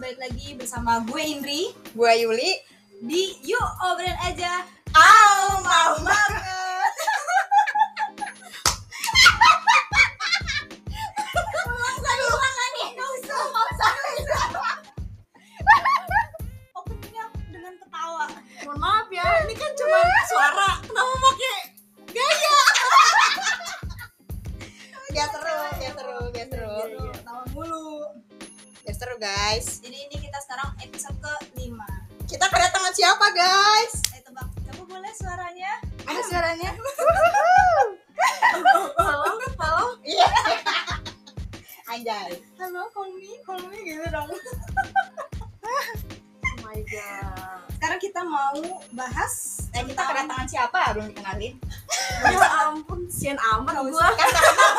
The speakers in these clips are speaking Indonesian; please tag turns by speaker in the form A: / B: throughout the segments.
A: balik lagi bersama gue Indri
B: Gue Yuli
A: di Yuk Obrolan Aja
B: Au mau banget
A: Ulang lagi, ulang lagi Gak usah, gak usah, gak usah Openingnya dengan ketawa
B: Mohon maaf ya Ini kan cuma suara Kenapa pakai gaya Biar seru Biar seru Biar seru
A: Jadi, Ketawa mulu
B: Biar seru guys
A: Jadi ini kita sekarang episode ke-5
B: Kita kedatangan siapa guys
A: Eh tebak, kamu boleh suaranya?
B: Ada suaranya
A: Halo, halo
B: Anjay
A: Halo, call me, call me gitu dong
B: Oh my god
A: Sekarang kita mau bahas
B: Eh kita
A: tentang-
B: kedatangan siapa belum dikenalin
C: ya ampun sian amat
A: Gak
C: gua
B: Kan tak kenal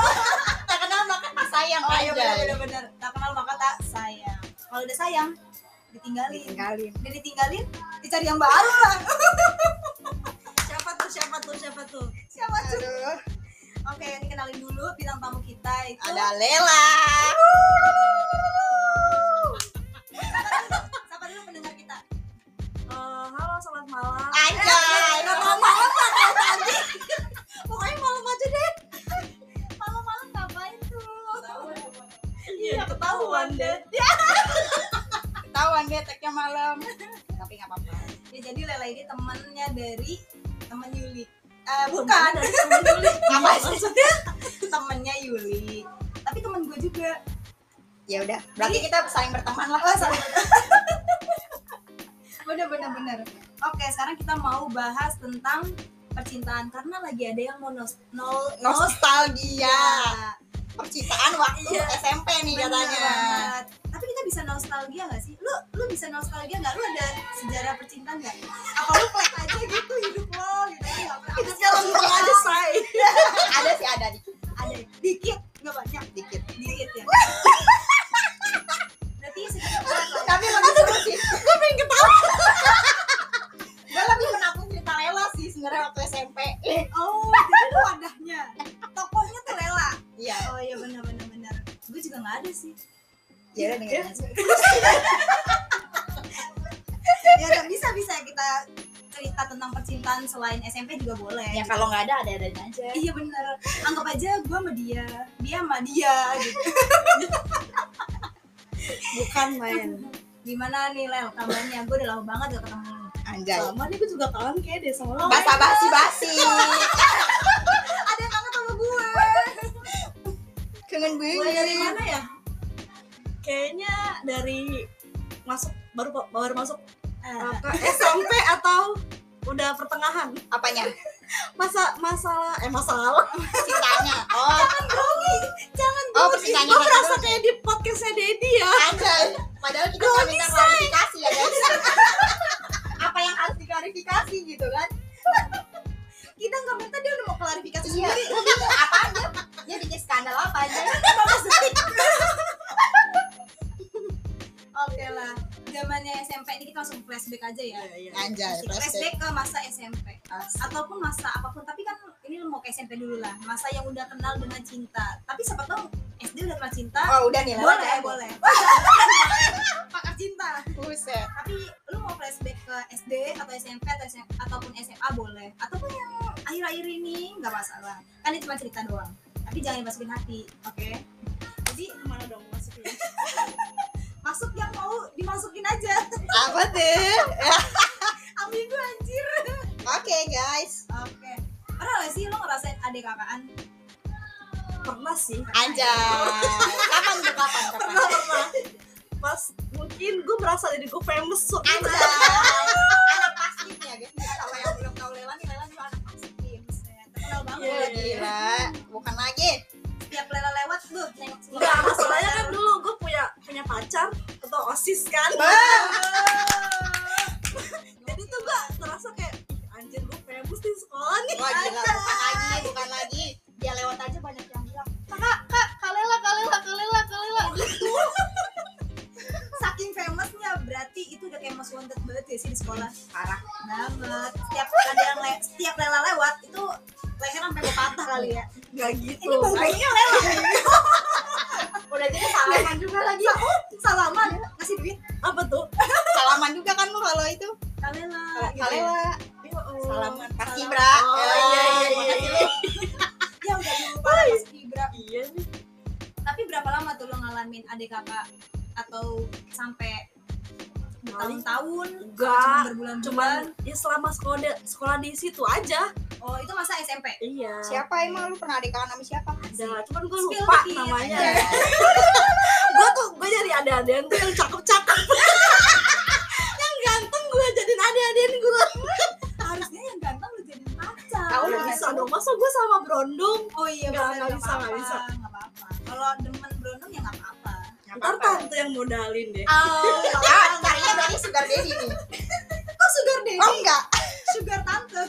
B: Tak kenal maka tak sayang
A: Oh iya
B: anjay
A: benar-benar tak kenal maka tak sayang. Kalau udah sayang ditinggalin.
C: kali
A: Udah ditinggalin dicari yang baru lah.
C: siapa tuh siapa tuh siapa tuh
A: Siapa tuh?
B: Aduh
A: Oke, dikenalin dulu bintang tamu kita itu
B: Ada Lela
A: Siapa dulu pendengar kita?
C: Eh, halo selamat malam
A: Ya,
B: Anjay
A: malam tadi. Pokoknya malam aja deh. Malam-malam ngapain tuh? Iya, ketahuan deh.
B: Ketahuan deh tagnya malam Tapi gak apa-apa
A: Ya, jadi Lela ini temannya dari temen Yuli. Eh, bukan,
C: bukan
B: Apa sih?
A: maksudnya temennya Yuli. Tapi temen gue juga.
B: ya udah berarti kita saling berteman lah
A: Oh, salah. bener bener bener oke sekarang kita mau bahas tentang percintaan karena lagi ada yang mau nos nol Ya. Nah.
B: nostalgia percintaan waktu
A: Iya.
B: SMP nih
A: Bener
B: katanya
A: banget. tapi kita bisa nostalgia gak sih lu lu bisa nostalgia gak lu ada sejarah percintaan gak apa lu flat aja gitu hidup lo gitu Gak pernah.
C: itu jalan pulang aja say
B: ada sih ada dikit
A: ada dikit nggak banyak
B: dikit
A: dikit ya berarti ya sekitar flat lah.
B: tapi lebih seru sih gue pengen ketawa gue lebih menakut cerita Lela sih sebenarnya waktu SMP
A: oh jadi lu wadahnya tokohnya tuh Lela
B: iya
A: oh iya bener bener bener gue juga nggak ada sih
B: ya udah dengerin aja
A: ya udah bisa bisa kita cerita tentang percintaan selain SMP juga boleh
B: ya kalau nggak ada ada adanya aja
A: iya bener anggap aja gue sama dia dia sama dia gitu
C: bukan main
A: gimana nih Lel kabarnya gue udah lama banget gak ketemu
B: anjay
C: lama nih gua juga kangen kayak deh sama lo
B: basa basi basi
A: ada yang kangen sama gue
B: kangen
C: Mulai dari
B: banget
C: mana ya kayaknya dari masuk baru baru masuk eh, ke SMP atau udah pertengahan
B: apanya
C: masa masalah eh masalah
B: cintanya oh
C: jangan
B: Oh,
C: gue
B: percintaannya
C: gue
B: kayak
C: merasa
B: gitu.
C: kayak di podcastnya Dedi ya
B: anjay padahal kita nggak minta klarifikasi ya guys apa yang harus diklarifikasi gitu kan
A: kita nggak minta dia udah mau klarifikasi
B: Iya,
A: sendiri
B: gue bingung apa aja dia bikin skandal apa aja
A: oke lah zamannya SMP ini kita langsung flashback aja ya
B: anjay
A: flashback ke masa SMP ataupun masa apapun tapi kan ini lu mau ke SMP dulu lah masa yang udah kenal dengan cinta tapi siapa tahu SD udah kenal cinta
B: oh udah nih
A: boleh boleh iya. pakar cinta
B: buset
A: tapi lu mau flashback ke SD atau SMP atau SM ataupun SMA boleh ataupun yang akhir-akhir ini nggak masalah kan ini cuma cerita doang tapi jangan masukin hati oke jadi
C: mana dong masuknya
A: masuk yang mau dimasukin aja
B: apa tuh
A: ambil gue anjir
B: oke guys
A: oke pernah gak sih lu ngerasain adik kakaan
C: pernah sih
B: anjay kapan tuh kapan kapan
C: pernah pernah pas mungkin gue merasa jadi gue famous so-
B: anjay anak paskin ya guys Ini sama yang belum tahu Lela nih Lela juga anak paskin
A: ya, Buset, terkenal banget
C: Iya,
A: lagi
C: iya.
B: gila bukan lagi
A: setiap lela lewat tuh nengok semua
C: Enggak, masalahnya kan dulu gue punya punya pacar atau osis kan. Jadi tuh gue terasa kayak "Ih, anjir gue famous di sekolah nih.
B: wah gila bukan lagi bukan lagi dia lewat aja banyak yang bilang
A: kalela kalela kalela kalela Iya. gitu saking famousnya berarti itu udah kayak most wanted banget ya sih di sekolah
B: parah
A: banget setiap ada yang le- setiap lela lewat itu leher sampai mau patah kali ya
C: Enggak gitu.
A: ini bau baunya lela
B: udah gitu salaman juga lagi
A: oh, salaman ngasih duit
C: apa tuh
B: salaman juga kan lu kalau itu
A: kalela
B: kalau
A: gitu ya.
B: kalela
C: Ya Allah.
B: salaman pasti
A: Salam.
B: bra
C: Oh, iya, iya, iya, iya.
A: ya udah lupa lah pas di berapa
C: iya nih
A: tapi berapa lama tuh lo ngalamin adik kakak atau sampai bertahun-tahun cuma
C: enggak
A: berbulan-bulan
C: cuman ya selama sekolah di- sekolah di situ aja
A: oh itu masa SMP
C: iya
B: siapa emang lu pernah adekan sama siapa
C: ada cuman gue
A: Spill
C: lupa
A: dikit.
C: namanya
A: Iya.
C: gue tuh gue jadi ada-adaan tuh yang cakep-cakep yang ganteng gue jadiin ada-adaan gue
A: harusnya yang ganteng lu jadi pacar
B: Tahu
C: Gak
B: lah.
C: bisa dong, masa gue sama Brondong
A: oh iya
C: Nggak,
A: bener,
C: nggak bisa,
A: apa-apa,
C: nggak bisa.
A: nggak apa-apa kalau demen berondong ya nggak apa-apa
C: Ntar tante yang modalin deh
A: oh
B: ah carinya berarti sugar daddy nih
A: kok sugar daddy
B: oh enggak
A: sugar tante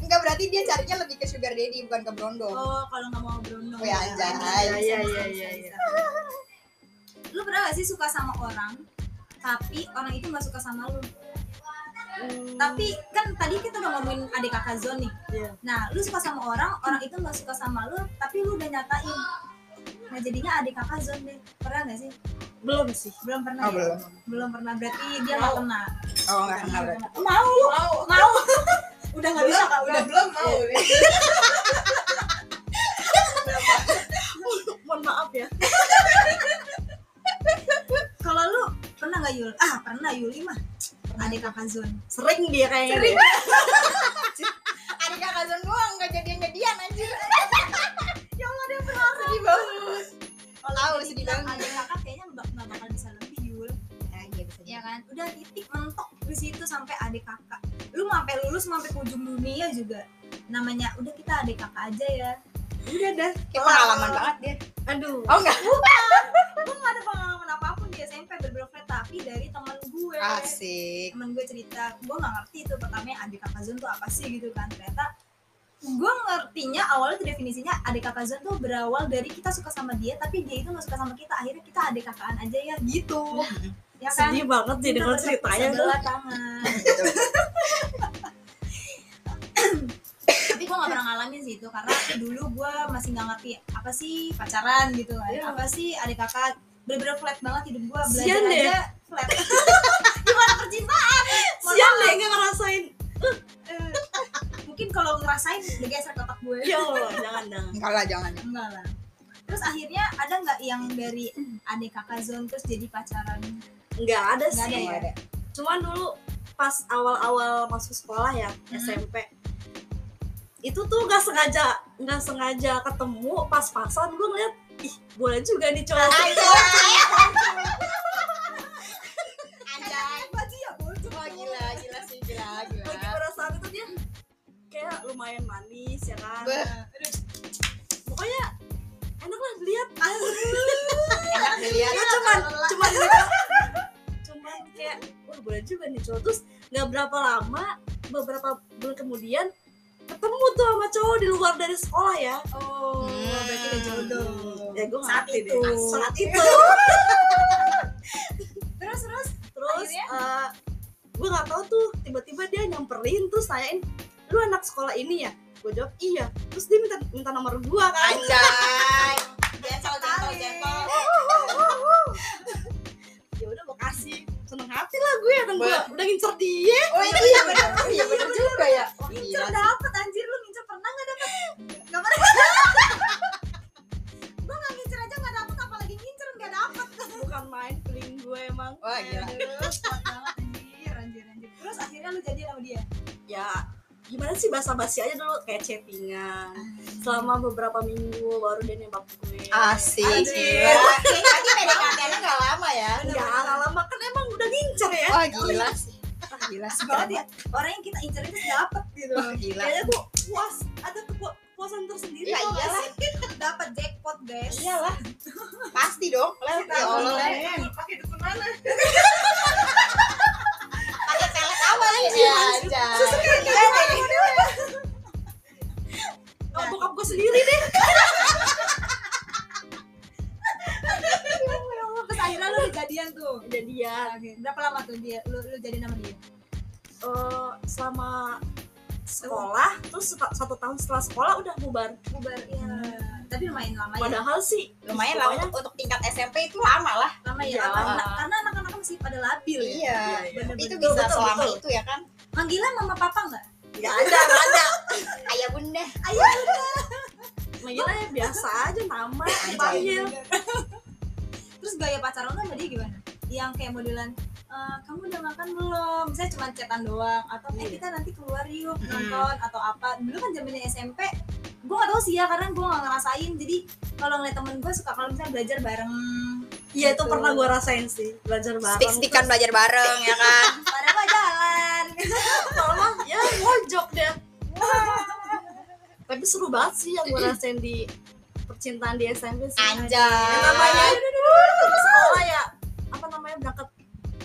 B: enggak berarti dia carinya lebih ke sugar daddy bukan ke brondong
A: oh kalau nggak mau berondong
B: Oh, ya, anjay.
A: Bisa,
C: Iya, iya,
A: bisa,
C: iya,
A: bisa, bisa. lu pernah gak sih suka sama orang tapi orang itu nggak suka sama lu tapi kan tadi kita udah ngomongin adik kakak Zon nih
C: Iya.
A: nah lu suka sama orang orang itu nggak suka sama lu tapi lu udah nyatain nah jadinya adik kakak Zon deh pernah nggak sih
C: belum sih
A: belum pernah ya?
B: Oh, belum.
A: belum pernah berarti dia
C: Mau.
A: nggak kena
B: oh enggak kenal berarti
A: mau
B: mau
A: mau udah nggak bisa kak udah
B: udah Iya, belum mau
C: mohon maaf ya
A: kalau lu pernah nggak Yul ah pernah Yuli mah adik kakak Zon
C: sering dia kayaknya
B: Sering.
C: deh.
B: ada kakak Zon doang nggak jadian jadian anjir ya Allah dia berharap sedih banget Oh, tahu
A: kalau
B: sedih
A: dibilang
B: banget
A: adik kakak kayaknya nggak nggak bakal bisa lebih Yul
B: Nah, iya, bisa
A: ya kan udah titik mentok di situ sampai adik kakak lu mau sampai lulus mau sampai ke ujung dunia juga namanya udah kita adik kakak aja ya
B: udah dah kayak pengalaman banget dia
C: aduh
B: oh enggak
A: gue gak ada pengalaman apapun di SMP berbeloknya tapi dari temen gue
B: asik
A: temen gue cerita gue nggak ngerti itu pertamanya adik kakak Zon tuh apa sih gitu kan ternyata gue ngertinya awalnya tuh definisinya adik kakak Zon tuh berawal dari kita suka sama dia tapi dia itu gak suka sama kita akhirnya kita adik kakaan aja ya gitu ya kan
C: sedih banget sih dengan
A: Kita tetap
C: ceritanya tuh
A: sebelah tangan
B: Gitu.
A: tapi gue gak pernah ngalamin sih itu karena dulu gue masih nggak ngerti apa sih pacaran gitu kan
C: Iya.
A: apa sih adik kakak bener-bener flat banget hidup gue belajar
C: Sian deh.
A: aja flat gimana percintaan Mohon
C: siang
A: maaf.
C: deh nggak ngerasain
A: Eh, mungkin kalau ngerasain bergeser ke otak gue
C: ya Allah jangan jangan
B: enggak lah jangan
A: enggak lah terus akhirnya ada nggak yang dari adik kakak zone terus jadi pacaran
C: nggak ada
A: Nggak
C: sih
A: ada ya?
B: Enggak ada.
C: cuman dulu pas awal-awal masuk sekolah ya
A: Hmm.
C: SMP itu tuh nggak sengaja nggak sengaja ketemu pas-pasan gue ngeliat ih boleh juga nih
A: Nah,
C: cowok
B: Anjay.
A: Apa sih ya bol
B: Wah, gila, gila sih, gila,
C: lagi
B: Oh, gila.
C: pada saat itu dia kayak lumayan manis ya kan
B: Beuh.
C: pokoknya enak lah dilihat
B: Enak dilihat.
A: Iya,
C: ya cuman cuman gitu. cuman kayak wah boleh juga nih cowok terus nggak berapa lama beberapa bulan kemudian ketemu tuh sama cowok di luar dari sekolah ya
A: oh
B: Hmm.
A: berarti udah jodoh
C: ya gue
A: Saat
C: ngerti
A: itu.
C: deh saat itu
A: terus terus
C: terus
A: Akhirnya?
C: gue nggak tahu tuh tiba-tiba dia nyamperin terus nanyain lu anak sekolah ini ya gue jawab iya terus dia minta minta nomor gua kan
B: Anjay. Jengkol, jengkol, jengkol.
C: ya udah mau kasih seneng hati lah gue dan gue udah ngincer dia
B: Oh itu iya benar. Iya benar juga ya. Oh,
A: ngincer
B: gila.
A: dapet anjir lu ngincer pernah nggak dapet nggak pernah gue nggak ngincer aja nggak dapet apalagi ngincer nggak dapet
C: bukan main feeling gue emang
B: Wah, gila.
A: Aduh, kuat banget, anjir anjir anjir terus akhirnya lu jadi sama dia
C: ya gimana sih bahasa basi aja dulu kayak
B: Ah,
C: chattingan selama beberapa minggu baru dia nembak gue
B: Asik.
A: Anjir.
B: Gila. Berarti PDKT-nya enggak lama ya.
C: Enggak, nggak lama kan emang udah ngincer ya
B: Wah, Oh, gila sih. Wah, gila sih. keren
A: berarti orang yang kita incer itu dapet gitu
B: banget. Wah, gila.
C: kayaknya gue puas ada kepu- kepuasan tersendiri
B: Ya
C: tau nggak
B: iyalah,
C: sih? Iya
A: dapet jackpot guys
B: iyalah. Pasti dong. Lah, ya Allah. lah.
A: pakai dukun mana
B: Pakai pelet apa Iya, ini? Anjay. eh.
C: Oh, bokap gue sendiri deh
A: terus akhirnya lu jadian tuh
C: jadian
A: Oke, berapa lama tuh dia lu lu jadi nama dia
C: eh selama sekolah terus sepa- satu tahun setelah sekolah udah bubar
A: bubar
B: iya.
A: ya tapi lumayan lama ya
C: padahal sih
B: Lumayan lah
C: pokoknya
B: untuk, untuk tingkat SMP itu lama lah.
A: lama ya,
C: Iya.
A: karena karena anak-anak kan masih pada labil ya
B: Iya.
C: Iya,
A: Bener-bener.
B: Itu
C: Betul,
B: bisa
C: betul,
B: selama
C: betul.
B: itu ya kan?
A: manggilnya mama papa nggak
C: nggak ada nggak ada
B: Ayah bunda.
C: manggilnya biasa aja nama
B: Panggil.
C: panggil
A: terus gaya pacaran lo sama dia gimana yang kayak modelan "Eh, kamu udah makan belum saya cuma chatan doang atau eh
C: Iya.
A: kita nanti keluar yuk
B: Hmm.
A: nonton atau apa dulu kan zamannya SMP gue gak tau sih ya karena gue gak ngerasain jadi kalau ngeliat temen gue suka kalau misalnya belajar bareng
C: iya itu
A: Betul.
C: pernah gue rasain sih belajar bareng
B: Stick stickan belajar bareng ya kan?
A: bareng apa jalan
C: Kalau mah ya ngojok deh tapi seru banget sih yang gue rasain di percintaan di SMP sih
B: Anjay.
C: Yang namanya sekolah ya apa namanya berangkat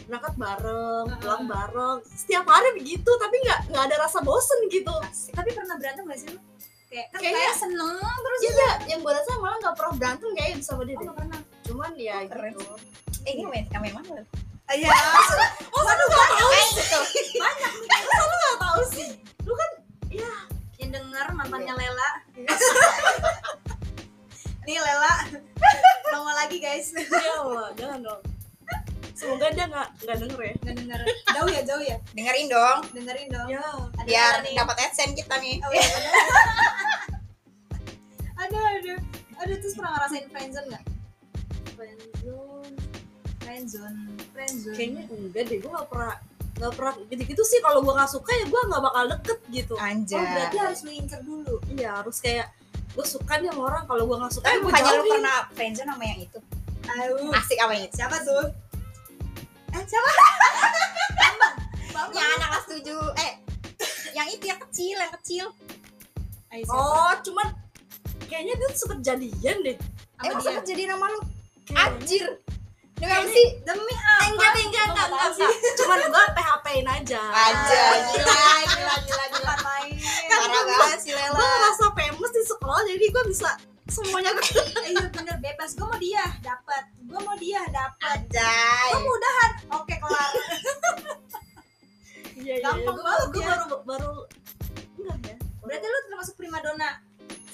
C: berangkat bareng pulang bareng setiap hari begitu tapi nggak nggak ada rasa bosen gitu
A: tapi pernah berantem gak sih lo kayak kan
C: Kayaknya-
A: kayak seneng terus
C: iya yang gue rasa malah nggak pernah berantem kayaknya sama dia
A: oh
C: deh.
A: gak pernah
C: cuman ya
B: Keren.
C: gitu
B: Eh, ini main kamu yang mana?
A: iya
C: oh aduh nggak tahu
B: Eh, itu.
C: nggak tahu sih lu kan
A: ya, yang denger mantannya Lela nih Lela bawa lagi guys
C: ya Allah jangan dong semoga dia nggak nggak denger ya
A: nggak denger jauh ya jauh ya
B: Dengerin dong
A: dengerin dong
C: ya
A: Ada
B: biar
A: Lela nih.
B: dapat adsense kita nih.
A: Oh, iya, bener. aduh aduh aduh terus pernah ngerasain friendzone nggak
C: friendzone.
A: friendzone friendzone
C: kayaknya enggak deh gue nggak pernah nggak pernah gitu gitu sih kalau gue nggak suka ya gue nggak bakal deket gitu
A: oh berarti
B: Anjay.
A: harus lu incer dulu
C: iya harus kayak gue suka nih sama orang kalau gue nggak suka
B: Tapi
C: ya gue
B: bukannya lu
C: jauhin
B: pernah friendzone sama yang itu?
A: Aduh.
B: Asik apa yang itu?
A: siapa tuh eh siapa Ya.
B: Yang anak kelas tujuh. Eh, yang itu yang kecil, yang kecil.
A: Ayo, siapa?
C: oh cuman kayaknya dia sempet jadian deh
A: Sama
B: Eh, masa
A: dia.
B: jadi nama lu?
C: Kayaknya.
B: Anjir. Hmm. Demi apa sih?
A: demi
C: Ah, enggak
A: apa
C: deh, enggak
A: Gua nggak
C: enggak enggak,
A: tahu
C: enggak. cuman gue php in aja
B: Aja, gila, gila, gila, gila.
A: bukan main
B: Parah banget si
C: gue
B: Lela.
C: ngerasa famous di sekolah jadi gue bisa semuanya gue
A: Eh, iya bener bebas gue mau dia dapat gue mau dia dapat
B: Anjay.
A: gue mau udahan oke kelar
C: iya
A: Gampang
C: gue
A: banget
C: gue
A: ya.
C: baru baru enggak ya
A: berarti lu termasuk primadona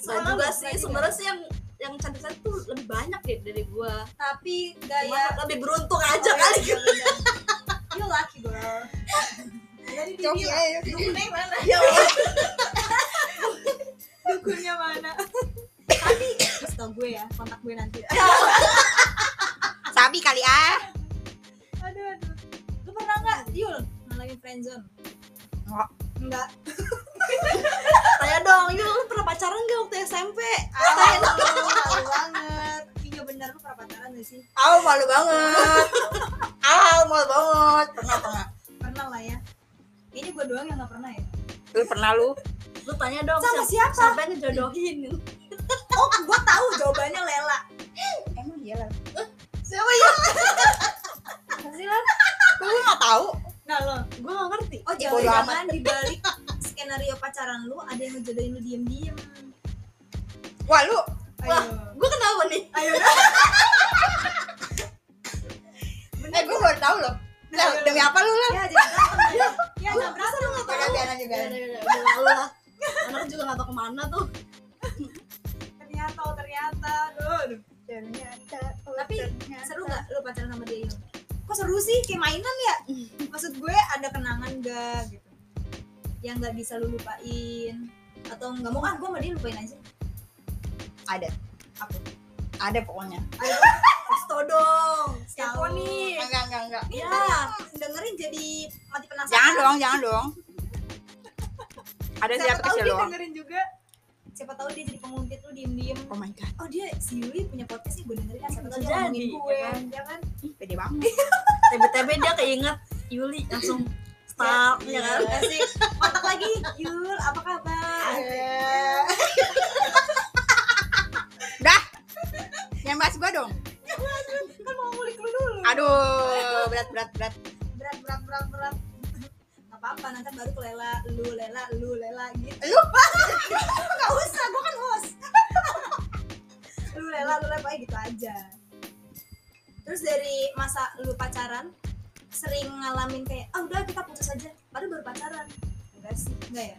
C: Soalnya
A: Soalnya
C: juga
A: lu
C: sih
A: berani
C: sebenarnya sih yang yang cantik-cantik tuh lebih banyak deh dari gua.
A: tapi
C: Cuma
A: gaya
C: lebih beruntung aja kali.
A: gitu you lucky girl dari dia
B: Coki,
A: bilang,
B: ayo.
A: dukunnya mana
C: Ya Allah.
A: dukunnya mana tapi terus tau gue ya kontak gue nanti
C: Iya.
B: Sabi kali ah.
A: aduh aduh lu pernah nggak Yul ngalamin friendzone
B: Nggak.
A: Enggak.
C: Tanya dong, yuk lu pernah pacaran gak waktu SMP?
A: Aduh, Oh, malu banget. Iya benar lu pernah pacaran gak sih?
B: Aw malu banget. Aw malu banget. Pernah pernah.
A: Pernah lah ya. Ini gue doang yang gak pernah ya.
B: Lu pernah lu?
C: Lu tanya dong
A: Sama
C: siap-
A: siapa?
C: siapa yang ngejodohin?
A: Oh, gue tahu jawabannya Lela.
B: Emang iya, dia lah.
A: Siapa ya?
B: Kok lu nggak tahu?
A: Nah lo,
C: Gua gak ngerti.
A: oh
B: bodo
A: jangan-jangan di balik skenario pacaran lu ada yang ngejodohin lu diem-diem.
B: Wah lu.
A: Ayo.
C: Gua kenapa nih?
A: Ayo.
B: Eh gue baru tahu loh.
A: Nah,
B: Lah, Demi apa lu lah?
A: Ya jadi berantem. ya. Ya nggak berantem.
B: Biar biar aja biar.
C: Udah, udah, udah, udah, udah. Anak juga gak tau kemana tuh.
A: Ternyata, oh, ternyata. Aduh, aduh. Tapi Ya, seru gak lu pacaran sama dia Yul? Kok seru sih? Kayak mainan ya? Maksud gue ada kenangan gak gitu? Yang gak bisa lu lupain? Atau gak mau ah gue sama dia lupain aja?
B: Ada.
A: Apa?
B: Ada pokoknya.
A: Ayo,
C: Kasih tau dong. Kepo
A: Tahu.
C: nih.
B: Enggak enggak enggak.
A: ini
C: Ya.
A: ntar yang dengerin jadi mati penasaran.
B: Jangan dong, jangan dong. Ada
A: Siapa
B: siapa
A: tahu
B: kecil
A: dia
B: doang?
A: dengerin juga. Siapa tahu dia jadi penguntit lu diem-diem.
B: Oh my god,
A: Oh dia si Yuli punya podcast sih gue dengerin. Siapa tahu
C: Bisa
A: dia ngomongin
C: jadi,
A: gue.
C: ya kan?
A: Ya kan?
B: ih pede banget.
C: Tiba-tiba dia keinget Yuli langsung stop
A: Iya
C: ya kan.
A: Kasih kontak lagi. Yul apa kabar?
B: Dah. Jangan bahas gua dong.
A: Kan mau ngulik lu dulu.
B: Aduh, berat berat berat.
A: berat berat berat berat nggak apa-apa nanti baru ke Lela lu Lela lu Lela gitu
B: Lu?
A: nggak usah gua kan host lu Lela lu Lela pokoknya gitu aja terus dari masa lu pacaran sering ngalamin kayak ah udah kita putus aja baru baru pacaran enggak sih enggak ya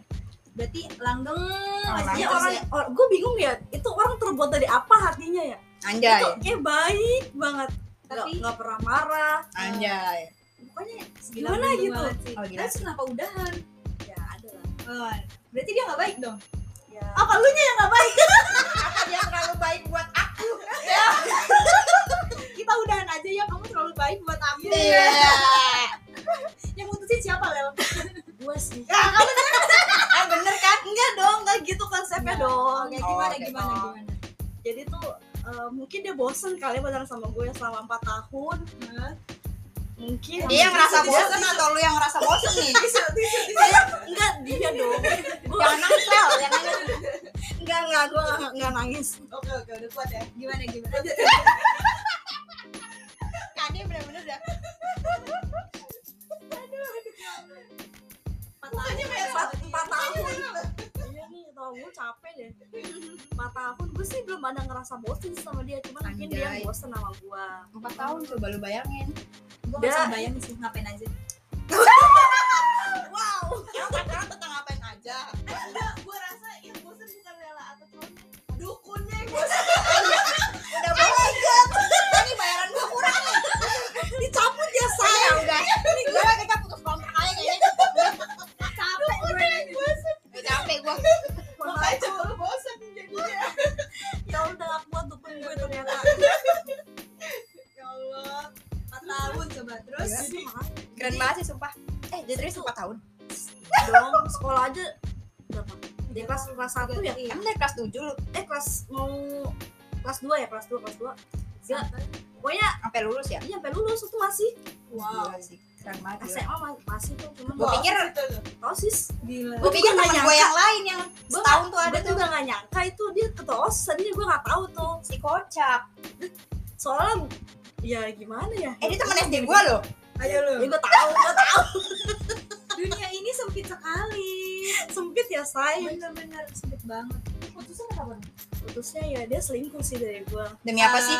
A: berarti Oh, langgeng
C: Iya
A: aja
B: langgeng
C: orang,
A: orang
C: or, gue bingung ya, itu orang terbuat dari apa hatinya ya?
B: Anjay.
C: Itu kayak baik banget. nggak
A: Tapi-
C: nggak pernah marah
B: Anjay.
C: pokoknya
A: Gimana
C: gimana gitu
A: sih.
B: Oh, gila.
A: Terus kenapa udahan?
C: ya ada lah
A: Oh, berarti dia nggak baik dong.
C: ya
A: Apa lu nya yang nggak baik?
B: Apa dia terlalu baik buat aku?
A: Kita udahan aja ya, kamu terlalu baik buat aku.
B: Iya.
A: Yang mutusin siapa Lel?
C: gue sih
B: Ah, bener kan?
C: enggak dong enggak gitu konsepnya dong
A: Iya. Oke, oh.
C: Ya,
A: gimana gimana
B: Oke, dong.
A: gimana?
C: jadi tuh eh, mungkin dia bosen kali pacaran sama gue selama 4 tahun
A: Hah?
C: mungkin
B: Dia yang ngerasa
C: Dia-
B: bosen atau lu yang ngerasa bosen nih?
C: Iya, enggak dia dong gue
B: Jangan nangis Sel, jangan nangis.
C: enggak enggak gue enggak, enggak nangis
A: Oke oke udah kuat ya. Gimana gimana?
B: Kak, dia bener-bener udah
A: Matanya
C: empat empat tahun iya nih tau gue capek deh empat tahun gue sih belum ada ngerasa bosen sama dia cuman mungkin dia
B: Anjay.
C: bosen sama gue
B: Empat tahun coba lu bayangin.
A: Gue
C: Dah.
A: bisa bayangin sih ngapain aja.
B: Wow. Emang pacaran tentang ngapain aja?
A: Gue rasa yang bosen bukan Lela atau Tony.
B: Dukunnya yang bosen. Udah bosen. Kan nih bayaran gua kurang.
C: dicabut ya
B: Saya udah. Gua kita putus kontrak aja kayaknya.
A: Capek gue.
B: Udah capek gua.
C: Makanya
B: coba lu bosen jadinya.
C: ya udah aku buat dukun gue ternyata
A: Ya Allah. Empat tahun coba terus.
B: Iya.
C: jadi
B: Keren banget sih sumpah. Eh, jadi 4 tahun.
C: dong sekolah aja berapa di kelas kelas satu ya
A: Iya.
B: Emang dari kelas 7 lu
C: eh kelas mau kelas dua ya kelas dua kelas dua
A: Sampai-
C: pokoknya
B: sampai lulus ya?
C: iya sampai lulus itu masih
A: Wow.
B: Gila sih. Keren banget. gila.
C: SMA ma- masih tuh cuman
B: Gua
C: gua
B: pikir
C: tau sis
A: Gila.
B: Gue pikir
C: Gua
B: temen
C: nggak
B: gue yang lain yang
C: Gua
B: setahun tuh
C: gua
B: ada tuh
C: juga gak nyangka itu dia ketua osis tadinya gue gak tahu tuh
B: si kocak.
C: soalnya ya gimana ya
B: Eh dia temen SD gue loh.
A: Ayo lu.
C: ya gue tahu gue tahu
A: Dunia ini sempit sekali.
C: sempit ya say
A: Bener-bener sempit banget. Putusnya kenapa?
C: putusnya ya dia selingkuh sih dari gue
B: Demi apa sih?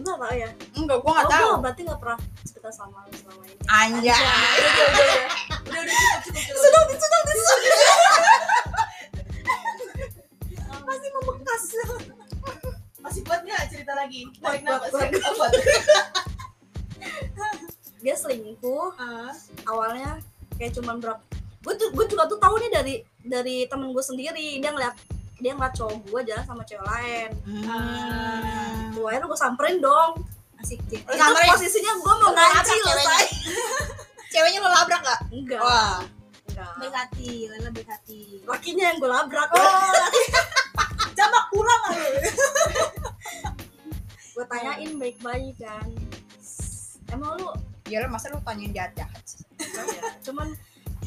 C: lu gak tahu ya
B: Enggak, gue gak
C: Oh,
B: tahu. Ah.
C: gua berarti gak pernah cerita sama lu selama ini
B: Anjay.
A: Udah udah cukup cukup. cukup.
C: sudah sudah sudah
A: Masih membekas. Masih buat nggak cerita lagi?
C: Buat, buat,
A: buat.
C: dia selingkuh awalnya kayak cuman berapa gue tuh gue juga tuh tahu nih dari dari temen gue sendiri dia ngeliat dia ngeliat cowok gue jalan sama cewek lain
B: Hmm.
C: gue akhirnya gue samperin dong
A: Asik Jen.
B: Lu
C: itu
B: samperin?
C: posisinya gue mau
B: Lu
C: ngaji
B: labrak
C: loh
B: ceweknya?
C: say
B: Ceweknya lo labrak gak?
C: enggak
B: Wah.
A: Baik
C: enggak
A: hati, Lela baik hati.
C: lakinya yang gue labrak
B: Oh.
A: Jamak pulang lah lu.
C: gue tanyain baik-baik kan emang lu ya.
B: Ya lo masa lo tanyain jahat-jahat sih.
C: cuman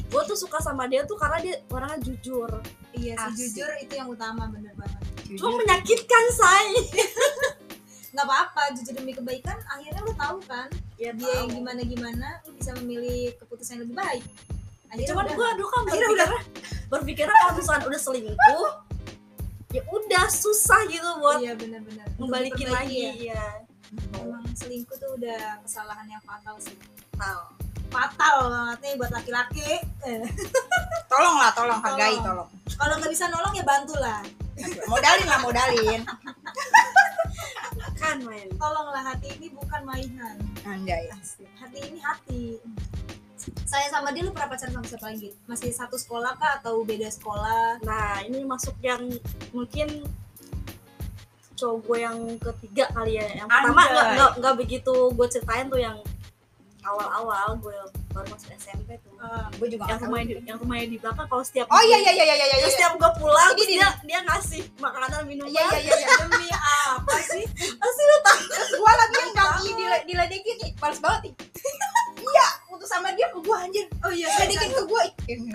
C: gue tuh suka sama dia tuh karena dia orangnya jujur
A: Iya sih
B: Asik.
A: jujur itu yang utama bener banget.
C: cuma
B: Jujur.
C: menyakitkan say
A: Nggak apa-apa, jujur demi kebaikan akhirnya lu tahu kan
C: ya
A: dia yang gimana gimana lu bisa memilih keputusan yang lebih baik. Akhirnya
C: cuman
A: udah.
C: gue aduh
B: Iya,
C: kan
A: Akhirnya
C: berpikir berpikirnya kalau misalkan udah selingkuh ya udah susah gitu buat
A: iya benar-benar Untuk
C: membalikin
A: diperbaiki
C: lagi
A: ya.
C: ya.
A: Emang selingkuh tuh udah kesalahan yang fatal sih.
C: Tahu.
A: Fatal banget nih buat laki-laki. Eh,
B: Tolong lah, tolong hargai,
A: Tolong.
B: tolong.
A: Kalau nggak bisa nolong ya bantulah.
B: Modalin lah, modalin.
C: kan men
A: Tolonglah hati ini bukan mainan.
B: Anjay.
A: Asik. Hati ini hati. Saya sama dia lu pernah pacaran sama siapa lagi? Masih satu sekolah kah atau beda sekolah?
C: nah ini masuk yang mungkin cowok gue yang ketiga kali ya yang pertama
B: Anjay.
C: nggak nggak- nggak begitu gue ceritain tuh yang awal-awal gue baru masuk SMP tuh
A: Eh,
B: Gue juga
C: yang
B: gak tahu.
C: rumahnya di, yang rumahnya di belakang kalau setiap
B: Oh iya iya iya iya iya
C: Terus
B: iya.
C: setiap gue pulang
B: Ini,
C: terus
B: ini.
C: dia dia ngasih makanan minuman
B: Iya iya iya. iya.
A: demi apa sih?
B: Terus gue lagi yang gak di dile- diledekin nih, males banget nih. Iya, putus sama dia ke gue anjir.
A: Oh iya, saya
B: Diledekin ke gue.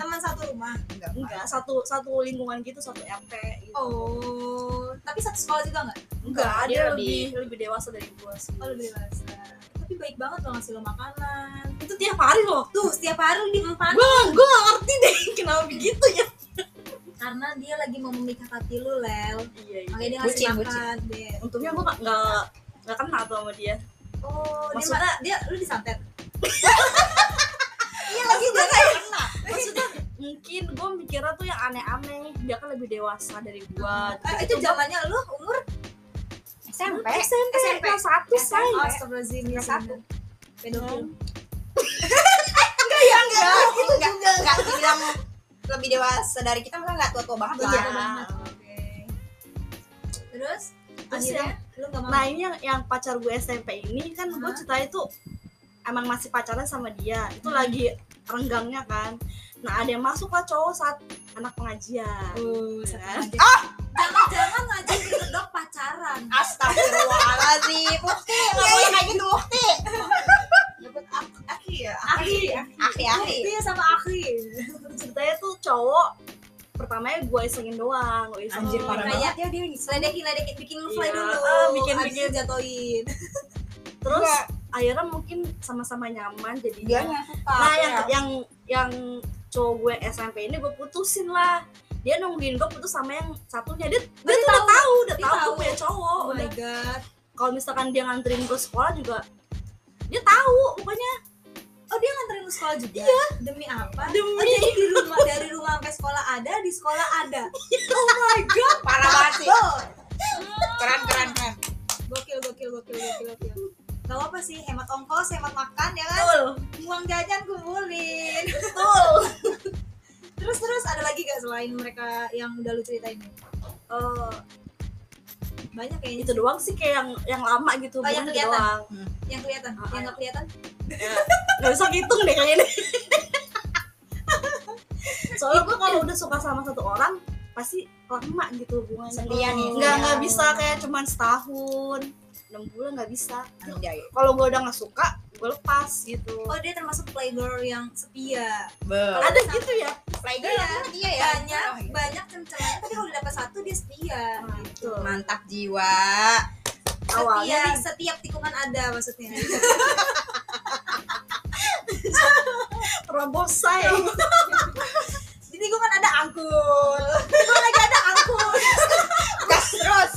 A: teman satu rumah.
C: enggak satu satu lingkungan gitu satu RT gitu.
A: Oh, tapi satu sekolah juga nggak?
C: enggak
B: Dia
C: dia
B: lebih-
C: lebih lebih dewasa dari gue sih
A: Oh, lebih dewasa. Tapi baik banget loh ngasih lo makanan.
C: itu tiap hari loh
A: Tuh, setiap hari lu diempan
C: gue gue gak ngerti deh kenapa begitu ya
A: karena dia lagi mau memikat hati lu, Lel.
C: iya
A: Makanya dia ngasih
B: Bucin,
A: makan deh.
C: untungnya gue gak nggak nggak kenal tuh sama dia
A: Oh,
C: Maksudnya-
A: dia, ma- dia lu disantet.
B: Iya lagi gue gak kena.
C: maksudnya mungkin gue mikirnya tuh yang aneh-aneh dia kan lebih dewasa dari gue
A: Eh, itu zamannya lu umur
B: SMP
C: SMP, Eh,
B: SMP.
C: kelas satu say
B: Oh,
A: Astagfirullahaladzim
C: Iya.
A: ya
B: satu.
A: Pedofil.
B: Iya enggak,
A: gitu
B: itu enggak, enggak, enggak dibilang lebih dewasa dari kita malah enggak tua-tua
C: Oh,
B: banget lah.
A: Iya banget. Oke. Terus
C: Terus
A: akhirnya lu nggak mau.
C: nah ini yang, yang pacar gue SMP ini kan gue
A: Hah?
C: ceritanya itu emang masih pacaran sama dia itu
A: Hmm.
C: lagi renggangnya kan nah ada yang masuk lah cowok saat anak pengajian
A: Uh,
C: Iya.
A: sama aja. Ah, jangan-jangan ngajak dok pacaran.
B: Astagfirullahaladzim, Mukti, nggak boleh kayak gitu Mukti. Nyebut ak- aki ya,
A: Akhi,
B: aki aki.
A: Mukti Iya, sama Akhi.
C: ceritanya tuh cowok pertamanya gue isengin doang gue isengin
B: Oh,
A: Anjir, parah banget
C: Kayak-
A: ya dia seledekin ledekin bikin fly
C: Iya,
A: dulu.
C: ah, bikin-
A: Abis itu
C: bikin.
A: jatoin.
C: terus
B: Iya.
C: akhirnya mungkin sama-sama nyaman
B: Dia
C: jadinya
A: Iya.
B: suka.
C: nah yang yang yang cowok gue SMP ini gue putusin lah dia nungguin gue putus sama yang satunya dia dia tuh udah tahu udah
A: Dia
C: tahu gue
A: tahu.
C: punya cowok
A: Oh my
C: udah
A: god.
C: kalau misalkan dia nganterin gue sekolah juga dia tahu pokoknya
A: Oh dia nganterin lu sekolah juga? Iya. Demi apa?
C: Demi.
A: Oh, jadi di rumah dari rumah sampai sekolah ada, di sekolah ada. Oh my god.
B: parah banget sih.
A: Double.
C: Hmm.
B: Keren keren keren.
A: Gokil gokil gokil gokil gokil. Gak apa sih hemat ongkos, hemat makan ya kan?
C: betul
A: Uang jajan kumpulin.
C: betul
A: Terus terus ada lagi gak selain mereka yang udah lu ceritain ini?
C: Eh,
A: Banyak kayaknya
C: itu doang sih kayak yang yang lama gitu
A: Oh, yang
C: bukan
A: kelihatan.
C: doang
A: yang kelihatan,
C: Ah,
A: yang
C: ah.
A: gak kelihatan.
C: nggak bisa ngitung deh kayaknya soalnya gue kalau udah suka sama satu orang pasti lama gitu hubungannya
B: Sendirian ya.
C: nggak nggak bisa kayak cuman setahun enam bulan nggak bisa
B: Anjay.
C: kalau gue udah nggak suka gue lepas gitu
A: Oh dia termasuk playgirl yang setia.
B: Be.
C: ada gitu ya
B: Playgirl
A: Iya.
B: namanya dia ya.
A: Banyak
B: Oh, iya.
A: banyak cencengannya, tapi kalau udah dapet satu dia setia.
C: gitu
B: Mantap jiwa.
C: awalnya
A: Setia,
B: iya.
A: setiap tikungan ada maksudnya.
C: terobosai
B: Iya.
A: Di tikungan ada angkul. Tikungan lagi ada angkul.
B: Gas terus.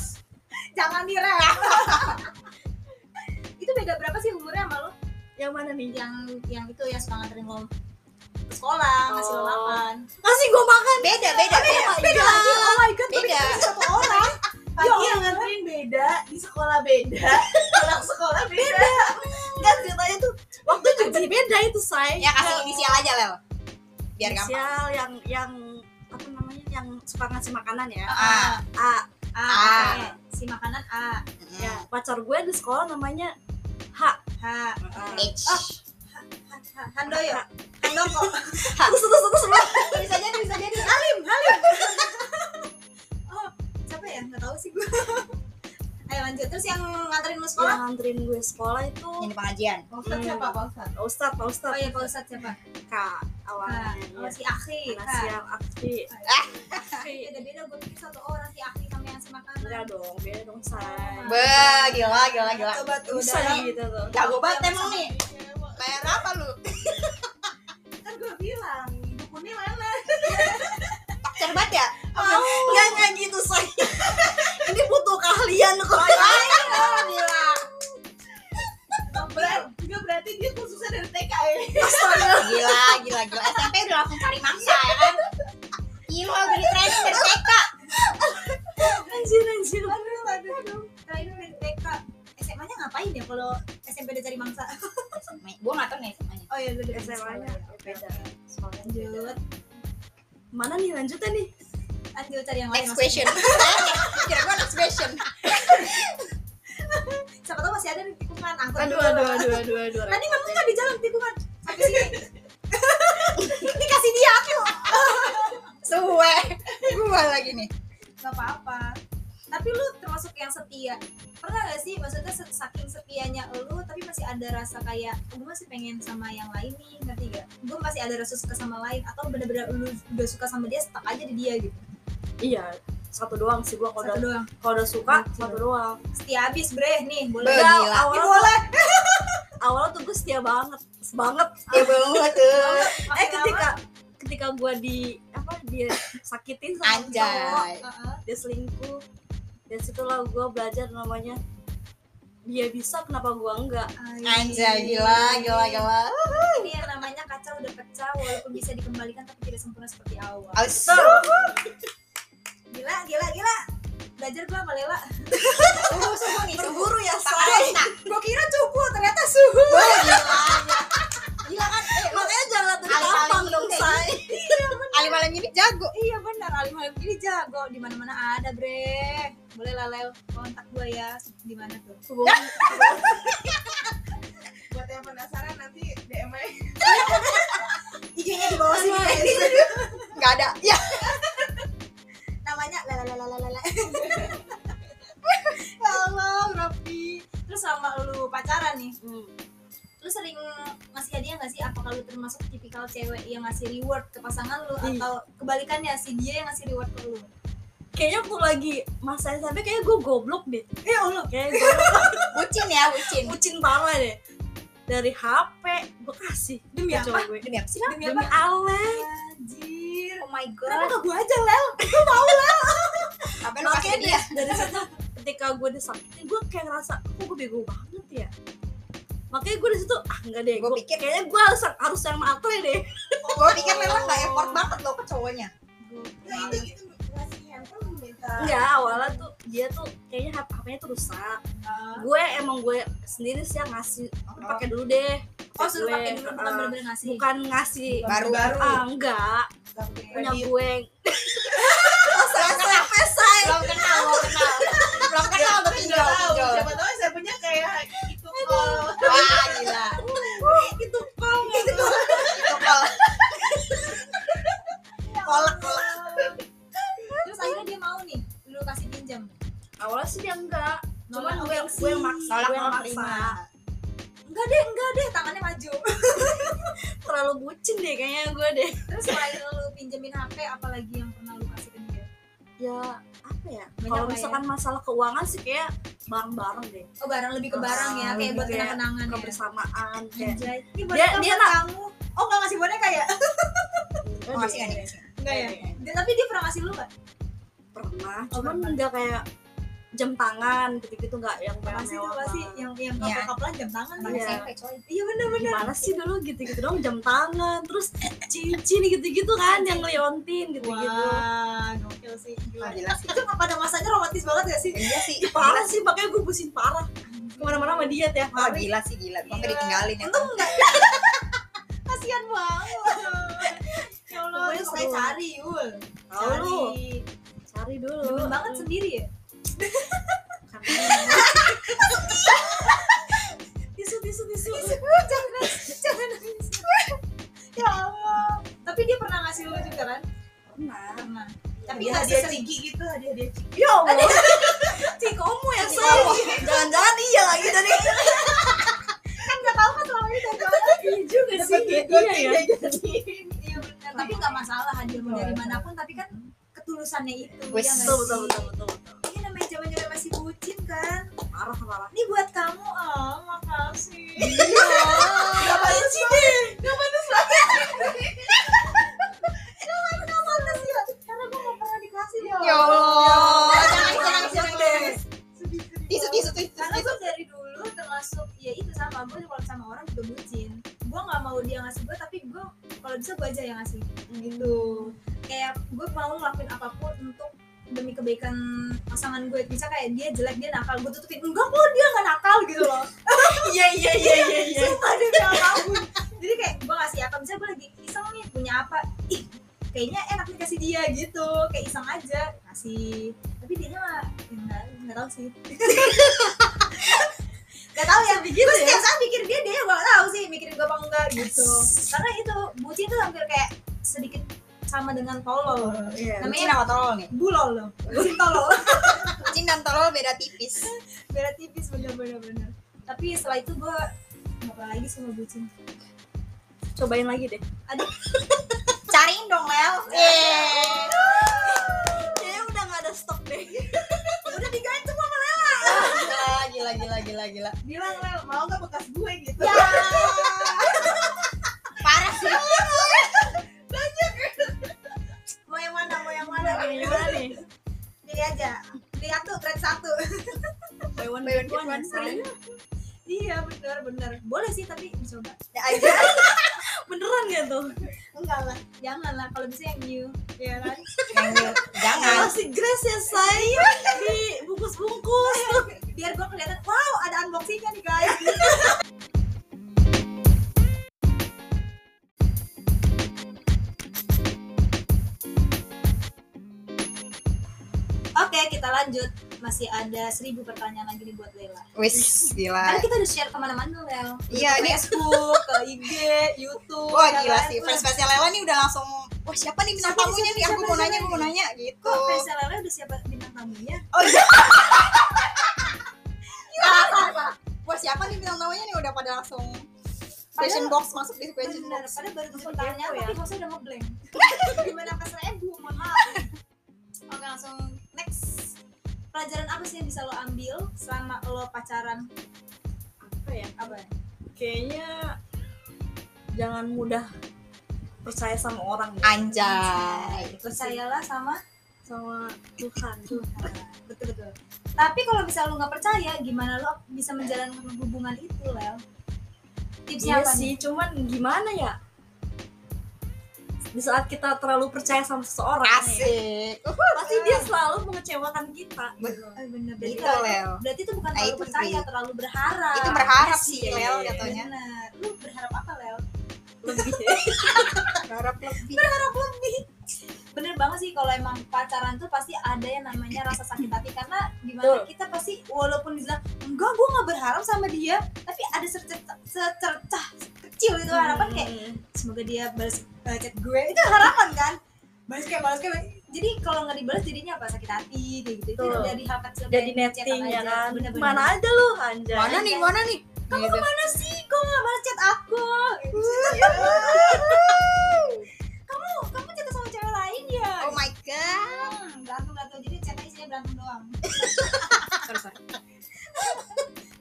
A: Jangan direm. itu beda berapa sih umurnya sama lo?
C: yang mana nih
A: Yang yang itu yang suka nganterin lo ke sekolah, ngasih lo
C: Oh.
A: lapan.
C: kasih gue makan
B: Beda beda beda.
C: beda lagi oh my god
B: Beda.
C: satu orang
A: Ya
C: yang nganterin beda di sekolah beda pulang sekolah beda kan ceritanya tuh waktu juga beda itu say
B: Ya kasih inisial aja Lel. Biar gampang.
C: Inisial yang yang apa namanya yang suka ngasih makanan ya
B: Ah.
C: A
A: A,
B: A.
A: oke. si makanan A,
C: ya pacar gue di sekolah namanya H
A: H,
B: Hmm. H.
A: H, Handoyo,
C: Ha.
A: Handoko,
C: terus terus terus terus.
B: Bisa jadi bisa jadi.
A: Halim, Halim. oh, siapa ya? Gak tahu sih gue. Ayo lanjut. Terus yang nganterin lu sekolah?
C: yang nganterin gue sekolah itu
B: Ini pengajian.
A: Pak Ustadz
C: Hmm.
A: siapa? Pak Ustadz?
C: Pak Ustadz Pak
A: Oh
C: Ustadz
A: iya Pak Ustadz siapa?
C: K
A: Ah,
C: awalnya
A: oh,
C: ya.
A: si Akhi.
C: Karena
A: Ah.
C: siang aktif
A: Beda-beda gue pikir satu orang si Akhi sama yang si
C: enggak
A: makanan.
C: dong Ah. beda dong say
B: Be, gila gila gila.
A: Coba tuh
C: bisa
A: dalam-
C: gitu tuh
B: Jago banget
A: Yang
B: emang
A: sama
B: nih.
A: dia.
B: Bayar apa lu?
A: Kan gue bilang, dukunnya mana?
B: Tak cerbat ya?
C: Enggak enggak gitu say ini butuh keahlian kok
B: Ayo, gila.
A: Berarti, juga berarti dia khususnya dari TK ya?
B: Gila, gila, gila. SMP udah langsung cari mangsa ya kan? Gila, udah di training dari TK.
C: anjir anjir
A: Aduh, aduh, aduh. Terakhir dari TK. SMA-nya ngapain ya kalau SMP udah cari mangsa?
B: Gue gak tau nih SMA-nya.
A: Oh iya, udah
C: SMA-nya beda soalnya beda
A: Lanjut,
C: mana nih lanjutnya nih
A: lanjut cari yang lain.
B: Next
A: maksudnya.
B: question. Kira gue next question.
A: Siapa tahu masih ada di tikungan. Angkut
C: aduh
A: dulu.
C: aduh aduh aduh aduh
A: Tadi kamu nggak di jalan tikungan. Sampai sini. Dikasih dia aku.
B: Suwe. Gue lagi nih.
A: Gak apa-apa. Tapi lu termasuk yang setia. Pernah gak sih maksudnya se- saking setianya lu tapi masih ada rasa kayak gue masih pengen sama yang lain nih, ngerti gak? Gue masih ada rasa suka sama lain atau bener-bener lu udah suka sama dia stuck aja di dia gitu.
C: iya satu doang sih gua kalau
A: Satu
C: udah
A: doang.
C: kalau udah suka
A: Satu
C: satu doang
A: Setia habis bre nih, boleh.
B: Be-
C: Enggak,
B: gila.
A: Ini
C: awalnya
A: boleh.
C: awalnya tuh gue setia banget banget
B: Ya banget tuh.
A: Iya,
C: eh ketika ketika gua di apa dia sakitin sama cowok
B: Anjay.
C: dia selingkuh dan situlah gua belajar namanya dia bisa kenapa gua enggak
B: Anjay, gila, gila, gila.
A: Ini yang namanya kaca udah pecah walaupun bisa dikembalikan tapi tidak sempurna seperti awal.
B: Aus.
C: Betul.
A: Gila, gila, gila. Belajar gua sama Lela.
B: Suhu, suhu nih, suhu.
C: Berburu ya,
B: Tangan
C: say.
B: Rosna.
A: Gue kira cupu, ternyata suhu.
B: Wah, gila, gila. Gila kan? Eh, lu
C: Makanya jangan lihat dari
B: Alih-alih
C: tampang dong,
B: kayak
C: say.
B: alim alim ini jago.
A: Iya benar, alim-alim ini jago di mana-mana ada, Bre. Boleh lah, Lel, kontak gue ya. Di mana tuh?
D: buat yang penasaran nanti DM aja
A: IG-nya di bawah sini. guys.
B: Gak ada. Ya.
A: Namanya lalalalalala. ya Allah, Rafi. Terus sama lu pacaran nih,
C: Hmm.
A: lu sering ngasih hadiah gak sih? Apakah lu termasuk tipikal cewek yang ngasih reward ke pasangan lu
C: Ih.
A: atau kebalikannya si dia yang ngasih reward ke lu?
C: Kayaknya aku lagi masa SMP kayaknya gue goblok deh. Ya Allah, kayaknya gue
B: Bucin ya, bucin.
C: bucin parah deh. Dari HP gue kasih
A: Demi Iya,
C: ke
A: apa?
C: cowok gue.
B: Demi apa sih?
A: Demi
C: Demi
A: apa?
C: Allah.
A: Anjir.
B: Oh my
A: Kenapa
B: god.
A: gak gue aja, Lel?
B: Apa lu kasih
C: Makanya
B: dia?
C: dari- iya. dari situ ketika gue disakitin gue kayak ngerasa kok gue bego banget ya. Makanya gue di situ ah enggak deh.
B: Gue
C: Gue
B: pikir-
C: kayaknya gue harus harus yang matre deh.
B: Gue pikir memang gak effort banget loh ke cowoknya.
D: nah itu gitu ngasih handphone minta
C: Enggak, Iya, awalnya tuh dia tuh kayaknya hp HP-nya tuh rusak. Gue emang gue sendiri sih yang ngasih
B: Oh.
C: pakai dulu deh.
A: Oh, suruh
C: Gue,
A: pakai dulu bukan
C: uh,
A: bener-bener ngasih.
C: Bukan ngasih
D: baru baru
C: ah, enggak, punya
B: Iya.
D: Kredit.
C: gue.
B: Belum kenal. Belum kenal, belum kenal. Belum kenal udah
D: Nggak
B: pinjol,
D: tahu
B: pinjol.
D: siapa tahu saya punya kayak itu call
B: Wah, gila.
C: Itu kok gitu.
B: Itu kol. Kolek, kolek.
A: Terus akhirnya dia mau nih, lu kasih pinjam.
C: Awalnya sih dia enggak. Cuman
A: Nolak
C: gue yang gue yang maksa,
B: Nolak,
C: gue yang
B: nolak,
C: maksa.
B: terima.
A: Enggak deh, enggak deh, tangannya maju.
C: Terlalu bucin deh kayaknya gue deh.
A: Terus selain lu pinjemin HP, apalagi yang pernah lu kasih ke dia?
C: Ya apa ya?
A: Banyak
C: Kalau
A: lah ya.
C: misalkan masalah keuangan sih kayak bareng-bareng deh,
A: Oh, barang lebih ke barang ya,
C: Ah,
A: kayak
C: lebih
A: buat
C: kayak
A: kenang-kenangan ya.
C: kebersamaan kayak.
A: Anjay. Ini
C: Dia-
A: boneka
C: dia
A: buat kamu. Oh, enggak ngasih boneka ya?
B: Oh,
C: Enggak
B: ngasih
C: deh.
B: nggak nih?
A: Enggak ya. Dia- tapi dia pernah ngasih lu enggak?
C: Pernah,
A: Oh,
C: cuman
A: pernah.
C: enggak kayak jam tangan gitu-gitu enggak yang
A: Pasti tuh pasti
C: ya,
A: yang yang
B: Iya.
A: kapal-kapalan jam tangan
B: Anak
A: kan?
C: Iya.
B: SMP, coy.
A: Iya bener-bener.
C: gimana sih dulu gitu-gitu dong jam tangan terus cincin gitu-gitu kan yang leontin gitu-gitu
A: Wah, gokil Gitu. sih.
B: Oh,
A: Gila.
B: gila sih.
A: Itu pada masanya romantis banget gak sih?
B: Iya sih.
C: parah sih makanya gue busin parah kemana-mana sama ya. dia tiap
B: Oh,
C: hari
B: gila sih, gila. Sampai
A: Gila.
B: ditinggalin ya.
A: Untung enggak. Kasihan banget. ya Allah,
C: Pokoknya
A: terus kayak
C: seru.
A: cari, Yul.
C: Tahu lu
A: Cari.
C: cari dulu
A: Demen banget sendiri ya?
C: Karena- tisu tisu tisu
A: jangan, jangan nangis. ya Allah. Tapi dia pernah ngasih lu juga kan?
C: pernah
A: Pernah. Tapi
D: tapi
A: nggak
D: hadiah
A: sesering-
D: ciki gitu hadiah hadiah ciki
C: ya Allah cikomu ya say jangan-jangan iya lagi dari
A: Kan nggak tahu kan selama ini jalan
C: iya juga sih iya ya
A: Iya benar. Tapi nggak masalah hadiah mau dari manapun. Tapi kan ketulusannya itu.
B: Wes,
A: ya nggak
C: betul
A: sih?
C: betul betul betul betul.
A: Ini namanya zaman-zaman masih bucin kan.
C: parah parah
A: Ini buat kamu, oh makasih.
D: nggak pantas deh
A: Kenapa pantas ya? Karena gue gak pernah dikasih ya.
B: Ya Allah. Jangan, jangan,
C: Jangan,
B: jangan,
C: jangan.
B: jangan.
A: Sedih, sedih
B: Tisu,
A: banget.
B: tisu, tisu,
A: Karena
B: tisu.
A: gue dari dulu termasuk ya itu sama gue kalau sama orang juga bucin. Gue nggak mau dia ngasih gue, tapi gue kalau bisa gue aja yang ngasih. Gitu. Kayak gue mau ngelakuin apapun untuk demi kebaikan pasangan gue bisa kayak dia jelek dia nakal gue tutupin enggak kok dia nggak nakal gitu loh
C: iya iya iya iya iya
A: Sumpah demi apapun Jadi kayak gue ngasih apa Misalnya gue lagi iseng nih punya apa Ih kayaknya enak nih kasih dia gitu Kayak iseng aja Kasih Tapi dia mah ya enggak, enggak tau sih Gak tau ya
C: Begitu
A: Terus
C: ya?
A: tiap saat mikir dia Dia gue gak tau sih mikirin gue apa enggak gitu Karena itu bucin tuh hampir kayak sedikit sama dengan tolol
C: Iya.
B: Bucin sama tolol nih.
A: Bulol loh Bucin tolol
B: Bucin dan tolol beda tipis.
A: Beda tipis bener-bener bener. Tapi setelah itu gue Gak lagi sama bucin
C: cobain lagi deh
B: Cariin dong, Lel. Eh.
C: kayaknya udah gak ada stok deh
A: Udah digantung sama
B: Gila, Ah, gila, gila, gila, gila.
D: bilang Lel mau nggak bekas gue gitu
B: Ya. Parah sih.
A: Mau yang mana, mau yang mana Gitu.
C: Gimana nih, gimana nih
A: Pilih aja. Lihat tuh trend satu.
C: buy
B: Buy
C: one
B: one,
C: get
B: get
C: one
B: one free.
C: say.
A: iya benar benar. Boleh sih tapi dicoba.
B: Ya aja.
C: beneran gak tuh
A: Enggak lah. Jangan lah kalau bisa yang new. Ya kan?
B: Yang- Jangan.
C: masih grace ya say dibungkus bungkus tuh
A: Oke, kita lanjut. Masih ada seribu pertanyaan lagi nih buat Lela.
B: Wis,
A: Kan
B: gila.
A: kita udah share kemana-mana, Lel.
B: Iya,
A: Ke
B: ini-
A: Facebook, ke IG, YouTube.
B: Wah
A: ya
B: gila
A: kan?
B: sih,
A: Wah,
B: fans-fansnya Lela nih udah langsung Wah siapa nih bintang
A: Siapa,
B: tamunya
A: siapa,
B: nih, aku
A: siapa,
B: mau nanya,
A: siapa
B: aku mau nanya gitu
A: Kok fansnya Lela udah siapa bintang tamunya?
B: Oh iya Wah siapa nih bintang tamunya nih udah pada langsung Question box, masuk di question
A: Benar,
B: box
A: padahal baru tujuh
C: Langsung
A: pertanyaan
C: kepo ya.
A: tapi hostnya udah ngeblank. Gimana kasarnya Bu? Mohon maaf. nih. Oke, langsung next. Pelajaran apa sih yang bisa lo ambil selama lo pacaran?
C: apa ya
A: Apa? ya?
C: kayaknya jangan mudah percaya sama orang ya.
B: Anjay
A: Percayalah sama
C: sama Tuhan
A: Tuhan. Betul betul. Tapi kalau bisa lo nggak percaya, gimana lo bisa menjalankan hubungan itu, Lel? Tipsnya
C: iya
A: apa
C: sih
A: nih?
C: cuman gimana ya di saat kita terlalu percaya sama seseorang ya,
B: Asik Uhuh.
C: pasti dia selalu mengecewakan kita gitu.
A: Eh, bener, berarti
B: Gitu
A: kalau-
B: Lel
A: Berarti itu bukan
B: Nah,
A: terlalu
B: itu
A: percaya,
B: sih.
A: terlalu berharap.
B: Itu berharap
C: Iya
B: sih
C: sih.
B: Lel jatuhnya
A: Benar. Lu berharap apa, Lel?
C: lebih
B: Berharap lebih
A: bener banget sih kalau emang pacaran tuh pasti ada yang namanya rasa sakit hati karena gimana
C: Betul.
A: kita pasti walaupun bilang enggak gue nggak berharap sama dia tapi ada secercah, secercah kecil itu harapan
B: Hmm.
A: kayak semoga dia balas eh, chat gue itu harapan kan balas kayak balas kayak jadi kalau nggak dibalas jadinya apa sakit hati kayak gitu itu
C: Betul.
A: dari hal kecil
C: jadi
A: kayak chat
C: netting ya
A: aja.
C: kan
A: Bener-bener.
C: mana aja lu anjay
B: Mana nih, mana nih
A: kamu
B: Gitu.
A: kemana sih kok nggak balas chat aku kamu kamu chat sama cewek lain ya
B: Oh my god
A: Hmm, berantem berantem jadi chatnya isinya berantem doang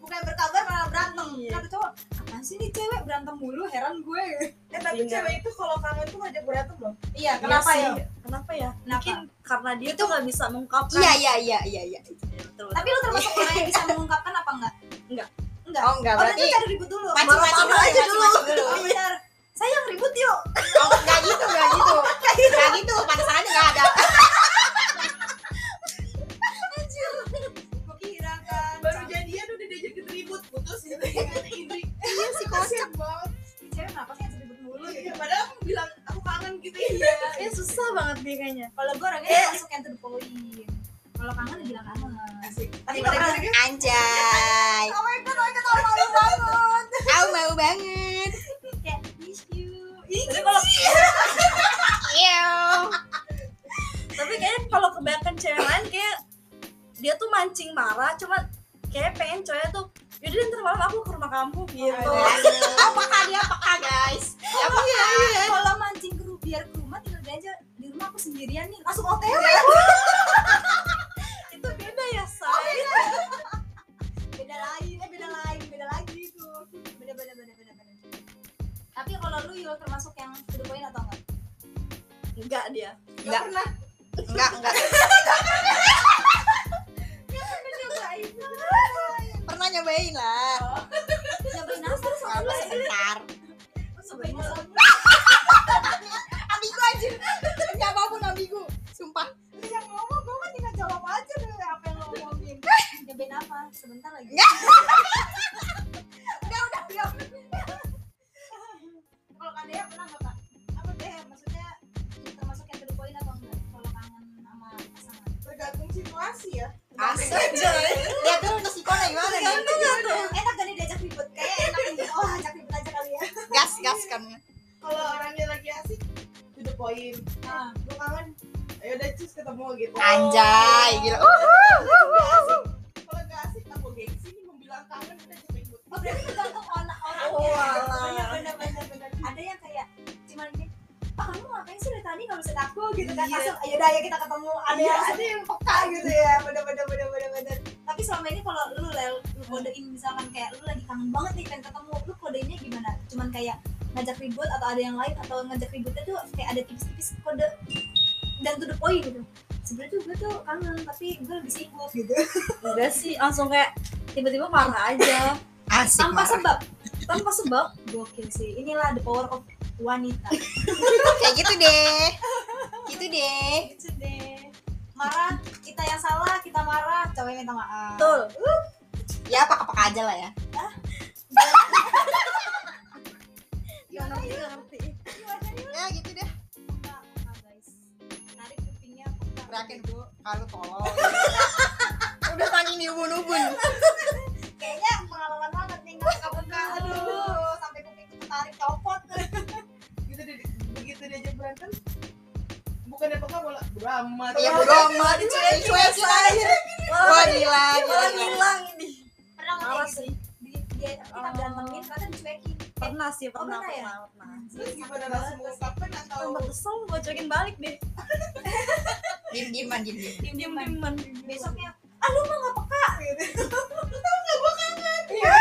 A: bukan berkabar malah berantem
C: Iya.
A: kata cowok apa sih nih cewek berantem mulu heran gue
D: Eh tapi
C: Iya.
D: cewek itu kalau kangen tuh ngajak berantem loh.
A: iya
C: kenapa
A: kenapa
C: ya
A: ya
C: kenapa ya
A: Kenapa?
C: mungkin karena dia tuh nggak bisa mengungkapkan
B: Iya, iya, iya, iya, iya
C: betul
A: tapi lo termasuk orang yang bisa mengungkapkan apa enggak
C: Enggak.
A: enggak
B: Oh enggak,
A: oh berarti
B: berarti
A: cari ribut dulu
C: Malah
B: Mancing-mancing dulu,
C: marah aja
B: mancing-mancing dulu
A: oh, benar sayang ribut yuk
B: Oh enggak gitu, enggak gitu Enggak gitu, pantesan aja enggak ada
A: gue kira kan
D: Baru jadian udah diajakin ribut, putus gitu. Iya sih kocak banget.
A: Ini cewek kenapa sih harus ribut mulu gitu Iya,
D: Iya, Padahal aku bilang aku kangen gitu ya.
C: Kayaknya susah banget dia kayaknya
A: kalau gue orangnya langsung yang to the point kalau kangen ya bilang kangen
D: Asik.
A: tapi kalau
D: Gimana gimana,
A: kangen
D: gimana?
B: Anjay
A: oh my god oh my god oh malu banget
B: Aku mau banget
A: kayak miss you Ih, tapi kalau
B: Ew
C: tapi kayaknya kalau kebanyakan cewek lain kayak dia tuh mancing marah cuman kayak pengen cowoknya tuh yaudah deh, ntar malam aku ke rumah kamu gitu
D: Oh,
B: Oh peka dia peka guys Dia peka
A: kalau mancing ke ru- biar ke rumah tinggal dia aja di rumah aku sendirian nih langsung OTW
C: itu beda ya say
A: beda lain eh beda lain beda lagi itu beda beda beda beda beda tapi kalau lu Yul termasuk yang to the point atau enggak
C: enggak dia
B: Enggak pernah Enggak, enggak Pernah nyobain lah
A: nyobain apa terus
B: Selama sebentar
A: nyobainnya sama
B: Ambigu aja Ini Ya apapun ambigu Sumpah
A: lu yang ngomong gue kan tinggal jawab aja tuh apa yang lo ngomongin nyobain apa sebentar lagi
B: Nggak.
A: udah udah udah kalau kak Dea pernah nggak kak apa deh maksudnya termasuk yang to the point atau enggak kalau kangen sama pasangan
D: Tergantung situasi ya.
B: Asik Dia tuh udah psikolog gimana nih
A: Gantung gak tuh? Iya, Enak gak nih diajak ribut? Kayaknya enak nih. Oh, ajak ribut aja kali ya.
B: Gas, gas kan
D: Kalau orangnya lagi asik, to the point.
A: Nah,
D: Gue kangen. Ayo udah cus ketemu gitu.
B: Anjay, gila uh,
D: Kalau nggak asik, aku gengsi nih membilang kangen udah jadi ribut.
A: oh, berarti tergantung orang orangnya.
C: Oh, alah.
A: Bener, bener, bener, bener. Ada yang kayak cuman kayak, ah kamu ngapain sih dari tadi kalau aku gitu kan
D: Iya.
A: langsung ayo dah ayo kita ketemu ada
D: Iya,
A: yang
D: ada yang
A: peka gitu ya bener bener bener bener bener tapi selama ini kalau lu lel lu kodein misalkan kayak lu lagi kangen banget nih pengen ketemu lu kodenya gimana cuman kayak ngajak ribut atau ada yang lain atau ngajak ributnya tuh kayak ada tipis-tipis kode dan to the point gitu sebenarnya tuh gue tuh kangen tapi gue lebih sibuk gitu
C: enggak sih langsung kayak tiba-tiba marah aja
B: Asik
A: tanpa
B: marah.
A: sebab
C: tanpa sebab
A: gokil sih inilah the power of wanita
B: Kayak gitu deh Gitu deh
A: gitu deh marah kita yang salah kita marah cowoknya minta maaf
C: betul
B: Ya peka-peka aja lah ya
C: yang namanya juga Iya, ngerti
B: Ya gitu deh
A: Peka, peka, guys tarik Nah, kupingnya peka
B: Berakin. Kalau tolong di ubun-ubun.
A: kayaknya pengalaman banget nih nggak buka-buka aduh sampai kupingku tertarik copot
D: gitu dia- begitu diajak berantem bukan apa apa bola drama
B: Iya bodo amat dicuek-cuek aja. iya. Wah iya. gila, gila,
C: malah
B: gila.
C: hilang nih
A: pernah nggak
C: Parah
A: kayak gitu di, dia, kita
C: Oh.
A: berantemin ternyata dicuekin Kayak,
C: pernah sih
A: Oh,
C: pernah
A: pernah ya?
C: pernah pernah
D: terus
A: sakit
D: gimana
A: banget.
D: rasa mengungkapkan atau
C: tambah kesel gue cuekin balik deh
B: Diem-dieman, diem-dieman.
A: diem
C: diem
A: diem
C: dieman
A: besoknya ah lu mah nggak peka gitu
C: Iya.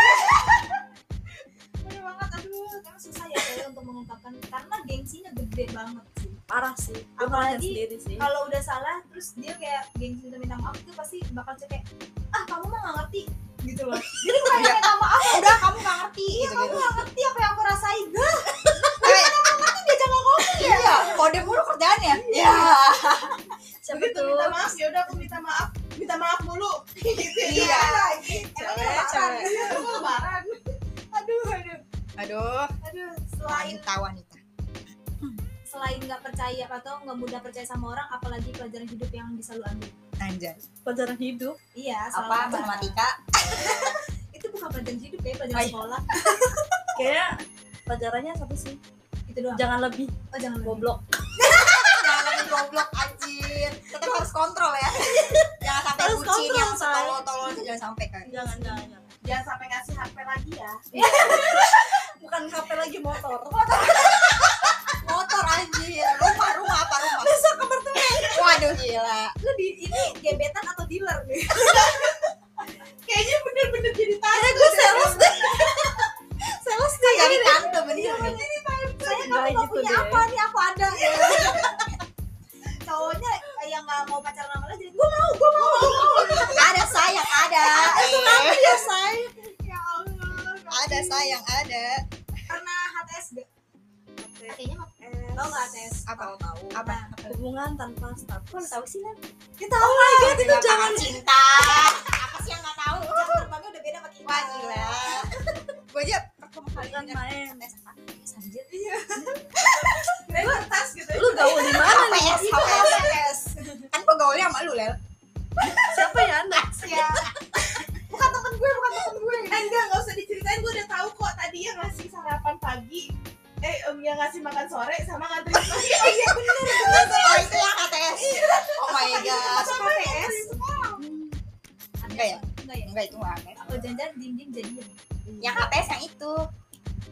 D: Bener banget aduh
A: karena susah ya saya untuk mengungkapkan karena gengsinya gede banget sih
C: parah sih Gua
A: Apalagi
C: ngerasain sendiri sih
A: kalau udah salah terus dia kayak gengsi udah minta maaf itu pasti bakal cek ah kamu mah nggak ngerti gitu loh jadi bukan
B: Iya.
A: minta maaf udah kamu nggak ngerti iya
D: Gitu,
B: Gitu-gitu.
A: kamu nggak ngerti apa yang aku rasain Gah,
B: Eh,
A: dia jangan ngomong
B: Iya, kode mulu kerjaannya. Ya.
C: siapa
D: begitu
C: tuh
D: minta maaf ya udah aku minta maaf minta maaf mulu gitu
B: Iya.
A: emangnya
B: Cewek,
A: lebaran
B: cewek.
A: Emang lebaran aduh aduh
B: Aduh,
A: aduh selain
B: wanita wanita.
A: selain nggak percaya atau nggak mudah percaya sama orang apalagi pelajaran hidup yang bisa lu ambil
B: Anjir.
C: pelajaran hidup
A: iya selalu
B: Apa
A: ada.
B: matematika?
A: itu bukan pelajaran hidup ya pelajaran
B: Ay.
A: sekolah
C: kayaknya pelajarannya satu sih
A: itu gitu doang
C: jangan lebih
A: oh jangan lebih.
C: goblok
B: Jangan goblok anjir. Tetap harus kontrol ya. Jangan sampai
C: Harus
B: bucin
C: kontrol,
B: yang
C: Shay.
B: setolol-tolol itu jangan sampai kan.
C: jangan jangan jangan.
D: jangan sampai ngasih HP lagi ya
C: bukan HP lagi motor
B: Motor anjir. Rumah, rumah apa rumah? Besok kabar tuh. Waduh gila.
A: lu di ini gebetan atau dealer nih
D: kayaknya bener-bener jadi tanya
B: Gue sales deh. Sales deh. Jadi tante
A: Iya,
B: bener nih.
A: saya
C: Nggak
A: kamu nggak
C: gitu
A: punya
C: deh.
A: apa nih aku ada cowoknya yang nggak mau pacaran sama lo jadi gue mau gue mau
B: Ada sayang, ada. Eh.
C: iya say
A: ya allah
B: Ada sayang, ada.
A: pernah HTS gak artinya mah tau nggak HTS
B: Apa?
C: tahu
B: Apa?
A: Nah,
C: hubungan tanpa status
B: tahu sih Nat?
A: kita oh my god
B: Itu jangan cinta. Apa sih yang gak tahu?
A: jam terbangnya udah beda sama kita
B: Wah gila. Gue aja pertama kali
C: bukan
B: dengar
C: main
B: tes apa?
A: Sanjir.
D: kertas gitu
C: lu gaul di mana nih
B: HPS, HPS. Kan gue gaulnya sama lu, Lel.
C: siapa ya anda
A: ya bukan temen gue bukan temen gue
D: Eh, enggak nggak usah diceritain gue udah tahu kok tadi yang ngasih sarapan pagi eh em, yang ngasih makan sore sama ngantri pagi oh iya
B: Oh, itu yang HTS. Oh my god.
A: masuk HTS Hmm.
B: Enggak ya?
A: enggak ya
B: Enggak, itu gak HTS.
A: oh jangan diem diem jadi ya.
B: Yang HTS yang itu.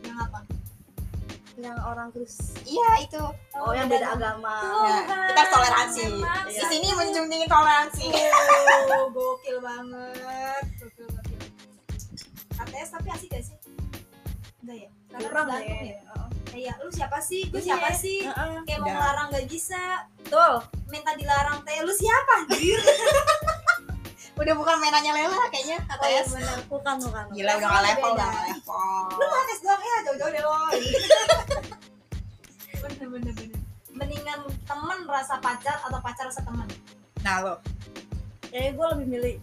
A: yang apa
C: yang orang Kristen
B: Iya, itu.
C: oh yang beda agama
B: Ya, kita harus toleransi.
A: Iya.
B: Di sini menjunjung tinggi toleransi.
A: Oh, gokil banget. Gokil, gokil. ATS tapi asik gak sih? Enggak ya? Karena
C: kurang
A: tergantung
C: deh
A: ya. Kayak lu siapa sih? Gue
C: Iya.
A: siapa sih?
C: Heeh.
A: Kayak mau
B: Udah.
A: ngelarang gak bisa.
C: betul
A: Minta dilarang teh. Lu siapa? Anjir.
B: Udah bukan mainannya Lela kayaknya
C: Oh,
B: HTS.
C: benar bukan bukan
B: Gila udah gak level udah gak
A: Lu
B: level.
A: mau ATS doang ya? Jauh-jauh deh lo. bener, bener, bener. Mendingan temen rasa pacar atau pacar rasa temen?
B: Nah lo,
C: kayaknya gue lebih milih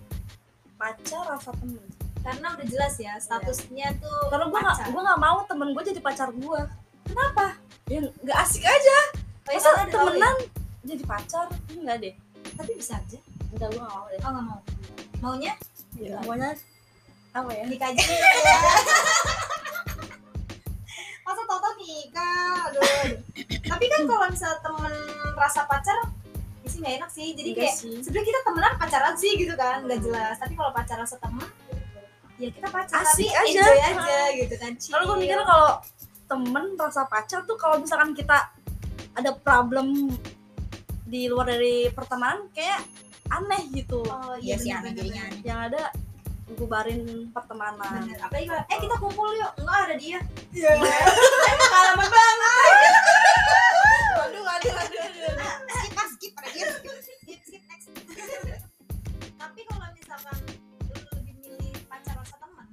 C: pacar rasa temen
A: Karena udah jelas ya statusnya tuh
C: karena gue gak
A: pacar.
C: gue gak mau temen gue jadi pacar gue kenapa ya nggak asik aja
A: Kayak
C: masa
A: ada tau ya?
C: temenan jadi pacar enggak deh
A: Tapi bisa aja.
C: enggak gue gak mau deh
A: Oh nggak mau. Maunya
C: Gila. semuanya apa ya
A: dikaji masa tau-tau nikah aduh, aduh. tapi kan kalau misalnya temen rasa pacar ya sih nggak enak sih jadi
C: Enggak
A: kayak
C: sih.
A: sebenarnya kita temenan pacaran sih gitu kan nggak jelas tapi kalau pacar rasa temen ya kita pacar
C: Asik
A: tapi
C: aja.
A: enjoy aja gitu kan
C: kalau gue
A: chill.
C: mikir kalau temen rasa pacar tuh kalau misalkan kita ada problem di luar dari pertemanan kayak aneh gitu
A: oh
B: iya
A: iya
B: sih
A: bener,
B: aneh
A: bener,
B: jadinya
A: bener.
B: aneh.
C: yang ada gubarin pertemanan
A: Bener. apalagi kalau eh kita kumpul yuk enggak ada dia
D: iya
A: pengalaman banget
B: Aduh, aduh, aduh, aduh. Skip, ah, skip, pada dia.
A: skip skip next tapi kalau misalkan lu lebih milih pacar rasa teman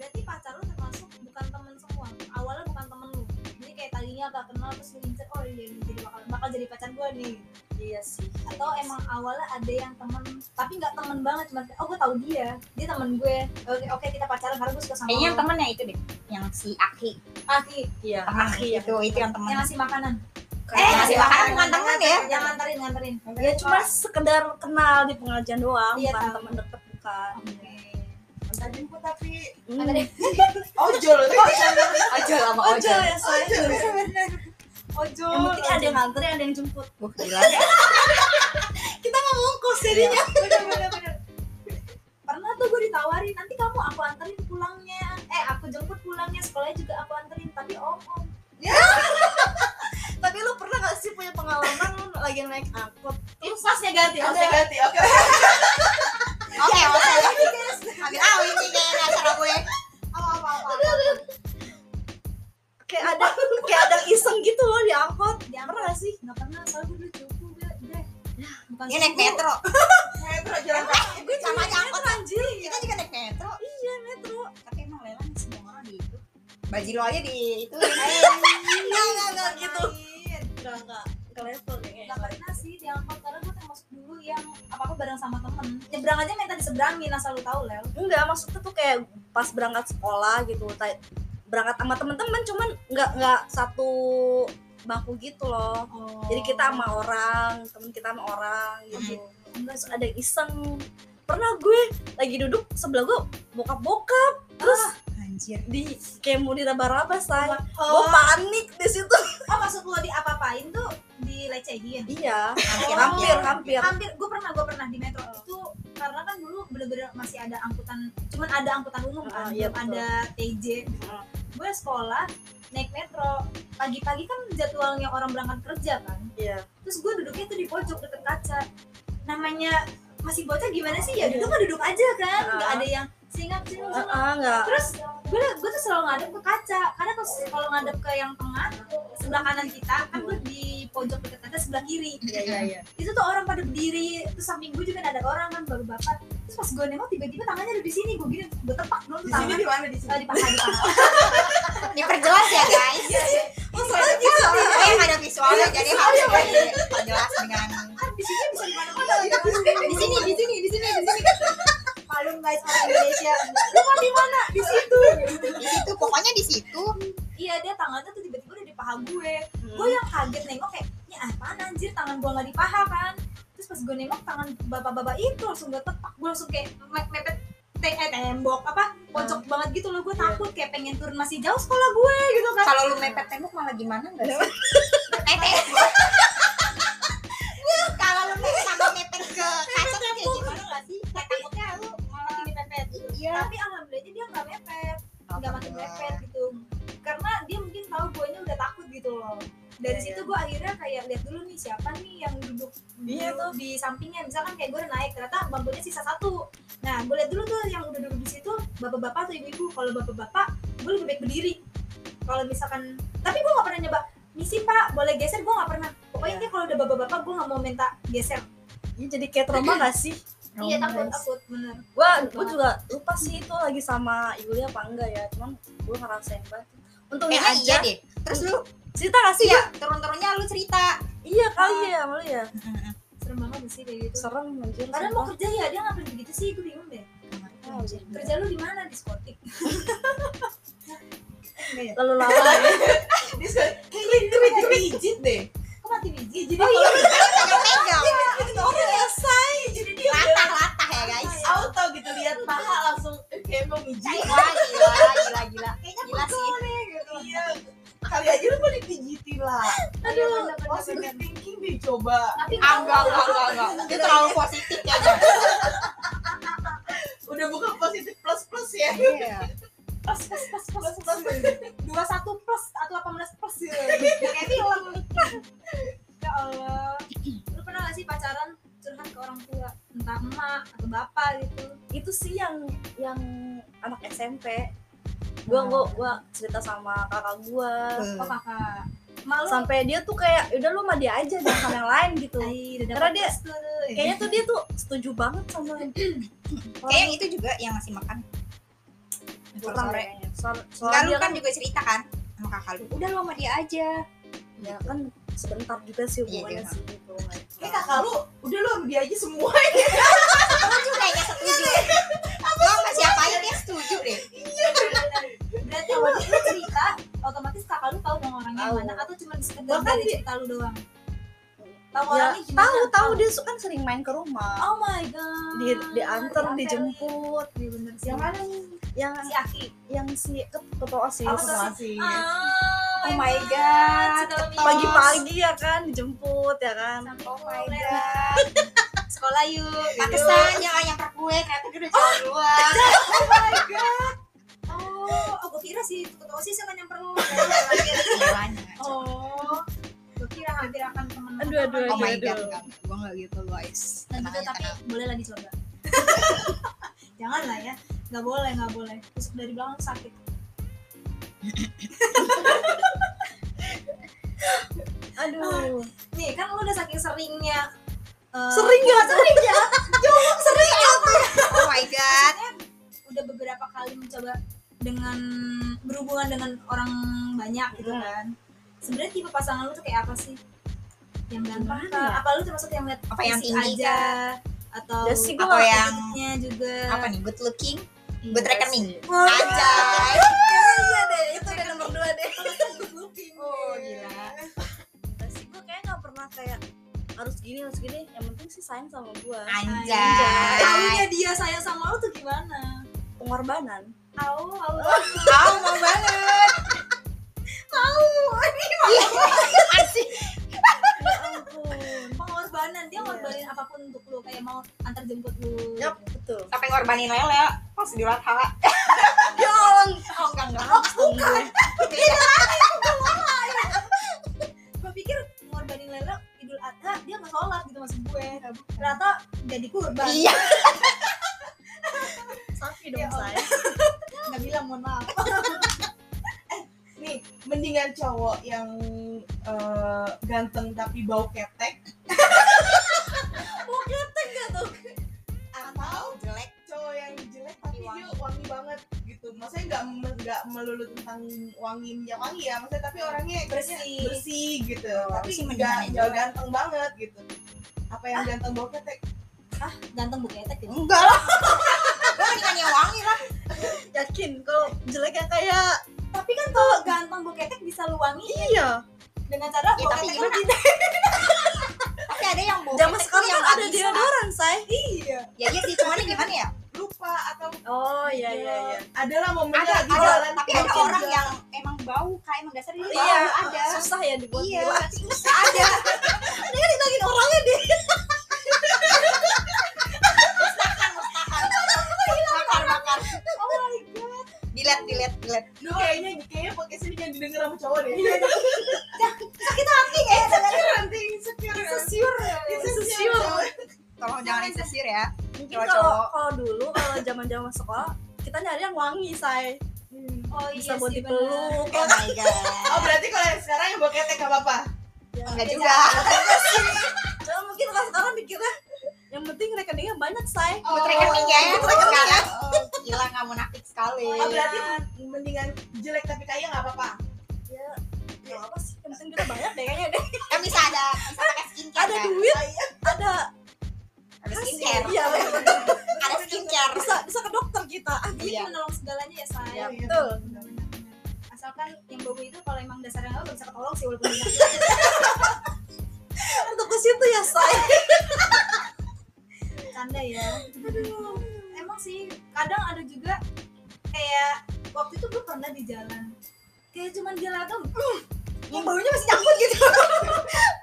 A: berarti pacar lu termasuk bukan teman semua awalnya bukan temen lu jadi kayak tadinya gak kenal terus lu ngincer oh iya ini jadi bakal bakal jadi pacar gua nih
C: iya sih
A: atau emang awalnya ada yang temen tapi nggak temen banget cuma kayak, oh gue tahu dia dia temen gue oke oke kita pacaran karena gue suka sama
B: Kayaknya yang
A: temen
B: temennya itu deh. Yang si Aki.
A: kaki
C: iya
B: Temen
C: akhir
B: itu, itu yang temen.
A: yang ngasih makanan
B: Eh, ngasih
A: yang-
B: makanan
A: yang-
B: bukan temen ya.
A: yang nganterin nganterin
C: ah. ya cuma sekedar kenal di pengajian doang
A: Iya,
C: bukan
A: tahu.
C: teman deket gitu bukan
D: Minta jemput tapi
C: Hmm.
D: ojol.
B: Ojol sama
C: ojol
B: ojol.
C: ya saya
D: Ojol.
C: ojol Hmm, yang penting ada yang nganter ada yang jemput
B: Wah, gila.
C: kita nggak mongkos jadinya
A: Bener-bener. Pernah tuh gue ditawarin, nanti kamu aku anterin pulangnya. Eh, aku jemput pulangnya, sekolahnya juga aku anterin. Tapi om, om.
C: Ya. tapi lu pernah gak sih punya pengalaman lu lagi naik angkot
B: Ini
C: ya,
B: pasnya ganti.
D: Oke,
B: pasnya ganti.
D: ganti. Oke.
B: Oke, oke. Ambil ah, awi nih kayaknya acara gue.
D: Apa apa apa.
C: kayak ada kayak ada iseng gitu loh di angkot
A: Diantar
C: pernah gak sih
A: Nggak ya, pernah, soalnya gue dulu cupu, gue. gue- Bukan
C: Ya,
B: Ini naik
A: cupu.
B: metro.
D: Metro jalan kaki.
C: gue
B: Sama aja angkot
C: anjir
B: Kita juga naik metro.
C: iya metro
B: Tapi emang lelang semua orang di itu. Bajilo aja di itu.
C: enggak enggak enggak gitu
D: Main.
C: enggak enggak ke level gitu. kayaknya
A: Gak pernah sih di angkot karena gue termasuk dulu yang apa-apa bareng sama temen Nyebrang aja minta diseberangin asal lu tahu Lel
C: enggak maksudnya tuh kayak pas berangkat sekolah gitu tay- berangkat sama temen-temen cuman nggak nggak satu bangku gitu loh jadi kita sama orang temen kita sama orang gitu
A: enggak
C: terus ada yang iseng pernah gue lagi duduk sebelah gue bokap bokap terus
B: Anjir.
C: di kayak mau diraba-raba say gue panik di situ
A: Oh maksud lo di apa-apain tuh dilecehin?
C: iya
B: Hampir
C: hampir hampir
A: Oh, Hampir, gue pernah, gue pernah di metro itu karena kan dulu bener-bener masih ada angkutan, cuman ada angkutan umum kan,
C: Ah, iya,
A: belum
C: betul.
A: ada TJ.
C: Ah.
A: Gue sekolah naik metro pagi-pagi kan jadwalnya orang berangkat kerja kan,
C: iya
A: terus gue duduknya tuh di pojok deket kaca. Namanya masih bocah gimana sih ya duduk mah duduk aja kan, nggak
C: Ah.
A: ada yang singap sini
C: Ah,
A: sini.
C: ah, enggak
A: Terus gue gue tuh selalu ngadep ke kaca karena kalau kalau ngadep ke yang tengah sebelah kanan kita kan gue di pojok deket kaca sebelah kiri
C: iya iya iya
A: itu tuh orang pada berdiri terus samping gue juga ada orang kan baru bapak terus pas gue nengok tiba-tiba tangannya ada di sini gue gini gue tepak dong
D: Di
A: tuh
D: sini
A: tangan
D: di mana di
A: Eh,
D: sini?
A: di paha di paha
B: Diperjelas ya guys. Iya,
C: oh soalnya gitu
B: Soalnya yang ada visualnya jadi harus diperjelas dengan
A: kan di sini bisa di mana-mana gitu.
B: di sini di sini di sini di sini
A: malum guys orang Indonesia lu mau di mana di situ
B: di situ pokoknya di situ
A: iya dia tangannya tuh tiba-tiba udah di paha gue
B: Hmm.
A: gue yang kaget nengok kayak ini apaan anjir tangan gue nggak di paha kan terus pas gue nengok tangan bapak-bapak itu langsung gue tepak gue langsung kayak me- mepet te- eh, tembok apa pojok
B: Hmm.
A: banget gitu loh gue takut kayak pengen turun masih jauh sekolah gue gitu kan
B: Iya. kalau lu mepet tembok malah gimana enggak sih? Eh, eh. Kalau lu mepet sama mepet ke kaca tuh kayak gitu. gimana enggak sih? Kayak takutnya lu malah
A: mepet
B: iya.
A: tapi alhamdulillahnya dia nggak mepet nggak makin mepet gitu karena dia mungkin tahu gue nya udah takut gitu loh dari
C: Iya,
A: situ gue akhirnya kayak lihat dulu nih siapa nih yang duduk
C: Iya
A: dulu di sampingnya misalkan kayak gue udah naik ternyata bangkunya sisa satu nah gue lihat dulu tuh yang udah duduk di situ bapak-bapak atau ibu-ibu kalau bapak-bapak gue lebih baik berdiri kalau misalkan tapi gue nggak pernah nyoba misi pak boleh geser gue nggak pernah pokoknya
C: Iya.
A: dia kalau udah bapak-bapak gue nggak mau minta geser
C: Ini jadi kayak trauma gak sih
A: iya takut takut bener
C: gua gua juga lupa sih itu lagi sama Yulia apa enggak ya cuman gua ngerasain banget untungnya
B: Kayaknya
C: aja
B: iya deh. Terus lu
C: cerita gak sih
B: iya turun-turunnya lu cerita.
C: iya kali ya sama lu ya
A: serem banget sih kayak gitu
C: serem anjir
A: karena mau kerja ya dia ngapain begitu sih gue bingung deh
C: sumpah. Oh, jadi.
A: kerja lu di mana diskotik
C: lalu lalang ya.
D: Di sini. Klik klik pijit deh.
A: kok mati biji jadi
B: Oh iya, Gitu. pegang-pegang. Oh, iya,
D: Selesai. Jadi dia
B: Latah-latah ya guys.
D: auto gitu lihat paha langsung eh, kayak mau mijit.
B: Wah, gila gila gila. Gila sih.
D: Iya. Kali aja lu mau dipijitin lah. Iya,
A: Aduh,
D: positive thinking deh coba.
A: tapi
B: Iya, Ah, enggak, enggak, enggak, enggak. Dia terlalu positif ya, kayaknya.
D: Udah bukan positif plus plus ya.
B: Iya.
A: plus plus plus plus
D: Plus plus.
A: dua satu plus atau delapan belas plus gitu. kayak film ya allah lu pernah gak sih pacaran curhat ke orang tua entah emak atau bapak gitu
C: itu sih yang yang anak SMP gua gua gua cerita sama kakak gua
A: oh kakak malu
C: sampai dia tuh kayak udah lu sama dia aja jangan sama yang lain gitu
B: Iya.
A: Ay, udah
C: Karena
A: dapat
C: dia-
A: restu tuh. gitu.
C: kayaknya tuh dia tuh setuju banget sama
B: Iya, Kayak yang itu juga yang masih makan.
C: kurang
B: Sore.
C: kayaknya Soal-
B: Enggak
C: soalnya
B: lu
C: dia
B: kan
C: kan
B: juga cerita kan sama kakak lu. Udah lu sama dia aja.
C: ya kan sebentar juga sih
B: Iya,
C: hubungannya
B: iya.
C: sih gitu
D: Ini Eh, kakak lu udah lu sama dia aja semua.
B: Setuju kayaknya setuju. Lu sama siapa aja dia setuju deh.
A: berarti lu, lu cerita otomatis kakak lu tahu dong orangnya
C: Tahu.
A: mana atau cuma sekedar
D: Bahkan
A: dari
D: di-
A: cerita lu doang tahu
C: ya,
A: orangnya gimana
C: tahu tahu dia su- kan sering main ke rumah
A: oh my god
C: di diantar
A: Dianterin.
C: dijemput
A: Iya, bener sih
D: Yang mana nih?
C: yang
A: si Aki
C: yang si ket- ketua osis
A: Apa tuh?
D: Situasi.
A: oh,
C: my God,
A: Sudah
C: Ketos. pagi-pagi ya kan dijemput ya kan
A: oh my god sekolah yuk Pakistan yang ayam per kue ternyata gue udah jalan duluan oh my god oh aku kira sih ketua osis yang nyamper lu oh gue kira hampir akan temen
C: Aduh, aduh,
B: Oh my
C: Aduh.
B: god, enggak. Gua enggak gitu guys.
A: Nah, gitu,
B: Tenang aja,
A: tapi
B: tenang.
A: boleh lah dicoba jangan lah ya nggak boleh nggak boleh terus dari belakang sakit
C: aduh
A: nih kan lu udah saking seringnya eh,
C: sering gak sering ya sering ya
B: Oh my god.
A: udah beberapa kali mencoba dengan berhubungan dengan orang banyak
C: Iya.
A: gitu kan sebenarnya tipe pasangan lu tuh kayak apa sih yang gampang
C: Gimana ya?
A: kah? apa lu termasuk yang lihat
B: Apa yang
A: fisik
B: tinggi
A: aja atau
C: Udah kan? Ya sih, gua
B: Atau yang
A: attitude-nya juga
B: apa nih? Good looking,
A: Iya.
B: good reckoning.
C: Wah.
B: Anjay.
C: iya deh itu udah nomor dua deh
B: Oh, gila.
C: Enggak sih gue kayak gak pernah kayak harus gini harus gini yang penting sih sayang sama gue
A: Anjay.
B: Anjay.
A: Taunya dia sayang sama lu tuh gimana?
C: pengorbanan
A: Au, au,
B: Tahu mau banget. Iya, asik.
C: ya ampun
A: pengorbanan dia ngorbanin apapun untuk lu kayak mau antar jemput lu.
C: Iya. Yap, betul
B: Sampai ngorbanin lele pas di Ratha. Oh, enggak enggak.
C: bukan
A: Gue pikir ngorbanin lele Idul Adha dia nggak sholat gitu maksud gue. Ternyata jadi kurban.
B: Iya.
C: sapi
A: Ya
C: dong
A: Allah.
C: saya
A: Nggak bilang mohon maaf.
D: Eh, Nih, mendingan cowok yang eh, ganteng tapi bau ketek
B: Atau jelek.
D: cowok yang jelek tapi
B: Wangi.
D: dia wangi banget gitu maksudnya nggak me- nggak melulu tentang wanginya wangi ya maksudnya tapi orangnya kayaknya
A: Bersih.
D: bersih gitu tapi
B: sih
D: nggak
B: mendingan Ah.
D: nggak ganteng banget gitu apa yang ganteng bau ketek
A: Ganteng buketek gitu.
B: Enggak lah. Gua mendingan yang wangi lah.
C: yakin kalau jeleknya kayak
A: Tapi kan kalau ganteng buketek bisa luangi
C: iya
A: dengan cara
B: Ya, tapi
A: buketek lu
B: gimana?
A: tidak.
B: Tapi ada yang bau.
C: zaman
B: ketek
C: sekarang
B: tuh
C: kan ada
B: abis lah.
C: deodoran say
A: Iya.
B: Ya iya sih, cuman gimana ya?
D: lupa atau
C: oh iya
D: adalah momennya
B: ada, Iya,
D: lagi
B: ada,
D: jalan
B: tapi ada
D: kerja.
B: orang yang emang bau kayak emang dasar dia bau
C: iya
B: ada
C: susah ya dibuat
B: iya
C: gila.
B: susah ada dia ditagin orangnya deh mustakan mustakan bakar bakar
A: Oh my god.
B: dilihat dilihat dilihat
D: Lu kayaknya kayaknya podcast ini jangan didengar sama cowok deh ya.
B: eh
D: nanti insecure
A: Sesiur.
D: insecure
B: tolong jangan insecure ya
C: mungkin
B: Cowok-cowok.
C: kalau kalau dulu kalau zaman zaman sekolah kita nyari yang wangi say
A: Oh iya
C: bisa
A: sih,
C: buat
A: bener.
C: dipeluk
B: oh my god
D: oh berarti kalau yang sekarang yang bau ketek nggak apa-apa
C: ya.
B: enggak juga
C: Cuma mungkin kalau sekarang mikirnya yang penting rekeningnya banyak say
B: oh, rekening ya yang sekarang Oh, gila nggak munafik sekali
D: oh berarti mendingan jelek tapi kaya nggak apa-apa
C: ya ya apa sih yang penting duitnya banyak deh kayaknya deh
B: kan bisa ada bisa pakai skincare
C: ada
B: kan?
C: duit ada
B: ada
C: hasil.
B: skincare
C: iya bener.
B: ada skincare
C: bisa bisa ke dokter kita
A: Dia
B: Iya.
A: menolong segalanya ya saya.
C: ya
D: iya,
C: betul
A: Benar-benar. Asalkan yang bau itu kalau emang dasarnya nggak bisa ketolong sih walaupun dia-
C: untuk ke situ ya say
A: canda ya emang sih kadang ada juga kayak waktu itu gue pernah di jalan kayak cuman gelato mm, yang baunya masih nyangkut gitu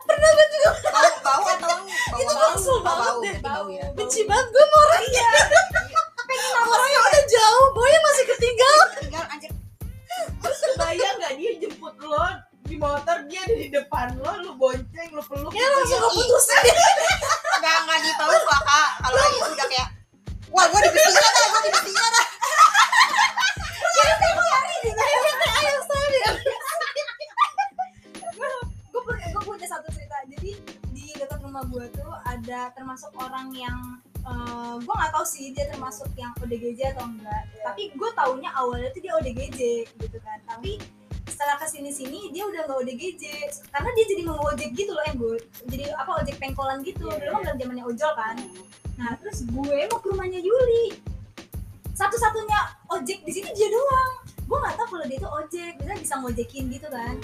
B: bau bau atau bau
C: Itu
B: bau
C: langsung
B: bau bau
C: banget
B: berarti bau ya
C: benci banget gue mau orang ya orang yang udah jauh boynya masih ketinggal
B: tinggal anjir
D: bayang nggak dia jemput lo di motor dia ada di depan lo lu bonceng lu peluk
C: ya
D: gitu.
C: langsung keputusin
B: nggak nggak dipeluk lah kak kalau lagi itu udah kayak wah gue dibisikin dah gue dibisikin dah
A: gue pernah gue punya satu cerita jadi di dekat rumah gue tuh ada termasuk orang yang eh, gue nggak tahu sih dia termasuk yang ODGJ atau enggak tapi gue taunya awalnya tuh dia ODGJ gitu kan tapi setelah kesini sini dia udah nggak ODGJ karena dia jadi mau ojek gitu loh yang gue jadi apa ojek pengkolan gitu dulu
D: Iya,
A: kan belum zamannya ojol kan Nah, terus gue mau ke rumahnya Yuli. Satu-satunya ojek di sini dia doang. Gue nggak tahu kalau dia itu ojek, biasanya bisa ngojekin gitu kan.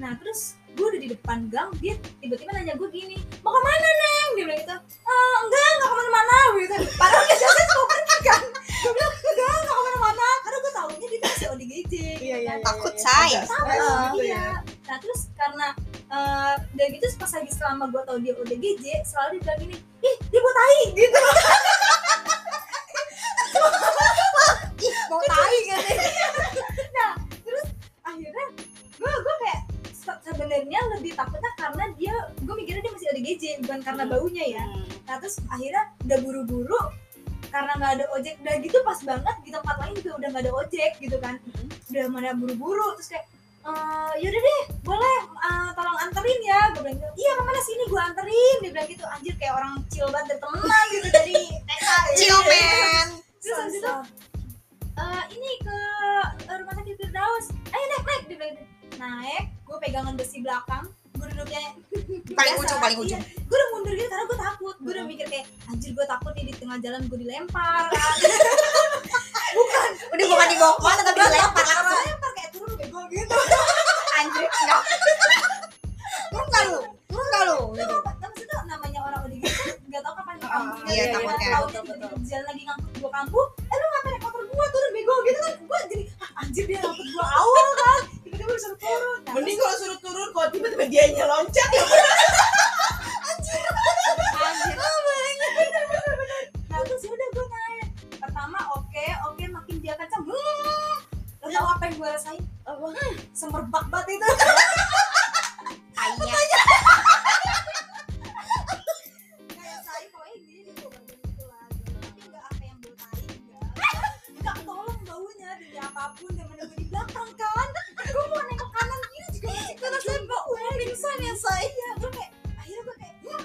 A: Nah, terus gue udah di depan gang dia tiba-tiba nanya gue gini mau kemana neng dia bilang gitu "Eh, enggak enggak kemana-mana gue gitu padahal dia jelas mau pergi kan gue bilang enggak enggak kemana-mana karena gue tahunya dia tuh masih ODGJ
D: Iya, iya, iya.
B: Takut,
D: iya.
B: say.
D: Agak
A: Sama,
D: stres gitu
A: iya. Nah terus karena eh dan itu pas lagi selama gue tau dia udah GJ selalu dia bilang gini, ih dia buat tai gitu.
B: Ih, mau tai kan ya? gak sih?
A: Akhirnya gue gue kayak se- sebenarnya lebih takutnya karena dia gue mikirnya dia masih ada GJ bukan karena
C: Hmm.
A: baunya ya. Nah terus akhirnya udah buru-buru karena nggak ada ojek udah gitu pas banget di tempat lain juga udah nggak ada ojek gitu kan udah mana buru-buru terus kayak "Eh, yaudah deh boleh eh, tolong anterin ya gue bilang gitu, iya kemana sini gue anterin dia bilang gitu anjir kayak orang chill banget dari temenan gitu dari TK
B: Chill man.
A: terus habis itu "Eh, ini ke eh, rumah sakit Firdaus ayo naik naik dia bilang gitu. naik gue pegangan besi belakang gue duduknya
B: Paling ujung, paling ujung.
A: gue iya. udah mundur gitu karena gue takut gue udah mikir kayak anjir gue takut nih di tengah jalan gue dilempar
B: Udah bukan dibawa kemana
A: Iya.
B: tapi dilempar langsung.
A: dilempar kayak turun bego gitu
B: Anjir, enggak. Turun gak lu? Turun gak lu? Gitu.
A: Nah, maksudnya namanya orang udah gitu nggak tahu kapan
D: Ah,
A: kamu
B: iya,
A: takut
B: takutnya.
A: tiba-tiba di jalan lagi ngangkut gua kamu eh lu ngapain naik motor gua turun bego gitu kan gua jadi "Ah, anjir dia ngangkut gua awal kan tiba-tiba disuruh turun Nah,
D: Mending kalau suruh turun, kalau tiba-tiba dianya loncat ya
A: anjir nah terus yaudah gua naik pertama oke oke makin dia kencang hmm. lo tau apa yang gua rasain hmm, semerbak banget itu
B: Tainya.
A: kayak tai pokoknya gini dia gua bantuin gitu lah tapi nggak apa yang gua tai nggak nggak ketolong baunya dari apapun dan menunggu di belakang kan gua mau nengok kanan kiri juga masih karena saya bau pingsan ya saya gua kayak akhirnya gua kayak hmm.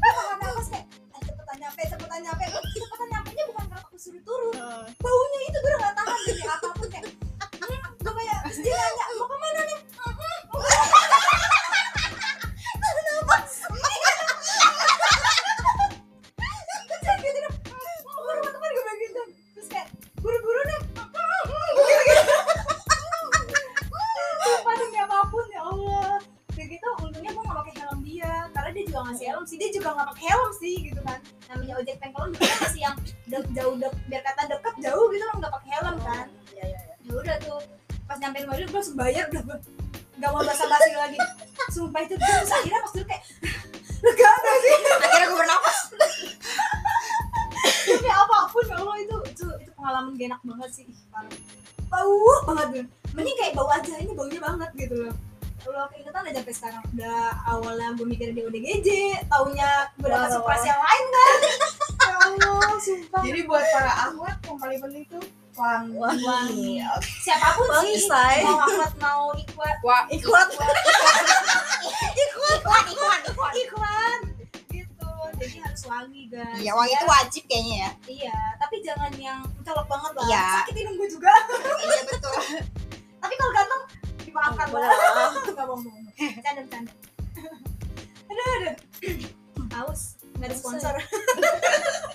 A: Gua tahan nafas kayak "Ah, cepetan nyampe cepetan nyampe cepetan nyampe nya bukan karena aku suruh turun baunya itu gue udah gak tahan dari apapun kayak "Hmm," gue kayak terus dia nanya mau kemana nih "Hmm, hmm, mau kemana?" kenapa Terus saya kayak gini, "Hmm, mau ke rumah teman gue bilang gitu terus kayak buru-buru deh sumpah demi apapun ya Allah kayak gitu untungnya gue gak pakai helm dia karena dia juga ngasih helm sih dia juga gak pakai helm sih gitu kan namanya ojek pengkolan juga kan masih yang de- jauh de- biar kata dekat jauh gitu kan nggak pakai helm kan
D: Iya, iya, iya.
A: ya udah tuh pas nyampe rumah dia gue langsung bayar udah gue nggak mau basa-basi lagi sumpah itu gue terus akhirnya pas dulu kayak lega gak sih
B: Akhirnya gue bernafas.
A: tapi apapun ya Allah itu itu itu pengalaman gak enak banget sih Ih, parah bau banget gue mending kayak bau aja ini baunya banget gitu loh kalau keingetan aja sampai sekarang udah awalnya gue mikir dia udah GJ taunya gue dapat
C: Wah,
A: surprise yang lain kan ya Allah sumpah
C: Iya,
D: Jadi buat para ahwat yang paling penting tuh wangi.
A: wangi siapapun
C: Wangi,
A: sih
C: Shay.
A: mau akuat mau ikhwan
D: Wah,
C: Ikut.
B: Ikut, ikut, ikut, ikut.
A: iklan gitu jadi harus wangi guys
B: Iya, wah itu wajib kayaknya ya.
A: iya tapi jangan yang mencolok banget lah
B: Iya.
A: sakitin gue juga
B: Iya betul.
A: tapi kalau ganteng dimaafkan
C: Boleh
A: lah nggak bohong bohong canda canda aduh aduh haus nggak ada sponsor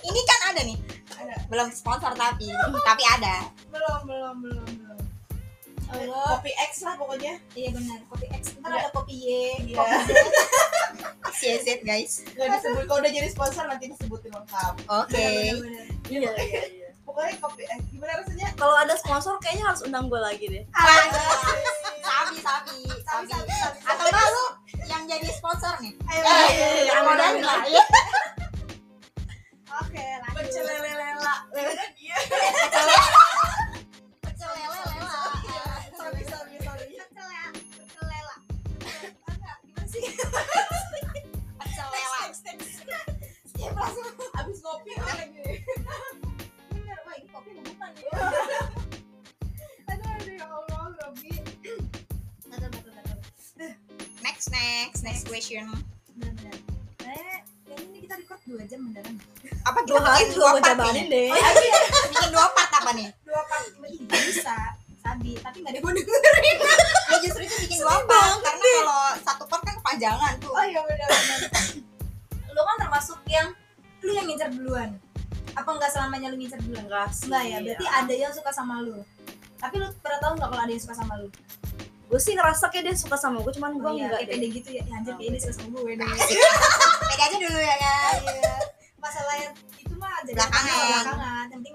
B: Ini kan ada nih.
D: Ada.
B: Belum sponsor tapi, tapi ada.
D: belum, belum, belum, belum.
A: Allah
D: Kopi X lah pokoknya.
A: iya benar kopi X ntar
D: Iya.
A: ada kopi Y
D: Iya.
A: kopi Z.
B: CZ guys.
D: Gak disebut. Kalau udah jadi sponsor nanti disebutin lengkap.
B: Oke.
A: Benar, benar, benar.
C: Iya, iya, iya.
D: Pokoknya kopi X. Gimana rasanya?
C: Kalau ada sponsor kayaknya harus undang gue lagi deh.
B: Wah, Sabi, sabi,
A: Sabi,
B: sabi.
A: sabi, sabi, sabi.
B: Atau enggak lu yang jadi sponsor nih?
A: Ayo,
B: Eh,
A: ayo,
C: iya, iya,
B: yang
C: iya,
B: modalin
C: iya.
B: lah. Iya.
A: oke lanjut
D: Bercelelela. Lele dia.
B: Pecel lele lela.
D: Sorry, sorry, sorry.
A: Percelela- percelela. Percelela. Enggak, gimana sih?
B: Pecel lela.
A: Ya, langsung.
D: Abis ngopi lagi.
A: Bener, wah ini kopi rebutan nih. Aduh, aduh, ya Allah, Robby. Bentar, bentar, bentar.
B: Next, next, next question.
A: Bentar, bentar. Eh, kayaknya ini kita record 2 jam beneran. ya?
B: Apa
C: Dua
B: kita
C: kali
B: bikin dua
C: juga gue
B: part
C: jabanin
B: nih? Oh, iya,
C: deh.
B: Bikin dua part apa nih?
A: Dua part Ih, nggak bisa. Sabi, tapi nggak ada yang mau dengerin.
B: Ya justru itu bikin dua part karena kalau satu part kan kepanjangan tuh.
A: Oh iya benar benar. Lu kan termasuk yang lu yang ngincer duluan. ya? Apa enggak selamanya lu ngincer duluan?
C: Enggak sih.
A: Iya. Enggak ya, berarti ada yang suka sama lu. tapi lu pernah tahu nggak kalau ada yang suka sama lu
C: gue sih ngerasa kayak dia suka sama gue cuman gue
A: Iya,
C: enggak
A: kayak
C: deh.
A: pede gitu ya, ya anjir kayak ini suka sama gue deh
B: Beda aja dulu ya kan.
A: masalahnya itu mah jadi masalah
B: Belakangan.
A: Iya. belakangan yang penting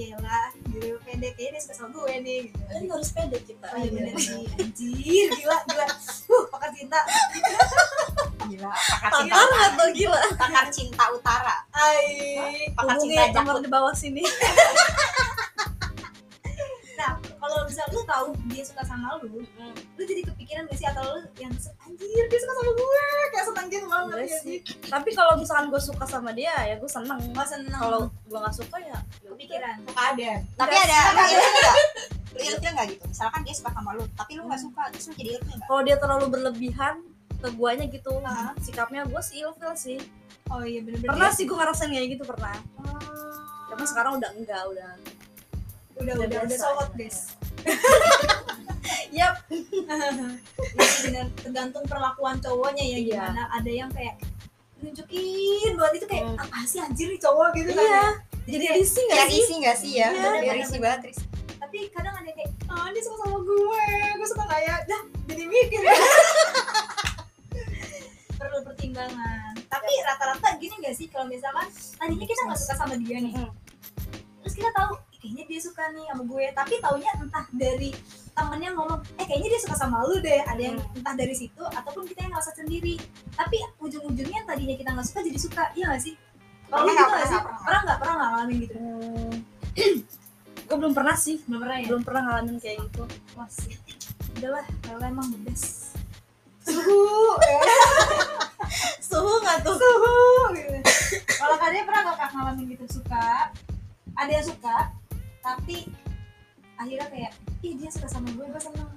A: iyalah gitu pede kayaknya dia suka sama gue nih gitu.
C: kan harus pede kita
A: Oh iya bener sih, anjir, gila, gila Huh, pakar cinta
B: Gila, pakar cinta.
C: Pakar nggak tuh gila
B: Pakar cinta utara.
A: Hai
B: Pakar
C: Hubungi
B: cinta
C: nomor di bawah sini
A: Nah, kalau misal lu tahu dia suka sama lu
C: Hmm.
A: Lu jadi kepikiran gak sih, atau lu yang anjir dia suka sama gue Kayak seneng gitu banget
C: Enggak
A: ya
C: Iya sih. tapi kalau misalkan gue suka sama dia ya gue seneng
A: Gak seneng,
C: kalau gue nggak suka ya ya udah.
A: kepikiran
D: Suka ada.
B: Tapi
C: Nggak
B: ada lu ilfil nggak? Lu ilfil nggak gitu? Misalkan dia suka sama lu, tapi lu nggak suka, terus lu jadi ilfil nggak?
C: kalau dia terlalu berlebihan ke guanya gitu
A: Ah.
C: sikapnya gue sih ilfil sih
A: Oh iya Ah. bener-bener
C: pernah
A: dia-
C: sih gue ngerasain kayak gitu pernah tapi sekarang udah enggak udah
A: Udah,
C: udah
A: udah, udah
C: biasa.
A: sobat guys
C: yap
A: Jadi bener, tergantung perlakuan cowoknya ya
C: Iya.
A: gimana Ada yang kayak nunjukin buat itu kayak
C: Hmm.
A: apa sih anjir nih cowok gitu kan ya.
C: iya jadi risih nggak
B: Jadi
C: sih
B: isi nggak sih ya?
C: Iya,
B: Jadi
A: bener-bener.
B: isi banget, Ris.
A: tapi kadang ada yang kayak ah dia suka sama gue gue suka nggak ya dah jadi mikir perlu pertimbangan tapi rata-rata gini gak sih kalau misalkan tadinya kita nggak suka sama dia nih
C: Mm.
A: terus kita tahu "Ih, kayaknya dia suka nih sama gue tapi taunya entah dari temennya ngomong eh kayaknya dia suka sama lu deh ada yang entah dari situ ataupun kita yang ngerasa sendiri tapi ujung-ujungnya tadinya kita nggak suka jadi suka iya gak sih kalau
B: Pernah
A: gitu
B: nggak,
A: nggak sih
B: pernah nggak,
A: pernah nggak pernah nggak ngalamin gitu
C: gue belum pernah sih
A: belum pernah ya
C: belum pernah ngalamin kayak gitu
A: Masih. Udahlah, kalau emang bedes.
B: Suhu,
C: suhu nggak tuh
A: Suhu. gitu. Kalau kalian pernah gak kak ngalamin gitu suka? Ada yang suka, tapi akhirnya kayak, ih dia suka sama gue, gue seneng.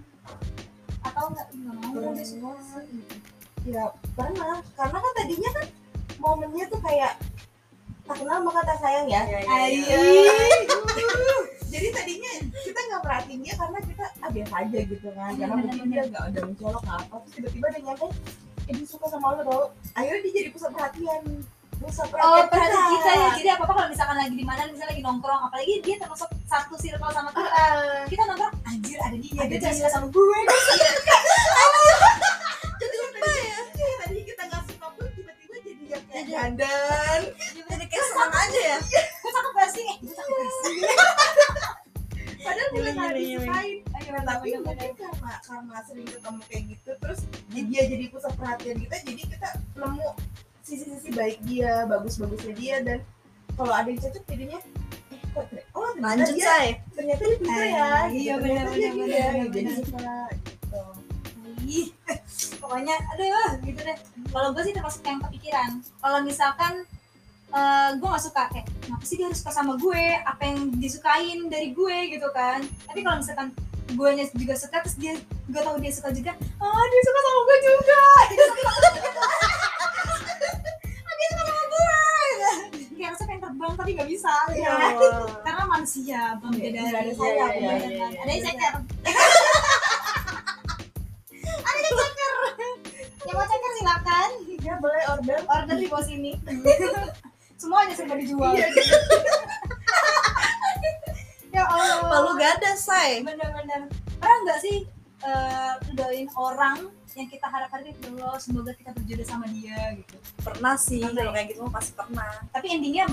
A: Atau nggak nggak mau
C: Hmm.
A: dia suka. gitu.
D: Ya pernah. Karena kan tadinya kan momennya tuh kayak tak kenal maka tak sayang ya.
C: Iya, iya,
D: Iya.
C: iya.
D: Uh, Jadi tadinya kita nggak perhatiinnya karena kita ah, biasa aja gitu kan.
A: Iya,
D: Karena mungkin dia
A: bener-bener.
D: nggak ada mencolok nggak apa. Terus tiba-tiba dia nyampe, eh dia suka sama lo tau. Akhirnya dia jadi pusat perhatian. Pusat
A: Oh,
D: perhatian
A: berarti kita ya. Jadi apa apa kalau misalkan lagi di mana, misalnya lagi nongkrong, apalagi dia termasuk satu circle sama kita.
D: Eh,
A: kita nongkrong, anjir ada dia,
D: Ada
A: dia
D: dia.
A: jadi suka sama gue.
D: Jadi lupa ya. Tadi kita nggak suka pun tiba-tiba jadi yang kayak dandan.
C: jadi kayak seneng aja ya
A: Gue cakep gak sih? Eh, gue cakep gak sih?
D: Padahal
C: Iya,
D: kita nggak
C: iya, iya.
D: disukain.
A: Ayo,
D: Nah, tapi
A: bener-bener.
D: mungkin karena karena sering ketemu kayak gitu terus dia- dia jadi pusat perhatian kita jadi kita nemu sisi-sisi baik dia bagus-bagusnya dia dan kalau ada yang cocok jadinya eh kok ter- oh ternyata
C: lanjut
D: dia
C: say
D: ternyata dia pintar ya
A: Eh, iya,
D: gitu. Ternyata dia
A: benar, benar,
D: gini ya,
A: benar,
D: jadi
A: benar.
D: suka gitu
A: Ih, pokoknya aduh gitu deh kalau gue sih termasuk yang kepikiran kalau misalkan eh gue gak suka kayak kenapa sih dia harus suka sama gue apa yang disukain dari gue gitu kan tapi kalau misalkan gue juga suka terus dia gue tahu dia suka juga oh dia suka sama gue juga dia suka sama gue juga. Ah, dia suka sama gue gitu. kayak rasa pengen terbang tapi gak bisa gitu.
C: Ya Allah.
A: karena manusia bang beda
D: Iya,
A: dari
D: iya,
A: saya
C: iya,
A: beda
C: iya,
A: kan.
C: iya.
A: ada yang ceker ada yang ceker yang mau ceker silakan
D: ya boleh order
A: order di bawah sini semuanya serba dijual
D: Iya.
A: ya allah
C: Palu gada say
A: bener-bener pernah nggak sih eh, lu doain orang yang kita harapkan itu "Ya Allah semoga kita berjodoh sama dia gitu
C: pernah sih
A: Pernah
C: kalau
A: ya?
C: kayak gitu mah pasti pernah
A: tapi endingnya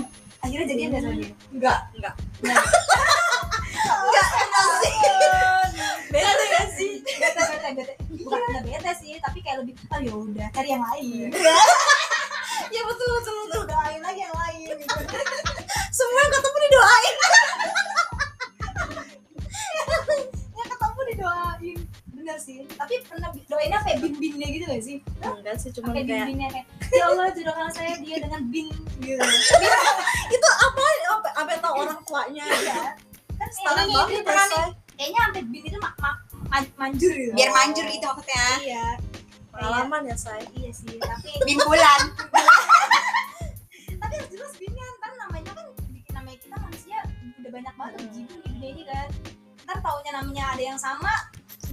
A: akhirnya jadian nggak sama dia
D: enggak
C: enggak
A: bete gak ya sih bete bete bete bukan nggak bete sih tapi kayak lebih oh ya udah cari yang lain
C: ya betul betul betul
A: doain lagi yang lain gitu.
C: semua yang ketemu didoain
A: ya ketemu didoain bener sih tapi pernah bi- doainnya kayak bin binnya gitu gak sih
C: enggak sih cuman
A: pakai bin
C: kayak
A: binnya kayak ya Allah jodohkan saya dia dengan bin gitu
C: itu apa apa apa yang tahu orang tuanya ya
A: ya kan
C: setara
A: sekarang
C: banget
A: ini
C: ya
A: pernah nih
C: say
A: kayaknya sampai bin itu mak mak man- manjur gitu
B: biar manjur gitu
C: kan?
B: maksudnya.
A: iya
C: pengalaman ya say
A: iya sih tapi
B: Bin bulan.
A: tapi harus jelas binnya ntar namanya kan bikin namanya kita manusia udah banyak banget
C: Hmm.
A: jitu nih gede ini kan ntar taunya namanya ada yang sama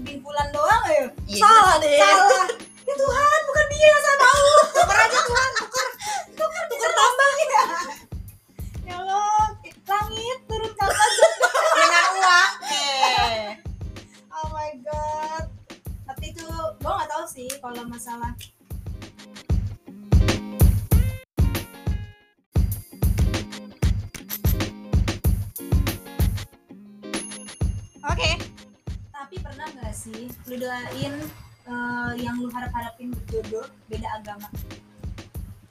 A: bin bulan doang ya
B: Iya.
C: salah deh
A: salah ya Tuhan bukan dia Oh, saya tahu
B: Tuker aja tuh.
A: tukar tambah ya ya Allah langit turun kapan
B: Dengan uang. Eh.
A: Oh sih lu doain eh, yang lu harap harapin berjodoh beda agama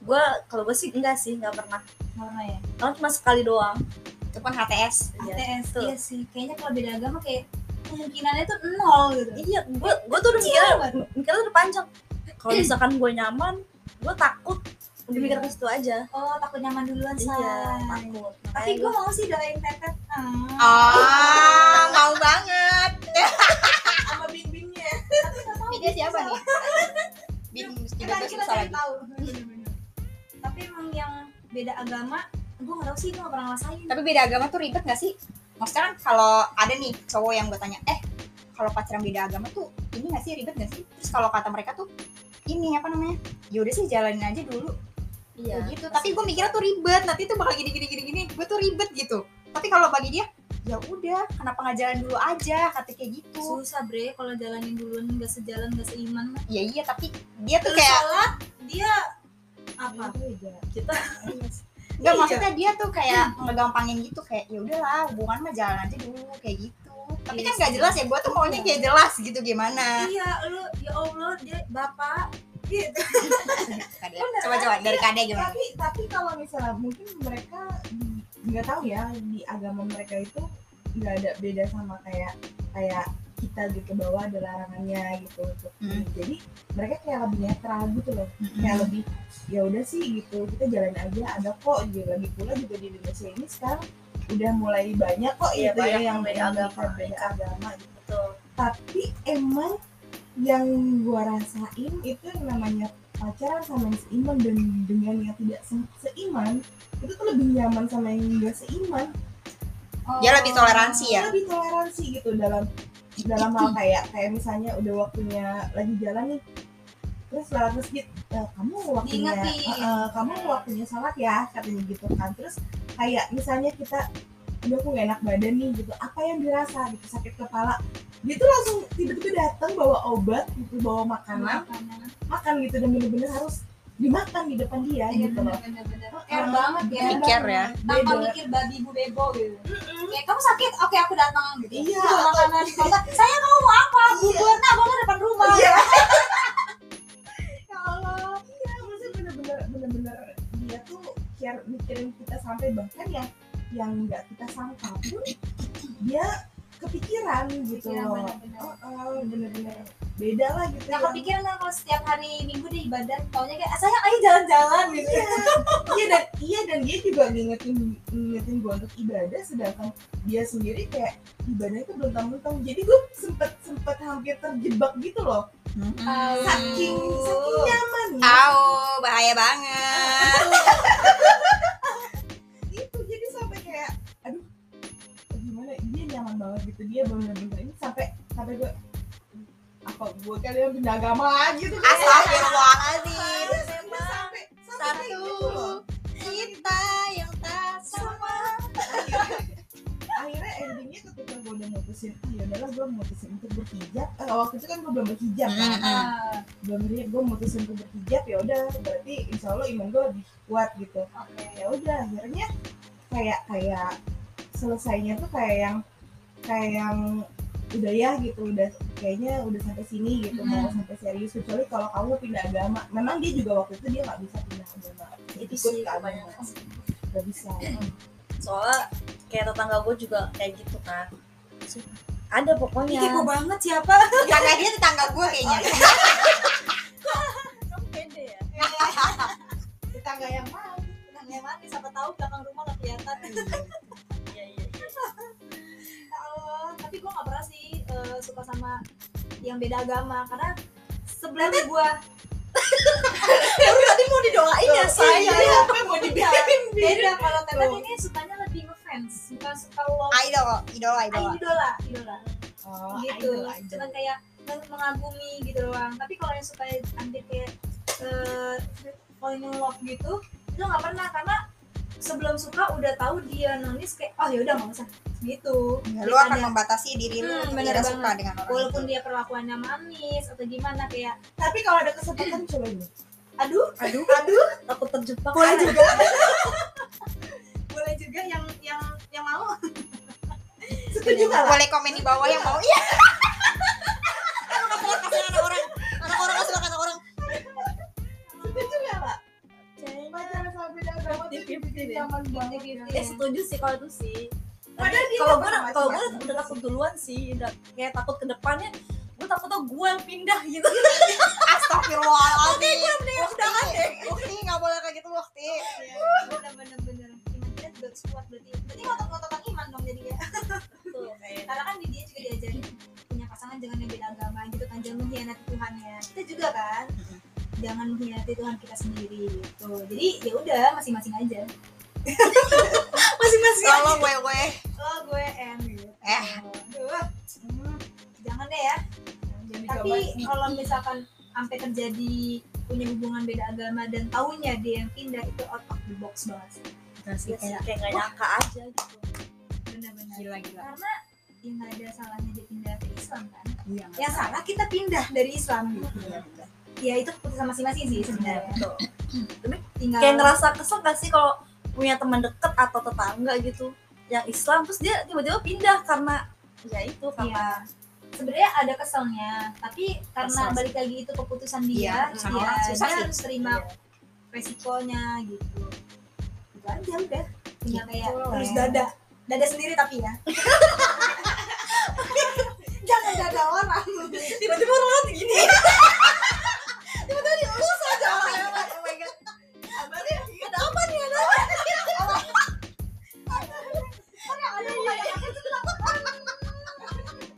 C: gue kalau gue sih enggak sih nggak pernah
A: karena ya
C: kalau cuma sekali doang
B: Cuman HTS.
C: Iya,
A: ATS
C: betul.
A: iya sih kayaknya kalau beda agama kayak kemungkinannya tuh nol gitu
C: iya gue gue tuh udah
A: Kecil
C: mikirnya
A: banget.
C: mikirnya udah panjang kalau misalkan gue nyaman gue takut udah mikir ke situ aja
A: oh takut nyaman duluan say
C: iya takut
A: tapi
C: Makanya
A: gue mau sih doain tetet ah.
B: Ah, mau banget.
D: sama bimbingnya
B: Ini siapa nih? Bin mesti
A: Kan tadi
B: bebas
A: kita
B: susah
A: cari
B: lagi.
A: tahu tapi emang yang beda agama gue gak tau sih gue gak pernah ngerasain
B: Tapi beda agama tuh ribet gak sih? Maksudnya kan kalau ada nih cowok yang gue tanya, eh kalau pacaran beda agama tuh ini gak sih ribet gak sih? Terus kalau kata mereka tuh ini apa namanya? Ya udah sih jalanin aja dulu
C: iya
B: kayak gitu. Tapi gue mikirnya tuh ribet, nanti tuh bakal gini gini gini gini. Gue tuh ribet gitu. Tapi kalau bagi dia, ya udah kenapa nggak jalan dulu aja kata kayak gitu.
A: susah bre kalau jalanin duluan gak sejalan gak seiman
B: Iya iya tapi dia tuh
A: Terus
B: kayak
A: sholat dia apa
C: kita
B: Gak
A: Iya.
B: Iya, maksudnya dia tuh kayak ngegampangin gitu kayak ya udahlah hubungan mah jalan aja dulu kayak gitu. Tapi
A: Iya
B: kan
A: sih.
B: gak jelas ya gue tuh maunya kayak jelas gitu gimana.
A: iya lu ya allah dia bapak gitu
B: Kadea. Coba coba dari Kadea gimana?
D: tapi tapi kalau misalnya mungkin mereka di- nggak tahu ya di agama mereka itu nggak ada beda sama kayak kayak kita gitu bahwa ada larangannya gitu untuk
B: Hmm.
D: jadi mereka kayak lebih netral gitu
A: Iya.
D: loh
C: Hmm.
D: kayak lebih ya udah sih gitu kita jalan aja ada kok gitu lagi pula juga di Indonesia ini sekarang udah mulai banyak kok
C: Iya,
D: gitu ya
C: banyak yang beda agama. iya.
D: beda agama gitu
C: betul
D: tapi emang yang gua rasain itu yang namanya pacaran sama yang seiman dan dengan yang tidak se- seiman itu tuh lebih nyaman sama yang enggak seiman
B: Dia lebih toleransi
A: Iya.
B: ya.
D: lebih toleransi gitu dalam dalam hal kayak kayak misalnya udah waktunya lagi jalan nih terus lewat masjid "Eh, kamu waktunya
A: Diingetin.
D: eh, eh, kamu waktunya sholat ya katanya gitu kan terus kayak misalnya kita udah aku gak enak badan nih gitu apa yang dirasa gitu sakit kepala dia tuh langsung tiba-tiba datang bawa obat gitu bawa
A: Iya,
D: makanan
A: Makanan.
D: makan gitu dan bener-bener harus dimakan di depan dia
A: Hmm. Iya,
D: gitu loh
A: bener-bener. care banget ya
B: Mikir ya.
A: tanpa
D: Beda.
A: mikir babi bu bebo gitu kayak kamu sakit oke aku datang gitu
D: Iya.
A: Bawa makanan bawa- saya kamu mau apa buburnya bawa depan rumah
D: Iya. ya Allah iya maksudnya bener-bener bener-bener dia tuh care mikirin kita sampai bahkan yang yang nggak kita sangka pun dia kepikiran gitu
A: Iya,
D: loh
A: bener-bener.
D: Oh, oh, bener-bener beda lah
A: Nah,
D: gitu yang-
A: kepikiran kan kalau setiap hari minggu deh ibadah, taunya kayak, "Ah, sayang ayo jalan-jalan gitu.
D: iya iya dan iya dan dia juga ngingetin ngingetin gue untuk ibadah sedangkan dia sendiri kayak ibadah itu belum tanggung jadi gue sempet sempet hampir terjebak gitu loh saking saking nyaman
B: Tahu bahaya banget.
D: gitu jadi sampai kayak aduh gimana dia nyaman banget gitu dia bener-bener ini sampai sampai gue apa gue kalian pindah agama lagi tuh
A: Iya.
D: kayak-
B: Astagfirullahaladzim.
D: Terus dia sampai sampai kayak
B: Satu.
D: gitu loh
B: Kita yang tak sama.
D: akhirnya endingnya ketika gue udah mutusin ah yaudahlah gue mutusin untuk berhijab eh, waktu itu kan gue belum berhijab kan
A: Ah,
D: belum berhijab gue mutusin untuk berhijab ya udah berarti insya Allah iman gue lebih kuat gitu
A: oke.
D: ya udah akhirnya kayak kayak selesainya tuh kayak yang kayak yang udah ya gitu udah kayaknya udah sampai sini gitu mau sampai serius kecuali kalau kamu pindah agama memang dia juga waktu itu dia nggak bisa pindah agama
C: Itu
D: Ikut
C: sih
D: ke agama.
C: kebanyakan.
D: nggak bisa
C: soalnya kayak tetangga gue juga kayak gitu kan ada
A: Ih,
C: pokoknya
A: kepo banget siapa?
B: Tetangga dia tetangga gue kayaknya.
A: Oh, iya.
C: kamu pede ya
D: Iya. tetangga yang mau
A: Yang mana siapa tahu belakang rumah nggak kelihatan.
C: iya iya
A: Ya Allah, tapi gue nggak pernah sih eh, suka sama yang beda agama karena sebelumnya gue
C: kamu tadi mau didoain
A: Iya,
C: ya
D: saya
C: saya
D: apa yang mau dibikin
A: beda kalau tetet
D: Tuh.
A: ini sukanya lebih ngefans bukan suka wow
B: Idol, idola, Ah, idola.
A: idola idola
D: oh,
A: gitu
D: idol, idol.
A: cuman kayak meng- mengagumi gitu doang tapi kalau yang suka hampir kayak eh, falling in love gitu itu nggak pernah karena sebelum suka udah tahu dia nonis kayak oh ya udah nggak usah gitu
B: Iya, Lu akan
A: Daripada-
B: membatasi diri lu
A: Hmm,
B: untuk
A: bener
B: tidak
A: banget.
B: suka dengan orang.
A: walaupun
B: itu.
A: dia perlakuannya manis atau gimana kayak
D: tapi kalau ada kesempatan coba dulu
A: aduh
C: aduh aduh takut terjebak
D: juga
A: boleh juga yang yang yang mau
D: setuju nggak
B: boleh komen di bawah yang mau iya
D: kenapa
A: Oh,
D: tuh
C: gitu
D: jadi nyaman banget ya.
C: eh setuju sih kalau itu sih Tapi
D: Padahal dia
C: kalau
D: nggak
C: gue
D: pernah
C: kalau gue
D: macem-macem.
C: udah takut duluan sih udah kayak takut ke depannya gue takutnya gue yang pindah gitu
B: Astagfirullahaladzim. Oke, gue mendingan
C: udahan
B: deh. Ukti nggak boleh kayak gitu Ukti.
A: bener-bener iman kita juga harus kuat berarti berarti ngotot-ngototan iman dong jadinya
C: Tuh, Gitu, kayak-
A: karena kan di dia juga diajarin punya pasangan jangan yang beda agama gitu kan jangan mengkhianati Tuhan ya kita juga kan jangan mengkhianati Tuhan kita sendiri gitu jadi ya udah masing-masing aja masing-masing aja
B: Kalau gue gue.
A: oh gue em gitu
B: Eh.
A: Aduh, hmm, jangan deh ya
D: Jadi
A: tapi
D: cobain.
A: kalau misalkan sampai terjadi punya hubungan beda agama dan taunya dia yang pindah itu out of the box banget sih
D: Iya,
C: kayak kayak gak nyangka aja
A: Iya.
C: gitu
A: benar-benar
B: Gila gila.
A: karena ya nggak ada salahnya dia pindah ke Islam kan
B: Iya.
A: yang salah kita pindah dari Islam gitu
B: Iya, betul.
A: ya itu keputusan masing-masing sih sebenarnya
C: Tuh.
A: tinggal
C: gitu. kayak ngerasa kesel gak sih kalau punya teman deket atau tetangga gitu yang Islam terus dia tiba-tiba pindah karena ya itu karena
A: Iya. sebenarnya ada keselnya tapi karena
C: Kesel.
A: balik lagi itu keputusan
B: Iya,
A: dia
B: keputusan
A: dia,
B: orang susah
A: dia
B: sih.
A: harus terima resikonya gitu itu aja udah tinggal kayak
B: Gitu,
A: terus
B: Len.
A: dada dada sendiri tapi ya jangan dada orang
C: tiba-tiba orang gini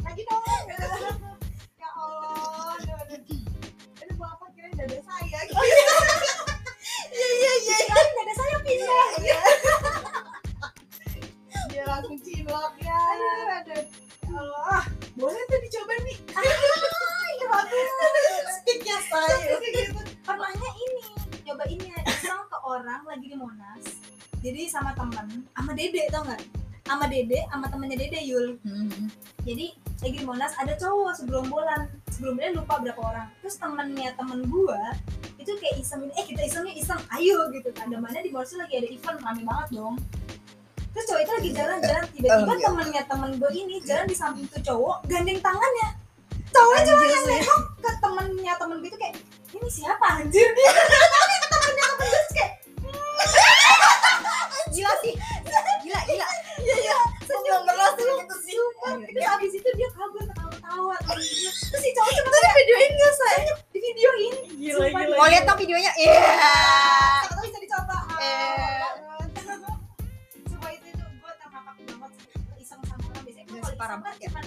D: lagi dong ya Allah aduh, aduh. aduh bapak kirain dada saya gitu
A: iya iya dada saya pindah
D: dia langsung cilok ya aduh aduh. Ya Allah boleh tuh dicoba nih
B: Stiknya saya.
A: pernahnya ini nyobainnya iseng ke orang lagi di Monas jadi sama temen sama Dede tau nggak sama Dede sama temennya Dede Yul jadi lagi di Monas ada cowok segerombolan sebelumnya lupa berapa orang terus temennya temen gua itu kayak iseng eh kita isengnya iseng ayo gitu kan Dan mana di Monas tuh lagi ada event rame banget dong terus cowok itu lagi jalan-jalan tiba-tiba
B: Oh, iya.
A: temennya temen gua ini jalan di samping tuh cowok gandeng tangannya cowoknya cuma yang nengok ke temennya temen gue itu kayak ini siapa anjir dia temennya temen gue terus kayak
B: Gila sih. Gila gila.
A: iya iya
B: Gue belum pernah sih gitu sih.
A: Sumpah, terus abis itu dia kabur ketawa-tawa temen dia. terus si cowok cuma kayak videoin gak saya di videoin
C: gila
A: Sumpah,
C: gila
B: Mau lihat dong videonya. Iya.
A: siapa tahu bisa dicoba
B: Eh.
A: Sumpah itu itu gue terhapak banget sih iseng sama orang biasanya kan
B: Iya,
A: kalau
B: parah
A: iseng kan
B: banget ya.
A: cuma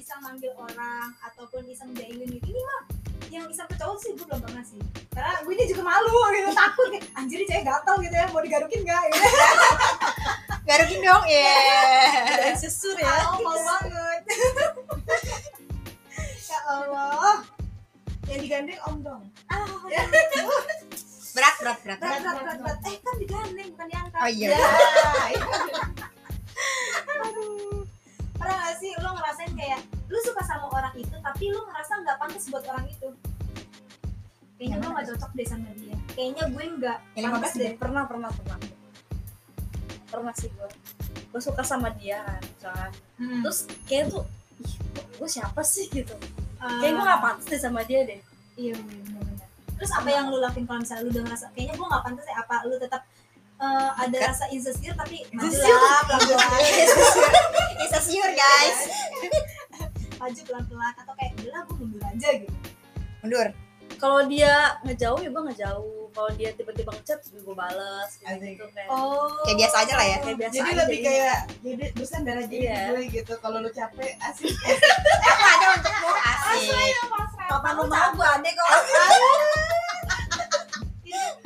A: iseng manggil orang ataupun iseng jailin gitu ini mah yang iseng ke cowok sih gue belum pernah sih karena gue ini juga malu gitu takut kayak anjir ini cewek gatel gitu ya mau digarukin gak gitu
B: Garukin dong. Iya.
C: ada sesur ya
A: ya mau banget ya Allah
D: yang digandeng om dong
A: ah
B: Berat berat berat.
A: berat berat berat berat eh kan digandeng bukan diangkat
B: Oh iya.
D: Nah,
A: Aduh. pernah gak sih lo ngerasain kayak lu suka sama orang itu tapi lu ngerasa nggak pantas buat orang itu kayaknya gue gak cocok deh sama dia kayaknya gue nggak
B: Yang
A: pantas
B: 15
A: deh
C: pernah pernah pernah pernah sih gue gue suka sama dia kan misalkan.
A: Hmm.
C: terus kayak tuh ih, gue siapa sih gitu
A: Ah,
C: kayak gue gak pantas deh sama dia deh
A: iya benar-benar terus apa yang lu lakuin kalau misalnya lu udah ngerasa kayaknya gue gak pantas ya apa lu tetap eh, ada
B: Kan-
A: rasa insecure tapi maju
C: Insecure.
A: lah pelan-pelan
B: Iya, It's a sure guys.
A: maju pelan-pelan atau kayak udah lah gue mundur aja gitu
B: Mundur.
C: kalau dia ngejauh ya gue ngejauh kalau dia tiba-tiba ngechat juga gue balas gitu, gitu kayak
A: oh
B: Kayak biasa aja lah ya.
C: kayak biasa
D: jadi
C: aja gitu.
D: lebih
C: jadinya.
D: kayak jadi bersandar aja
C: Iya.
D: gue gitu kalau lu capek asik
B: Ada untuk gue asik.
C: papan rumah gue ada kok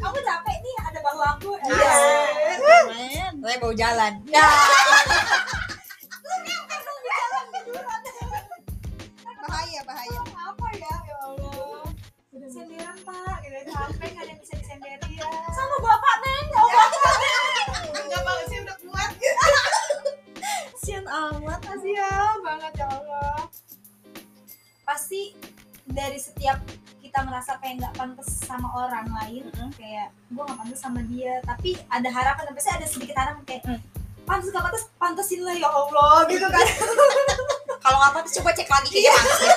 A: kamu capek nih ada bahu aku
B: Iya.
C: men
B: Gue bau jalan. Ya. Bahaya bahaya.
A: apa ya ya Allah sendiran pak gitu capek nggak ada yang bisa disendiri ya sama bapak neng ya Allah
D: enggak banget sih udah kuat
C: kasian amat
A: Iya
D: kasihan banget ya Allah
A: pasti dari setiap kita ngerasa kayak nggak pantas sama orang lain
C: Mm-mm.
A: kayak gue nggak pantas sama dia tapi ada harapan tapi pasti ada sedikit harapan kayak
C: Mm.
A: pantas gak pantas pantasin lah ya Allah gitu kan
B: Kalau nggak pantas coba cek lagi kayaknya asik.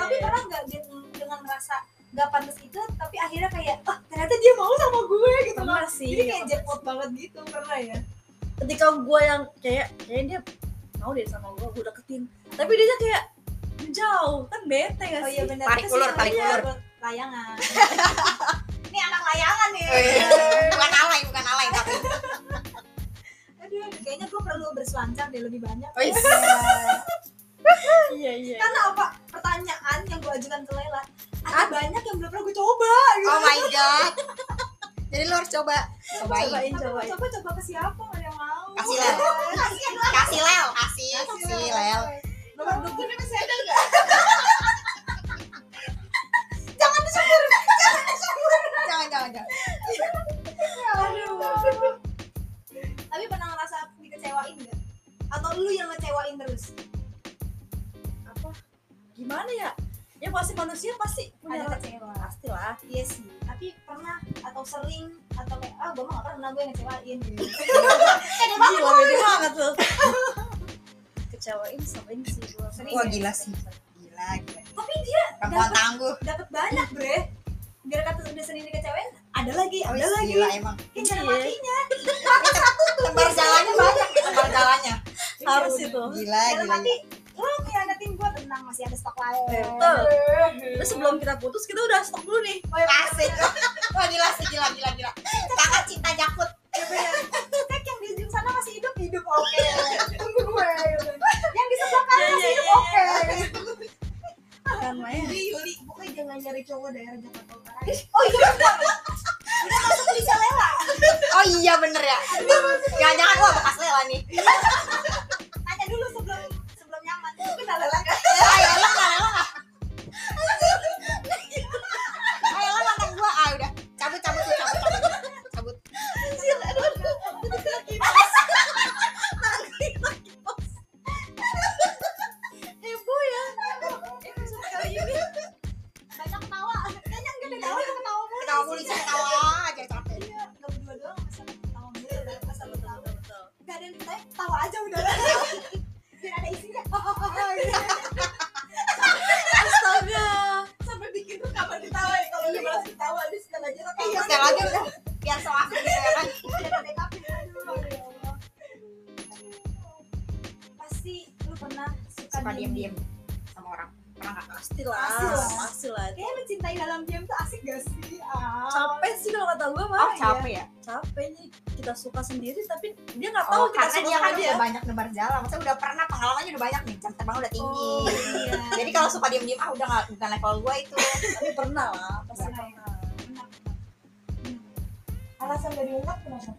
A: tapi pernah nggak de- dengan merasa nggak pantas itu tapi akhirnya kayak ah ternyata dia mau sama gue gitu loh
C: Pernah sih.
A: jadi
B: Iya.
A: kayak jackpot banget gitu pernah ya
C: ketika gue yang kayak kayak dia mau deh sama gue gue deketin tapi dia kayak jauh kan bete gak sih
A: oh iya benar
B: Tarik
A: Itu sih
B: ulur,
A: namanya
B: tarik ulur.
A: layangan ini anak layangan ya
B: Oh iya. bukan alay bukan alay tapi
A: aduh kayaknya gue perlu berselancar deh lebih banyak
B: Wih.
C: iya iya
A: karena apa pertanyaan yang gue ajukan ke Lela ada banyak yang belum pernah gue coba gitu.
B: oh my god jadi lo harus coba cobain
C: cobain
A: tapi
C: cobain
A: coba coba ke siapa nggak ada yang mau
B: Kasih Lela. kasih lel kasih kasih lel
A: nomor dua
D: Nomor masih ada nggak?
B: jangan disebut jangan disebut jangan jangan jangan
A: Aduh. Tapi pernah ngerasa dikecewain nggak? Atau lu yang ngecewain terus?
C: apa gimana ya ya pasti manusia pasti punya
A: Ada kecewa.
C: pasti lah
A: Iya sih. Tapi pernah atau sering atau kayak ah gue mah gak pernah gue yang ngecewain.
C: Iya.
A: Iya,
C: gila beda banget tuh kecewain sering sih gue
A: Sering
B: wah
A: ya?
B: gila sih gila gila
A: Tapi dia
B: perempuan tangguh
A: dapat banyak bre. Biar kata udah sendiri kecewain, ada lagi, ada
B: Wih,
A: lagi.
B: gila emang
A: Kan cara
C: Iya.
A: matinya.
B: tebar jalannya banyak tebar jalannya
D: Iya,
C: harus itu
B: gila
A: Cara
B: gila
A: mati. Lu khianatin gue tenang masih ada stok lain.
C: Betul. terus sebelum kita putus kita udah stok dulu nih
A: Oh, ya,
B: Asik.
A: bener-bener.
B: Wah gila sih, gila gila gila. Kakak cinta jakut.
A: Ya, bener. Tek yang di ujung sana masih hidup hidup oke. Tunggu gue. gitu. Yang di sebelah kanan
C: Iya,
A: masih
C: iya,
A: hidup
C: iya,
A: oke.
C: kan main
D: Yuli, Yuli, pokoknya jangan nyari cowok daerah Jakarta Utara.
A: Oh iya benar. Udah masuk ke bisa lela.
B: Oh iya bener ya. Jangan jangan wah bekas Lela nih.
A: Tanya dulu sebelum sebelum nyaman. Itu kenal lela kan?
B: Ayo Lela nggak Lela nggak. Ayo Lela mantan gua. Ah udah cabut cabut tuh, cabut cabut cabut.
A: Anjir, aduh. aduh, kaki.
C: ibu ya
A: Eh, maksud kali ini banyak ketawa. Kayaknya enggak ada ketawa, ada ketawa mulu.
B: Ketawa mulu sih ketawa aja capek.
A: Iya, enggak berdua doang masa ketawa mulu. Masa lu
C: betul
A: ketawa.
C: betul, betul
A: Enggak ada yang ketawa, ketawa aja udah. Biar ada isinya.
C: astaga
D: Sampai bikin tuh kapan ketawa ya kalau udah balas ketawa habis kan aja tapi
B: Terus yang lagi Eh, udah biar so asik gitu ya kan.
A: Biar ada make up-nya. Aduh, ya Allah. Pasti lu pernah suka,
B: Suka diem
A: diem-diem.
B: diem sama orang. Pernah nggak?
C: pasti lah
A: Pasti lah.
C: pasti lah
A: Kayaknya mencintai dalam diam tuh asik gak sih? Ah.
C: capek sih kalau kata gue mah
B: Oh capek ya.
C: capek nih kita suka sendiri tapi dia nggak tahu
B: Oh,
C: kita
B: karena
C: suka
B: dia kan
C: sama dia
B: udah banyak nebar jalan. Maksudnya udah pernah pengalamannya udah banyak nih. Jam terbang udah tinggi.
A: Oh, iya.
B: Jadi kalau suka diem diem ah udah nggak bukan level gua itu.
C: tapi pernah lah pasti
A: Pernah.
C: pernah
A: Benar,
D: alasan dari umat kenapa?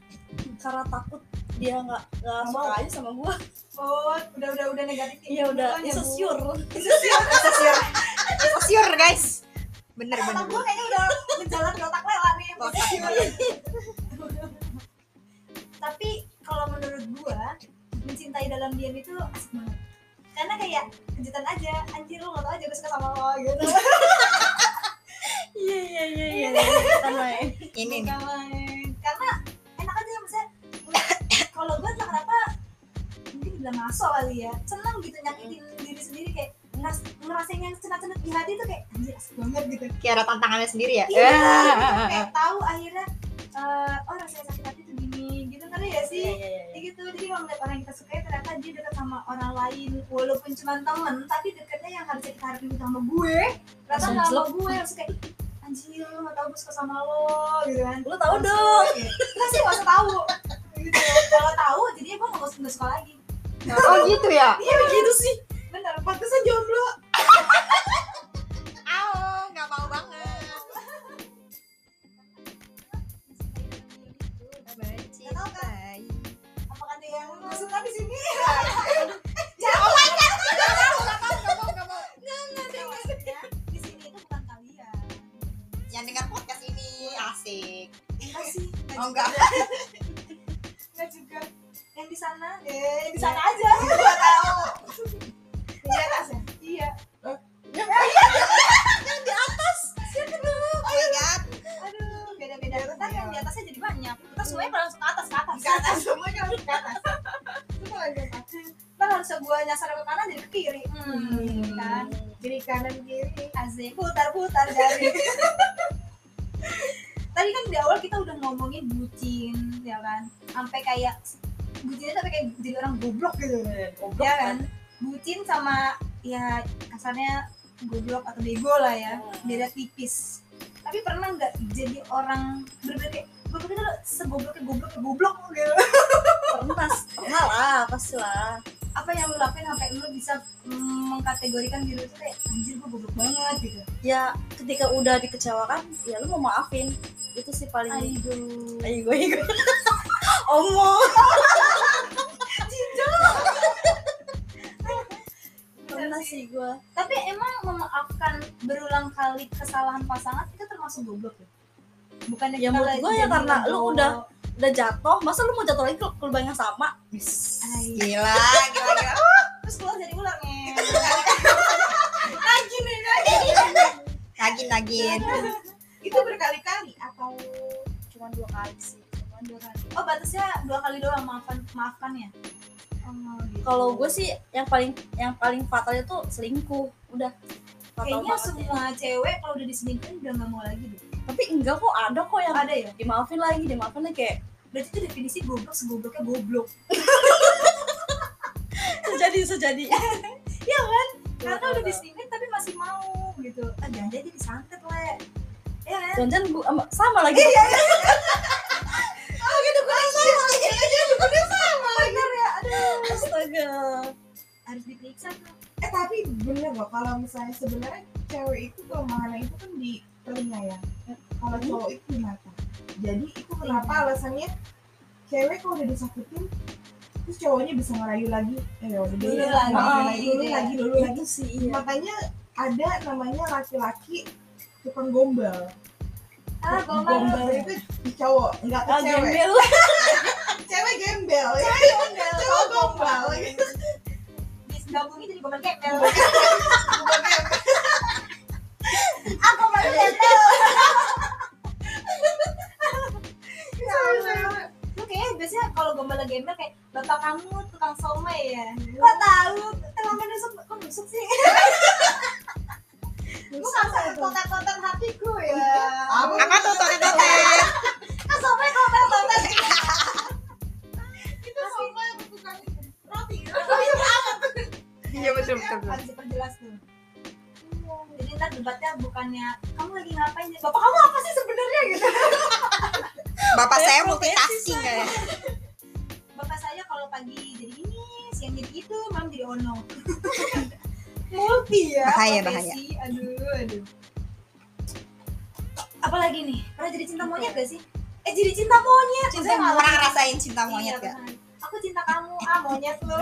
C: karena takut dia nggak nggak
D: Nggak
C: suka
D: mau.
C: aja sama gue
A: benar. Oh, udah udah udah negatif.
C: iya udah
A: Bukan ya, Bu?
C: insecure
B: Sosior. Sosior Oh, guys. Bener
A: Kata
B: bener.
A: gue kayaknya udah menjalan di otak Lela nih.
B: Otak.
A: Tapi kalau menurut gua mencintai dalam diam itu asik banget. Karena kayak kejutan aja, anjir lu gak tau aja gue suka sama lo gitu.
C: iya iya iya iya kita main
B: Ini nih.
A: Nggak main. Karena enak aja maksudnya. Kalau gue entah kenapa mungkin bilang masuk kali ya. Seneng gitu nyakitin diri sendiri kayak ngeras- ngerasain yang cenat-cenat di hati tuh kayak anjir asik banget gitu.
B: Kayak ada tantangannya sendiri ya.
A: Iya,
B: Ah.
A: kayak tahu akhirnya eh oh rasanya sakit hati tuh gini gitu ngerti ya sih
C: iya iya
A: Kayak gitu jadi kalau ngeliat orang yang kita sukai ternyata dia dekat sama orang lain walaupun cuma temen tapi dekatnya yang harusnya kita harapin sama gue ternyata
C: Langsung
A: nggak sama
C: jelek.
A: gue langsung kayak "Ih, anjir lu gak tau gue suka sama lo gitu kan
C: lu tau dong
A: nggak sih gak usah tahu gitu kalau tahu jadinya gue nggak usah nggak suka lagi
B: Oh gitu ya.
A: iya begitu sih bener pantesan jomblo
B: Au, nggak mau banget.
A: Nggak tahu kan apakah ada yang nggak suka di sini maksudnya di sini itu bukan kalian
B: Yang dengar podcast ini asik.
A: enggak sih enggak
B: Oh enggak.
A: enggak juga yang di sana eh yang di sana aja
D: Di atas ya?
A: iya
B: Oh my god.
A: aduh beda beda ntar yang di atasnya jadi banyak kita semuanya pada langsung ke atas kan? ke atas
D: Ke atas semuanya harus ke atas. Semua lagi ke atas.
A: lu kan harusnya gue nyasar ke kanan jadi ke kiri hmm, kan
D: kiri kanan kiri
A: asik putar putar dari tadi kan di awal kita udah ngomongin bucin ya kan sampai kayak bucinnya sampai kayak jadi orang goblok gitu
D: goblok
A: ya kan bucin sama ya kasarnya goblok atau bego lah ya beda tipis tapi pernah nggak jadi orang berbeda kayak gue pikir lo segobloknya goblok goblok gitu
C: pernah pernah lah pasti lah
A: apa yang lo lakuin sampai lo bisa mm, mengkategorikan diri lo tuh kayak anjir gue goblok banget gitu
C: ya ketika udah dikecewakan ya lu mau maafin itu sih paling
A: aduh
C: ayo gue gue omong pernah sih gue
A: tapi emang memaafkan berulang kali kesalahan pasangan itu termasuk goblok ya bukannya
C: Ya,
A: kita
C: menurut
A: lagi
C: gua ya,
A: jadi
C: karena lu
A: goblok.
C: udah udah jatuh masa lu mau jatuh lagi ke ke lubang yang sama
A: Ay,
B: Gila, gila,
A: Ah,
B: gila.
A: iya. terus keluar jadi ular nih
B: Nagin, nagin.
A: Iya.
D: itu berkali-kali atau
C: cuma dua kali sih Cuman dua kali.
A: oh batasnya dua kali doang maafkan maafkan ya oh, gitu.
C: kalau gue sih yang paling yang paling fatal itu selingkuh udah fatal
A: kayaknya
C: banget ya.
A: semua cewek kalau udah diselingkuhin udah nggak mau lagi deh
C: tapi enggak kok ada kok yang
A: ada ya
C: dimaafin lagi dimaafin lagi kayak
A: berarti itu definisi goblok segobloknya goblok
C: sejadi sejadi
A: iya kan
C: Iya,
A: karena
C: iya,
A: udah
C: iya.
A: diselingkuhin tapi masih mau gitu ah jangan jadi disantet le ya kan
C: jangan gue sama lagi
A: Iya. oh gitu gue sama gitu gue sama bener ya aduh
C: astaga
A: harus diperiksa tuh
D: eh tapi bener loh kalau misalnya sebenarnya cewek itu kelemahannya itu kan di telinga ya kalau cowok itu di mata jadi itu kenapa alasannya cewek kalau udah disakitin terus cowoknya bisa ngerayu lagi eh udah
A: Dulu
D: deh,
A: lagi,
D: maafin lagi dulu
A: iya.
D: lagi dulu lagi
C: itu sih iya
D: makanya ada namanya laki-laki tukang gombal
A: ah gombal
D: gombal itu di cowok nggak ke
C: Ah,
D: cewek
C: gembel
D: cewek gembel ya
A: gombal
D: cowok gombal
A: digabungin jadi gombal gembel
D: Bukan gembel.
A: aku baru Ah, gembel Ya
D: Sama-sama.
A: lu kayaknya biasanya kalau gombal lagi gembel kayak bapak kamu tukang somai ya kok tahu terlambat nusuk kok nusuk sih gue ngerasa kotak-kotak hatiku ya
D: Apa?
B: Apa tuh, tote, tote?
A: kan somai kotak-kotak
D: Itu sama yang bukan roti
B: Iya, betul, betul, betul.
A: harus diperjelas tuh jadi ntar debatnya bukannya kamu lagi ngapain ya bapak kamu apa sih sebenarnya gitu
B: Bapak
C: Saya
B: saya
C: profesi,
B: multitasking ya.
A: bapak saya kalau pagi jadi ini siang jadi itu malam jadi ono multi ya
B: Bahaya,
A: profesi. aduh aduh apalagi nih pernah jadi cinta monyet gak sih eh jadi cinta monyet
B: Cinta
A: Maksudnya
B: Pernah
A: ngalamin-
B: ngerasain cinta monyet
A: Iya,
B: gak?
A: benar. aku cinta kamu ah monyet lu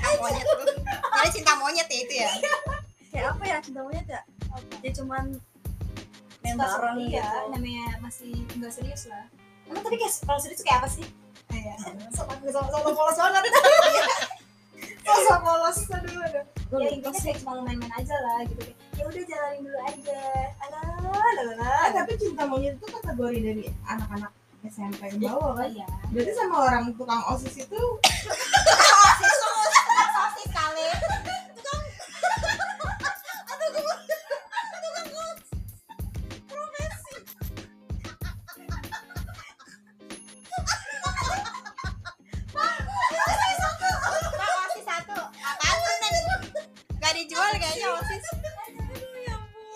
B: Ah, monyet tuh. Jadi cinta monyet ya itu ya.
C: kayak apa ya cinta monyet ya dia cuman main
A: Suka
C: bareng
A: sendiri ya,
C: gitu
A: namanya masih nggak serius lah emang tapi kayak kalau serius kayak apa sih kayak sama sama sama polos banget
D: Masa polos aduh aduh.
C: Gua
A: ya
C: lupa
A: intinya
C: sih.
A: kayak cuma main-main aja lah gitu kayak ya udah jalanin dulu aja alah alah Oh,
D: Eh, tapi cinta monyet itu kategori dari anak-anak SMP ke bawah
A: alah
E: Iya.
A: ya
D: kan berarti sama orang tukang osis itu kan
B: Sosis kali. Bang, osis Nah, satu. Apaan tuh, Nen? Gak dijual kayaknya osis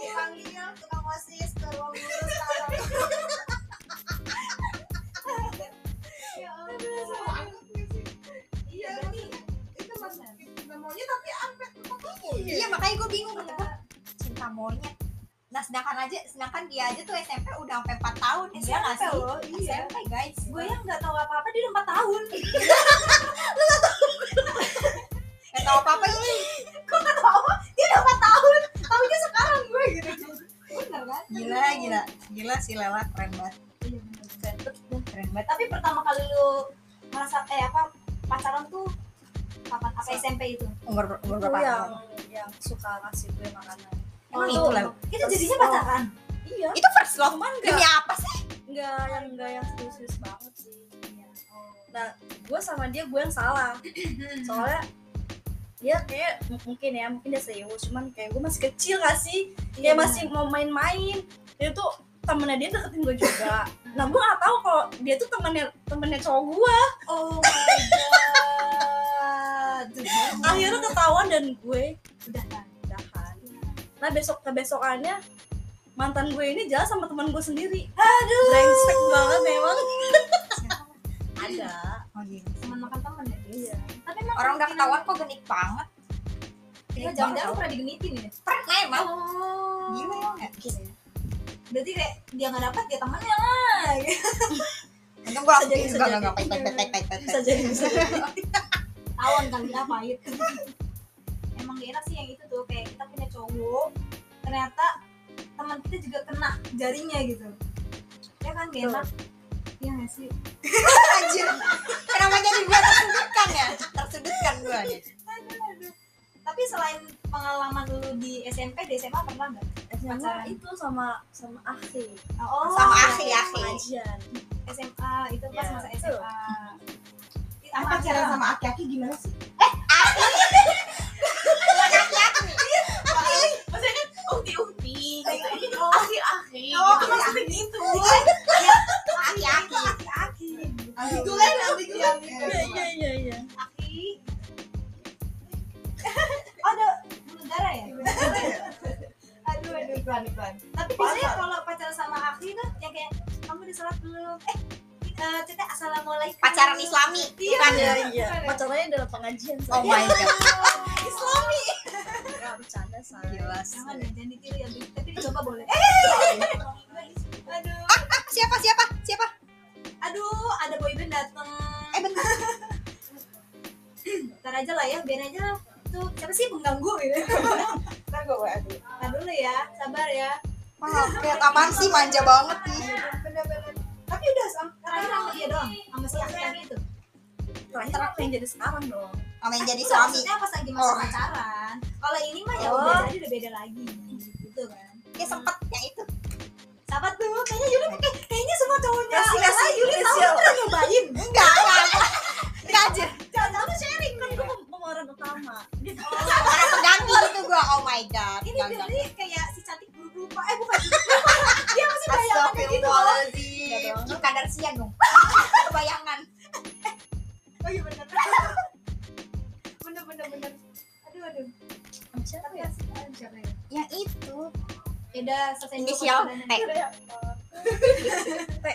A: dipanggil tukang osis ke ruang guru ya
D: sama
A: Allah
D: angkot nggak sih?
A: iya
D: berarti
A: berarti
D: itu masih cinta monyet tapi angkat tukang osis
B: iya makanya gue bingung kata gua, cinta monyet nah sedangkan aja sedangkan dia aja tuh SMP udah sampai 4 tahun ya iya ya. nggak
A: SMP
B: sih
A: loh, iya.
B: SMP guys
A: gue yang nggak tahu apa-apa dia udah 4 tahun
B: nggak tahu apa apa ini
A: gue nggak tahu apa dia udah 4 tahun tahunya sekarang gue gitu bener kan
B: gila gila gila si Lela keren banget
A: iya bener bener
B: keren banget
A: tapi pertama kali lu merasa eh apa pacaran tuh kapan apa SMP itu
B: umur umur
C: itu
B: berapa
C: yang yang suka ngasih gue makanan
B: emang
A: Oh,
B: itu lah
A: itu jadinya
C: Oh.
A: pacaran
C: iya
B: itu first love
C: cuman
B: demi
C: enggak
B: apa sih
C: enggak yang enggak yang serius-serius banget sih
A: Iya.
C: nah gue sama dia gue yang salah soalnya dia kayak m- mungkin ya mungkin dia serius cuman kayak gue masih kecil gak sih
A: Iya.
C: kayak masih mau main-main dia tuh temennya dia deketin gue juga nah gue gak tahu kalau dia tuh temennya temennya cowok gue
A: Oh my god. Tuh,
C: akhirnya ketahuan dan gue
A: udah kan.
C: udahan nah besok kebesokannya mantan gue ini jalan sama teman gue sendiri
A: Aduh.
C: brengsek banget memang ada
B: Oh, gitu.
A: Teman makan teman ya.
C: iya
A: Tapi emang
B: Orang udah
A: kemungkinan-
B: ketahuan kok genit banget.
A: Ya, jangan-jangan lu pernah digenitin ya.
B: Pernah emang.
A: Oh.
B: Gila ya nggak?
A: Berarti kayak dia nggak dapat dia temennya lah.
B: Untung gue langsung
C: Bisa
B: enggak
C: jadi, bisa
B: enggak
C: jadi.
B: enggak pahit pahit pahit pahit, pahit.
C: bisa jadi bisa jadi
A: Tahun kali ya pahit. Emang gak enak sih yang itu tuh kayak kita punya cowok ternyata teman kita juga kena jarinya gitu. Ya kan gak
C: Betul.
A: enak. Iya gak sih?
B: Anjir. Kenapa jadi gue tersudutkan ya? Tersudutkan gue nih.
A: Aduh, aduh. Tapi selain pengalaman lu di SMP, di SMA pernah nggak?
C: SMA itu sama sama Aki
A: Oh,
B: Sama
A: iya.
B: Aki, Aki.
C: pengajian
A: SMA itu pas
C: Ya,
A: masa
C: betul.
A: SMA.
D: Apa pacaran sama aki-aki gimana sih?
B: Buat laki-laki nih.
E: maksudnya kan ukti-ukti gitu ini
A: Oh.
E: akhir-akhir
A: Oh,
E: gitu
A: maksudnya gitu.
B: Aki-aki.
A: Aki.
E: Gitu
D: Ambigu kan, ambigu kan.
C: iya iya iya iya
A: Aki. Oh, ada negara ya? Aduh, aduh.
D: Iklan, iklan.
A: Tapi biasanya kalau pacaran sama Aki tuh yang kayak kamu udah sholat belum? Eh, eh, cetek assalamualaikum.
B: Pacaran islami.
A: Iya.
B: bukan?
C: iya iya pacarnya dalam pengajian
B: Oh
C: saya
B: my god.
A: Islami.
C: nggak bercanda saya
B: Gila.
A: Jangan deh, jangan ditiru ya, Bi. tapi dicoba boleh. Aduh,
B: Ah, Siapa siapa siapa?
A: aduh, ada boyband dateng.
B: Eh bentar.
A: Ntar aja lah ya, biar aja lah. Tuh, siapa sih pengganggu gitu?
D: Ntar gue WA dulu.
A: Ntar dulu ya, sabar ya.
B: Wah, kayak taman sih manja banget nih.
D: Bener-bener.
A: Tapi udah sam- terakhir sama dia doang, sama si akhir yang itu.
C: terakhir apa yang jadi sekarang dong
B: Sama yang jadi
A: Udah,
B: suami.
A: Maksudnya pas lagi masa
B: Oh.
A: pacaran. Kalau ini mah ya
C: Oh.
A: udah jadi udah beda lagi, gitu kan.
B: Dia sempet yang itu.
A: Sahabat tuh, kayaknya Yuli pakai, kayaknya semua cowoknya.
C: Kasih,
A: yang
C: kasih,
A: lain Yuli tahu kan?
C: kasih.
A: pernah nyobain.
B: Ah, iya, Enggak enggak. Enggak aja.
A: Jangan-jangan lu sharing kan
C: kan gue pemeran utama gitu
B: Orang pengganti itu gue. Oh my god.
A: ini Billy kayak si cantik buru lupa eh bukan dia masih bayangan kayak gitu loh
B: Astagfirullahaladzim. Kim Kardashian dong. Bayangan.
A: oh iya bener bener bener bener aduh aduh tapi asik kan siapa ya
B: Yang itu.
A: ya udah selesai dulu
B: Inisial
A: perjalanan.
B: T. T.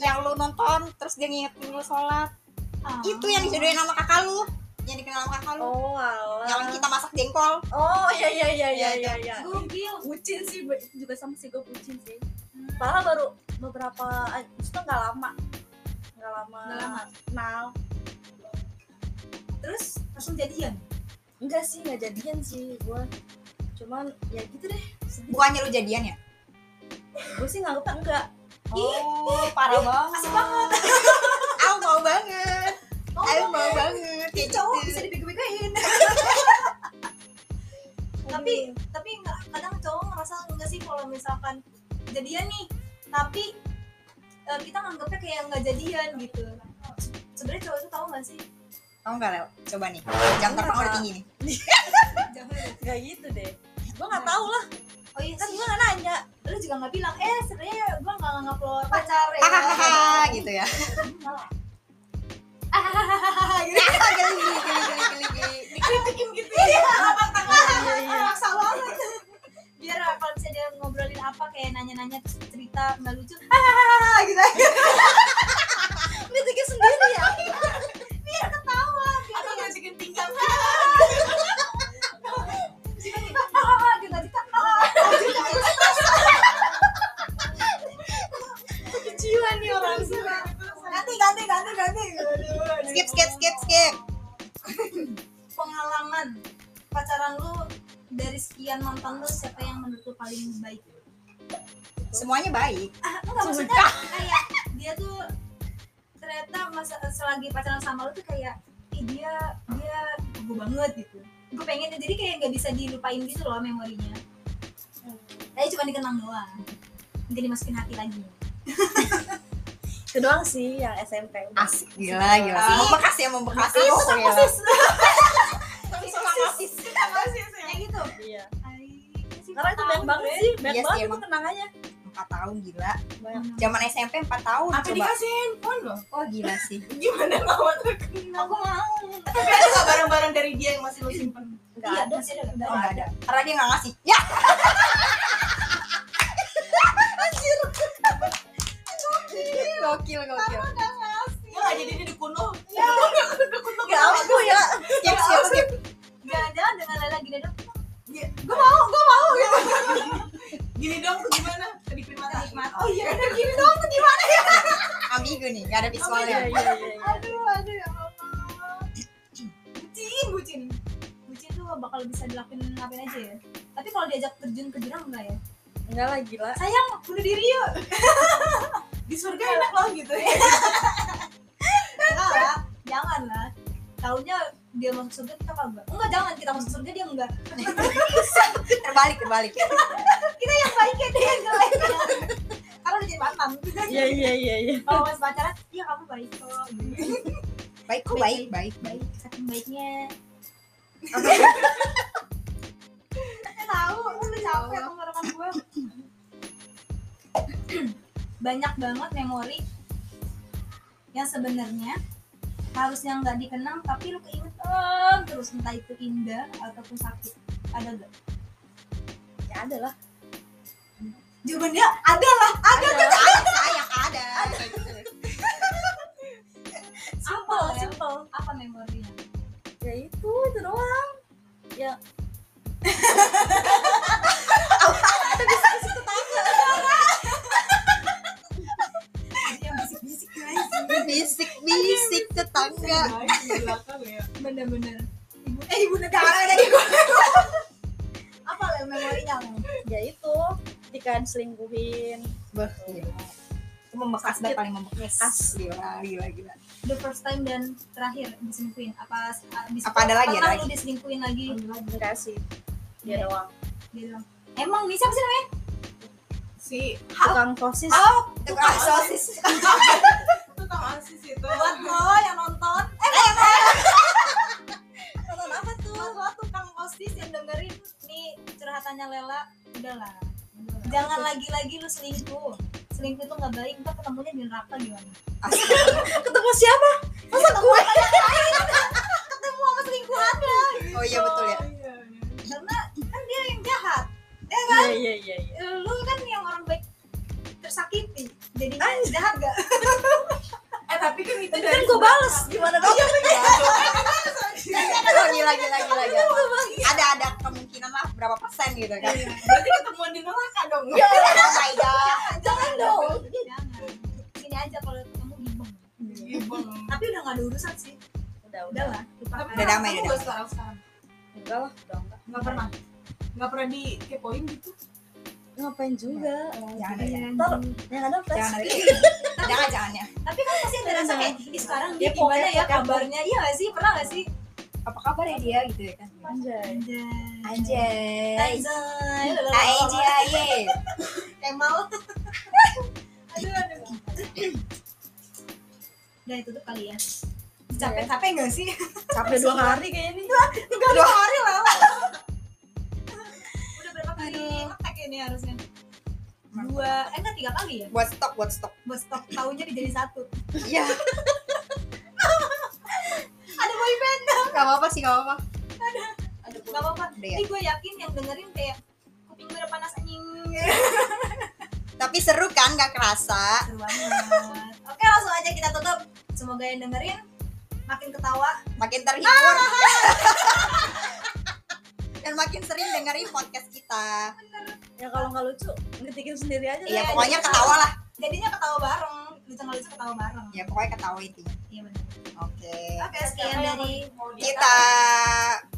B: Yang lu nonton terus dia ngingetin lu sholat.
A: Ah.
B: Itu yang dijodohin sama kakak lu. Yang dikenal sama kakak lu.
C: oh alah
B: Yang kita masak jengkol.
C: oh iya iya iya iya iya iya
A: gokil
C: bucin sih Bu. itu juga sama sih gue bucin sih Parah baru beberapa itu nggak lama nggak lama
A: Nggak lama.
C: kenal
A: terus langsung jadian
C: enggak sih nggak jadian sih gue cuman ya gitu deh
B: Bukannya lu jadian ya?
C: gue sih nganggepnya enggak
B: Oh, parah banget. Asik banget. Aku mau banget.
A: oh
B: Aku mau banget.
A: si
B: Kayak
A: cowok
B: gitu.
A: bisa dibego-begoin tapi tapi nggak kadang cowok ngerasa enggak sih kalau misalkan jadian nih tapi eh, kita nganggapnya kayak nggak jadian gitu sebenarnya cowok itu tahu nggak sih
B: Tahu nggak Leo? Coba nih. Jam terbang udah tinggi nih.
A: jangan
C: nggak gitu deh gue nggak tahu lah
A: oh iya
C: kan
A: sih
C: gue nggak nanya
A: lu juga nggak bilang eh sebenarnya gue nggak nganggap lo pacar ya
B: Hahaha gitu ya.
A: Hahaha, gitu.
B: Geli geli geli geli geli.
A: Dikritikin gitu ya telapak tangan
C: Iya, iya.
A: maksa banget biar kalau bisa dia ngobrolin apa kayak nanya-nanya terus cerita nggak lucu hahaha gitu
C: kritiknya sendiri ya
A: biar ketawa gitu ya. biar
E: atau
A: nggak
E: ngajakin pinggang
A: tiba-tiba ah gitu tiba ah
C: jiwa nih orang
A: ganti ganti ganti ganti Aduh,
B: Skip skip skip skip.
A: pengalaman pacaran lu dari sekian mantan lu siapa yang menurut lu paling baik
B: Semuanya baik.
A: ah, enggak maksudnya kayak dia tuh ternyata masa selagi pacaran sama lu tuh kayak Ih, dia dia gue banget gitu gue pengen jadi kayak nggak bisa dilupain gitu loh memorinya tapi cuma dikenang doang mungkin dimasukin hati lagi
C: itu doang sih yang SMP
B: Asik gila gila sih. Membekas ya membekas.
C: Persis,
B: Oh,
C: tukang
B: gila.
C: persis.
B: Persis, tukang persis.
A: kayak gitu
C: iya
A: Ay, sih,
C: karena itu banyak
A: tahun
C: banget
A: gue.
C: sih
B: Iya
C: banyak
B: sih,
C: banget itu
B: emang.
C: kenangannya
B: Empat tahun gila.
C: banyak
A: Hmm.
B: Zaman SMP empat tahun.
E: Apa
B: coba.
E: dikasih handphone loh?
B: Oh gila sih.
E: Gimana lawan
A: aku mau
E: Tapi ada nggak barang-barang dari dia yang masih lo simpen?
C: Nggak
A: iya
C: ada.
A: dong sih ada
B: Oh,
A: udah
B: nggak ada. Karena dia nggak ngasih. Ya. Anjir. Gokil, gokil.
E: Gue nggak jadi di kuno.
B: Gak aku ya. Skip, skip, skip.
A: nggak ada dengan lala gini dong
D: Iya.
E: Gini dong tuh gimana? Kedipin mata.
A: oh iya
B: Amigo nih, gak ada
C: iya
B: visualnya.
C: iya iya, iya.
A: aduh aduh ya allah bucin bucin bucin tuh bakal bisa dilakuin ngapain aja ya tapi kalau diajak terjun ke jurang enggak ya
C: enggak lah gila
A: sayang bunuh diri yuk
E: Di surga enak loh gitu. ya.
A: enggak lah jangan lah tahunya dia masuk surga kita kagak enggak jangan kita masuk surga dia enggak
B: Terbalik, terbalik.
A: kita yang baiknya dia yang jeleknya karena udah jadi mantan
C: iya iya iya iya
A: kalau pas pacaran iya kamu baik kok gitu.
B: Baik kok, baik, baik,
A: baik
B: baik.
A: saking baiknya
B: Apa?
A: Saya tahu lu udah capek tenggorokan gue banyak banget memori yang sebenarnya harusnya nggak dikenang tapi lu keingetan terus entah itu indah ataupun sakit ada gak?
C: ya ada lah
A: jawabannya ada lah ada
B: Ada, ada, sayang, ada. Kayak gitu.
A: apa
C: simple
A: Lel?
C: simple
A: apa memorinya
C: ya itu itu doang ya
A: yang bisik-bisik guys
B: Bisik-bisik tetangga.
E: Baik di belakang ya.
A: bener-bener ibu eh ibu negara ada ibu apa lah memorinya Lel?
C: ya itu ketika diselingkuhin
B: Wah, gila. Itu membekas banget, paling membekas.
C: Asli.
B: Gila, gila, gila.
A: the first time dan terakhir diselingkuhin apa abis
B: Apa ada lagi, ada
A: pernah
B: lagi?
A: lu diselingkuhin lagi
C: enggak sih dia doang
A: Dia bilang, emang nih siapa sih namanya
E: Si eh,
C: tukang sosis
B: Oh, Tukang sosis.
E: tukang asis itu.
A: buat lo yang nonton eh buat lo. nonton apa tuh buat lo tukang osis yang dengerin nih curhatannya Lela udahlah jangan lagi-lagi lu selingkuh selingkuh itu nggak baik ntar ketemunya di neraka gimana
C: ketemu siapa
A: masa gue ketemu sama selingkuhannya
B: Oh iya, betul ya.
E: Iya, iya.
A: karena kan dia yang jahat
C: iya iya iya iya.
A: lu kan yang orang baik tersakiti jadi jahat gak?
E: Eh tapi kan itu
C: kan gue balas gimana dong
B: Oh, gila, gila, gila, gila. Ada, ada kemungkinan lah berapa persen gitu kan.
E: Berarti ketemuan di neraka dong.
B: Oh my god.
A: jangan dong jangan sini aja kalau ketemu gibeng
E: Iya, Bang.
A: tapi udah gak ada urusan sih
C: udah udah
A: udah lah lupakan
B: Udah damai, udah damai.
E: sekarang sekarang.
C: enggak lah udah enggak
E: Gak pernah. Gak pernah dikepoin gitu.
C: ngapain juga
B: Jangan, jangan.
C: ntar yang ada flash
B: Jangan, jangan, jangan ya.
A: tapi kan pasti ada rasa kayak "Ih, sekarang dia
C: Ya, pokoknya-
A: gimana ya
C: pokoknya-
A: kabarnya iya gak sih pernah gak sih
B: Apa kabar ya dia gitu ya kan.
C: anjay
B: Anjay.
A: Anjay Anjay
B: Anjay. ye.
A: Kemal aduh aduh udah itu tuh kali ya capek-capek gak sih?
C: capek dua hari kayaknya nih
A: Enggak dua hari lah. Udah berapa kali ngetek ini harusnya? Dua, eh enggak tiga kali ya?
B: Buat stok, buat stok.
A: Buat stok tahunnya dijadi satu.
B: Iya.
A: Ada boyband.
B: Gak apa-apa sih, gak apa-apa.
E: Ada
A: Gak apa-apa.
B: Udah ya.
A: Ini gue yakin yang dengerin kayak kuping gue udah panas anjing.
B: Tapi seru kan, gak kerasa.
A: Seru banget. Oke langsung aja kita tutup. Semoga yang dengerin makin ketawa.
B: makin terhibur dan makin sering dengerin podcast kita
C: ya kalau nggak lucu ngetikin sendiri aja
B: ya
A: Iya,
B: pokoknya
A: iya.
B: ketawa lah
A: Jadinya ketawa bareng. Lucu nggak lucu ketawa bareng.
B: ya pokoknya ketawa intinya
A: Iya benar.
B: oke
A: Oke sekian dari
B: kita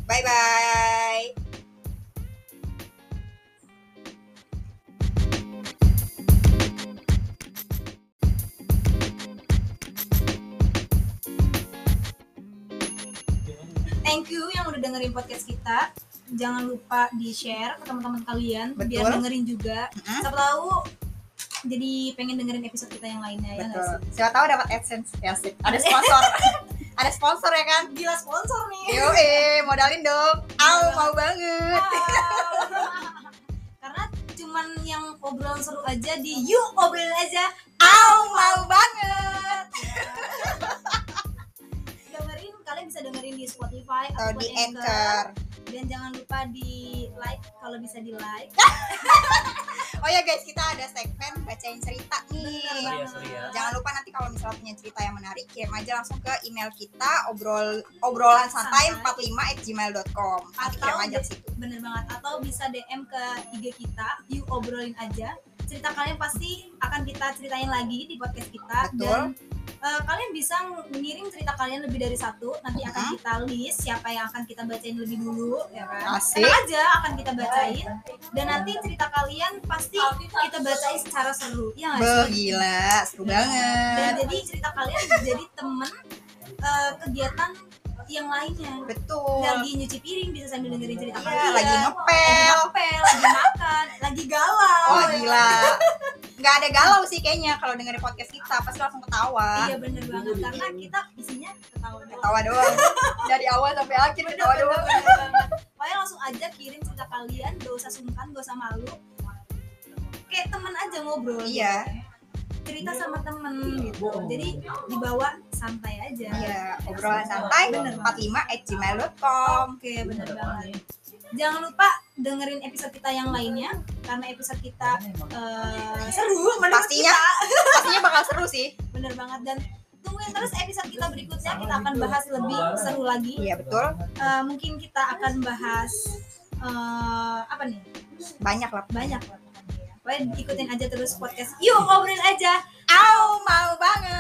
B: bye bye
A: thank you yang udah dengerin podcast kita jangan lupa di share ke teman-teman kalian biar
B: Betul.
A: dengerin juga
B: Mm-mm.
A: siapa tahu jadi pengen dengerin episode kita yang lainnya ya nggak
B: Betul.
A: sih?
B: Siapa tahu dapat AdSense ya sip. Ada sponsor. Ada sponsor ya kan?
A: Gila sponsor nih.
B: Yo eh modalin dong. Au mau banget.
A: Karena cuman yang obrolan seru aja di yuk obrol aja
B: Au mau banget.
A: dengerin kalian bisa dengerin di Spotify
B: Atau
A: ataupun
B: Oh, di Anchor.
A: dan jangan lupa di like kalau bisa di like
B: Oh ya guys, kita ada segmen bacain cerita nih.
E: Iya, sorry ya.
B: Jangan lupa nanti kalau misalnya punya cerita yang menarik, kirim aja langsung ke email kita obrol obrolan santai 45@gmail.com. Nanti kirim
A: Atau
B: aja ke situ.
A: bener banget atau bisa DM ke IG kita yuk obrolin aja cerita kalian pasti akan kita ceritain lagi di podcast kita
B: Betul.
A: dan eh, kalian bisa ngirim cerita kalian lebih dari satu nanti akan
B: Mhm.
A: kita list siapa yang akan kita bacain lebih dulu ya kan
B: Asik.
A: Tenang aja akan kita bacain dan nanti cerita kalian pasti kita bacain secara seru ya nggak
B: Beuh,
A: sih?
B: gila, seru
A: Iya. dan
B: banget.
A: jadi cerita kalian jadi temen eh, kegiatan yang lainnya
B: Betul.
A: lagi nyuci piring bisa sambil dengerin cerita
B: Iya,
A: kalian
B: lagi ngepel.
A: lagi ngepel, lagi makan lagi galau
B: Oh gila. Nggak ada galau sih kayaknya kalau dengerin podcast kita pasti langsung ketawa.
A: iya bener banget karena kita isinya ketawa doang
B: Ketawa doang. Dari awal sampai akhir
A: Bener,
B: ketawa
A: bener,
B: doang.
A: bener banget. pokoknya langsung aja kirim cerita kalian gak usah sungkan gak usah malu kayak temen aja ngobrol
B: Iya.
A: cerita sama temen gitu jadi dibawa santai aja
B: Iya, obrolan santai
A: Bener banget.
B: 45@gmail.com.
A: Oke, bener banget. Jangan lupa dengerin episode kita yang lainnya karena episode kita eh, seru menurut
B: Pastinya
A: kita.
B: pastinya bakal seru sih.
A: Bener banget dan tungguin terus episode kita berikutnya kita akan bahas lebih seru lagi.
B: Iya, betul.
A: Eh, mungkin kita akan bahas eh, apa nih?
B: Banyak lah.
A: Banyak lah pokoknya ya. Pokoknya ikutin aja terus podcast. Yuk, ngobrolin aja.
B: Au, mau banget.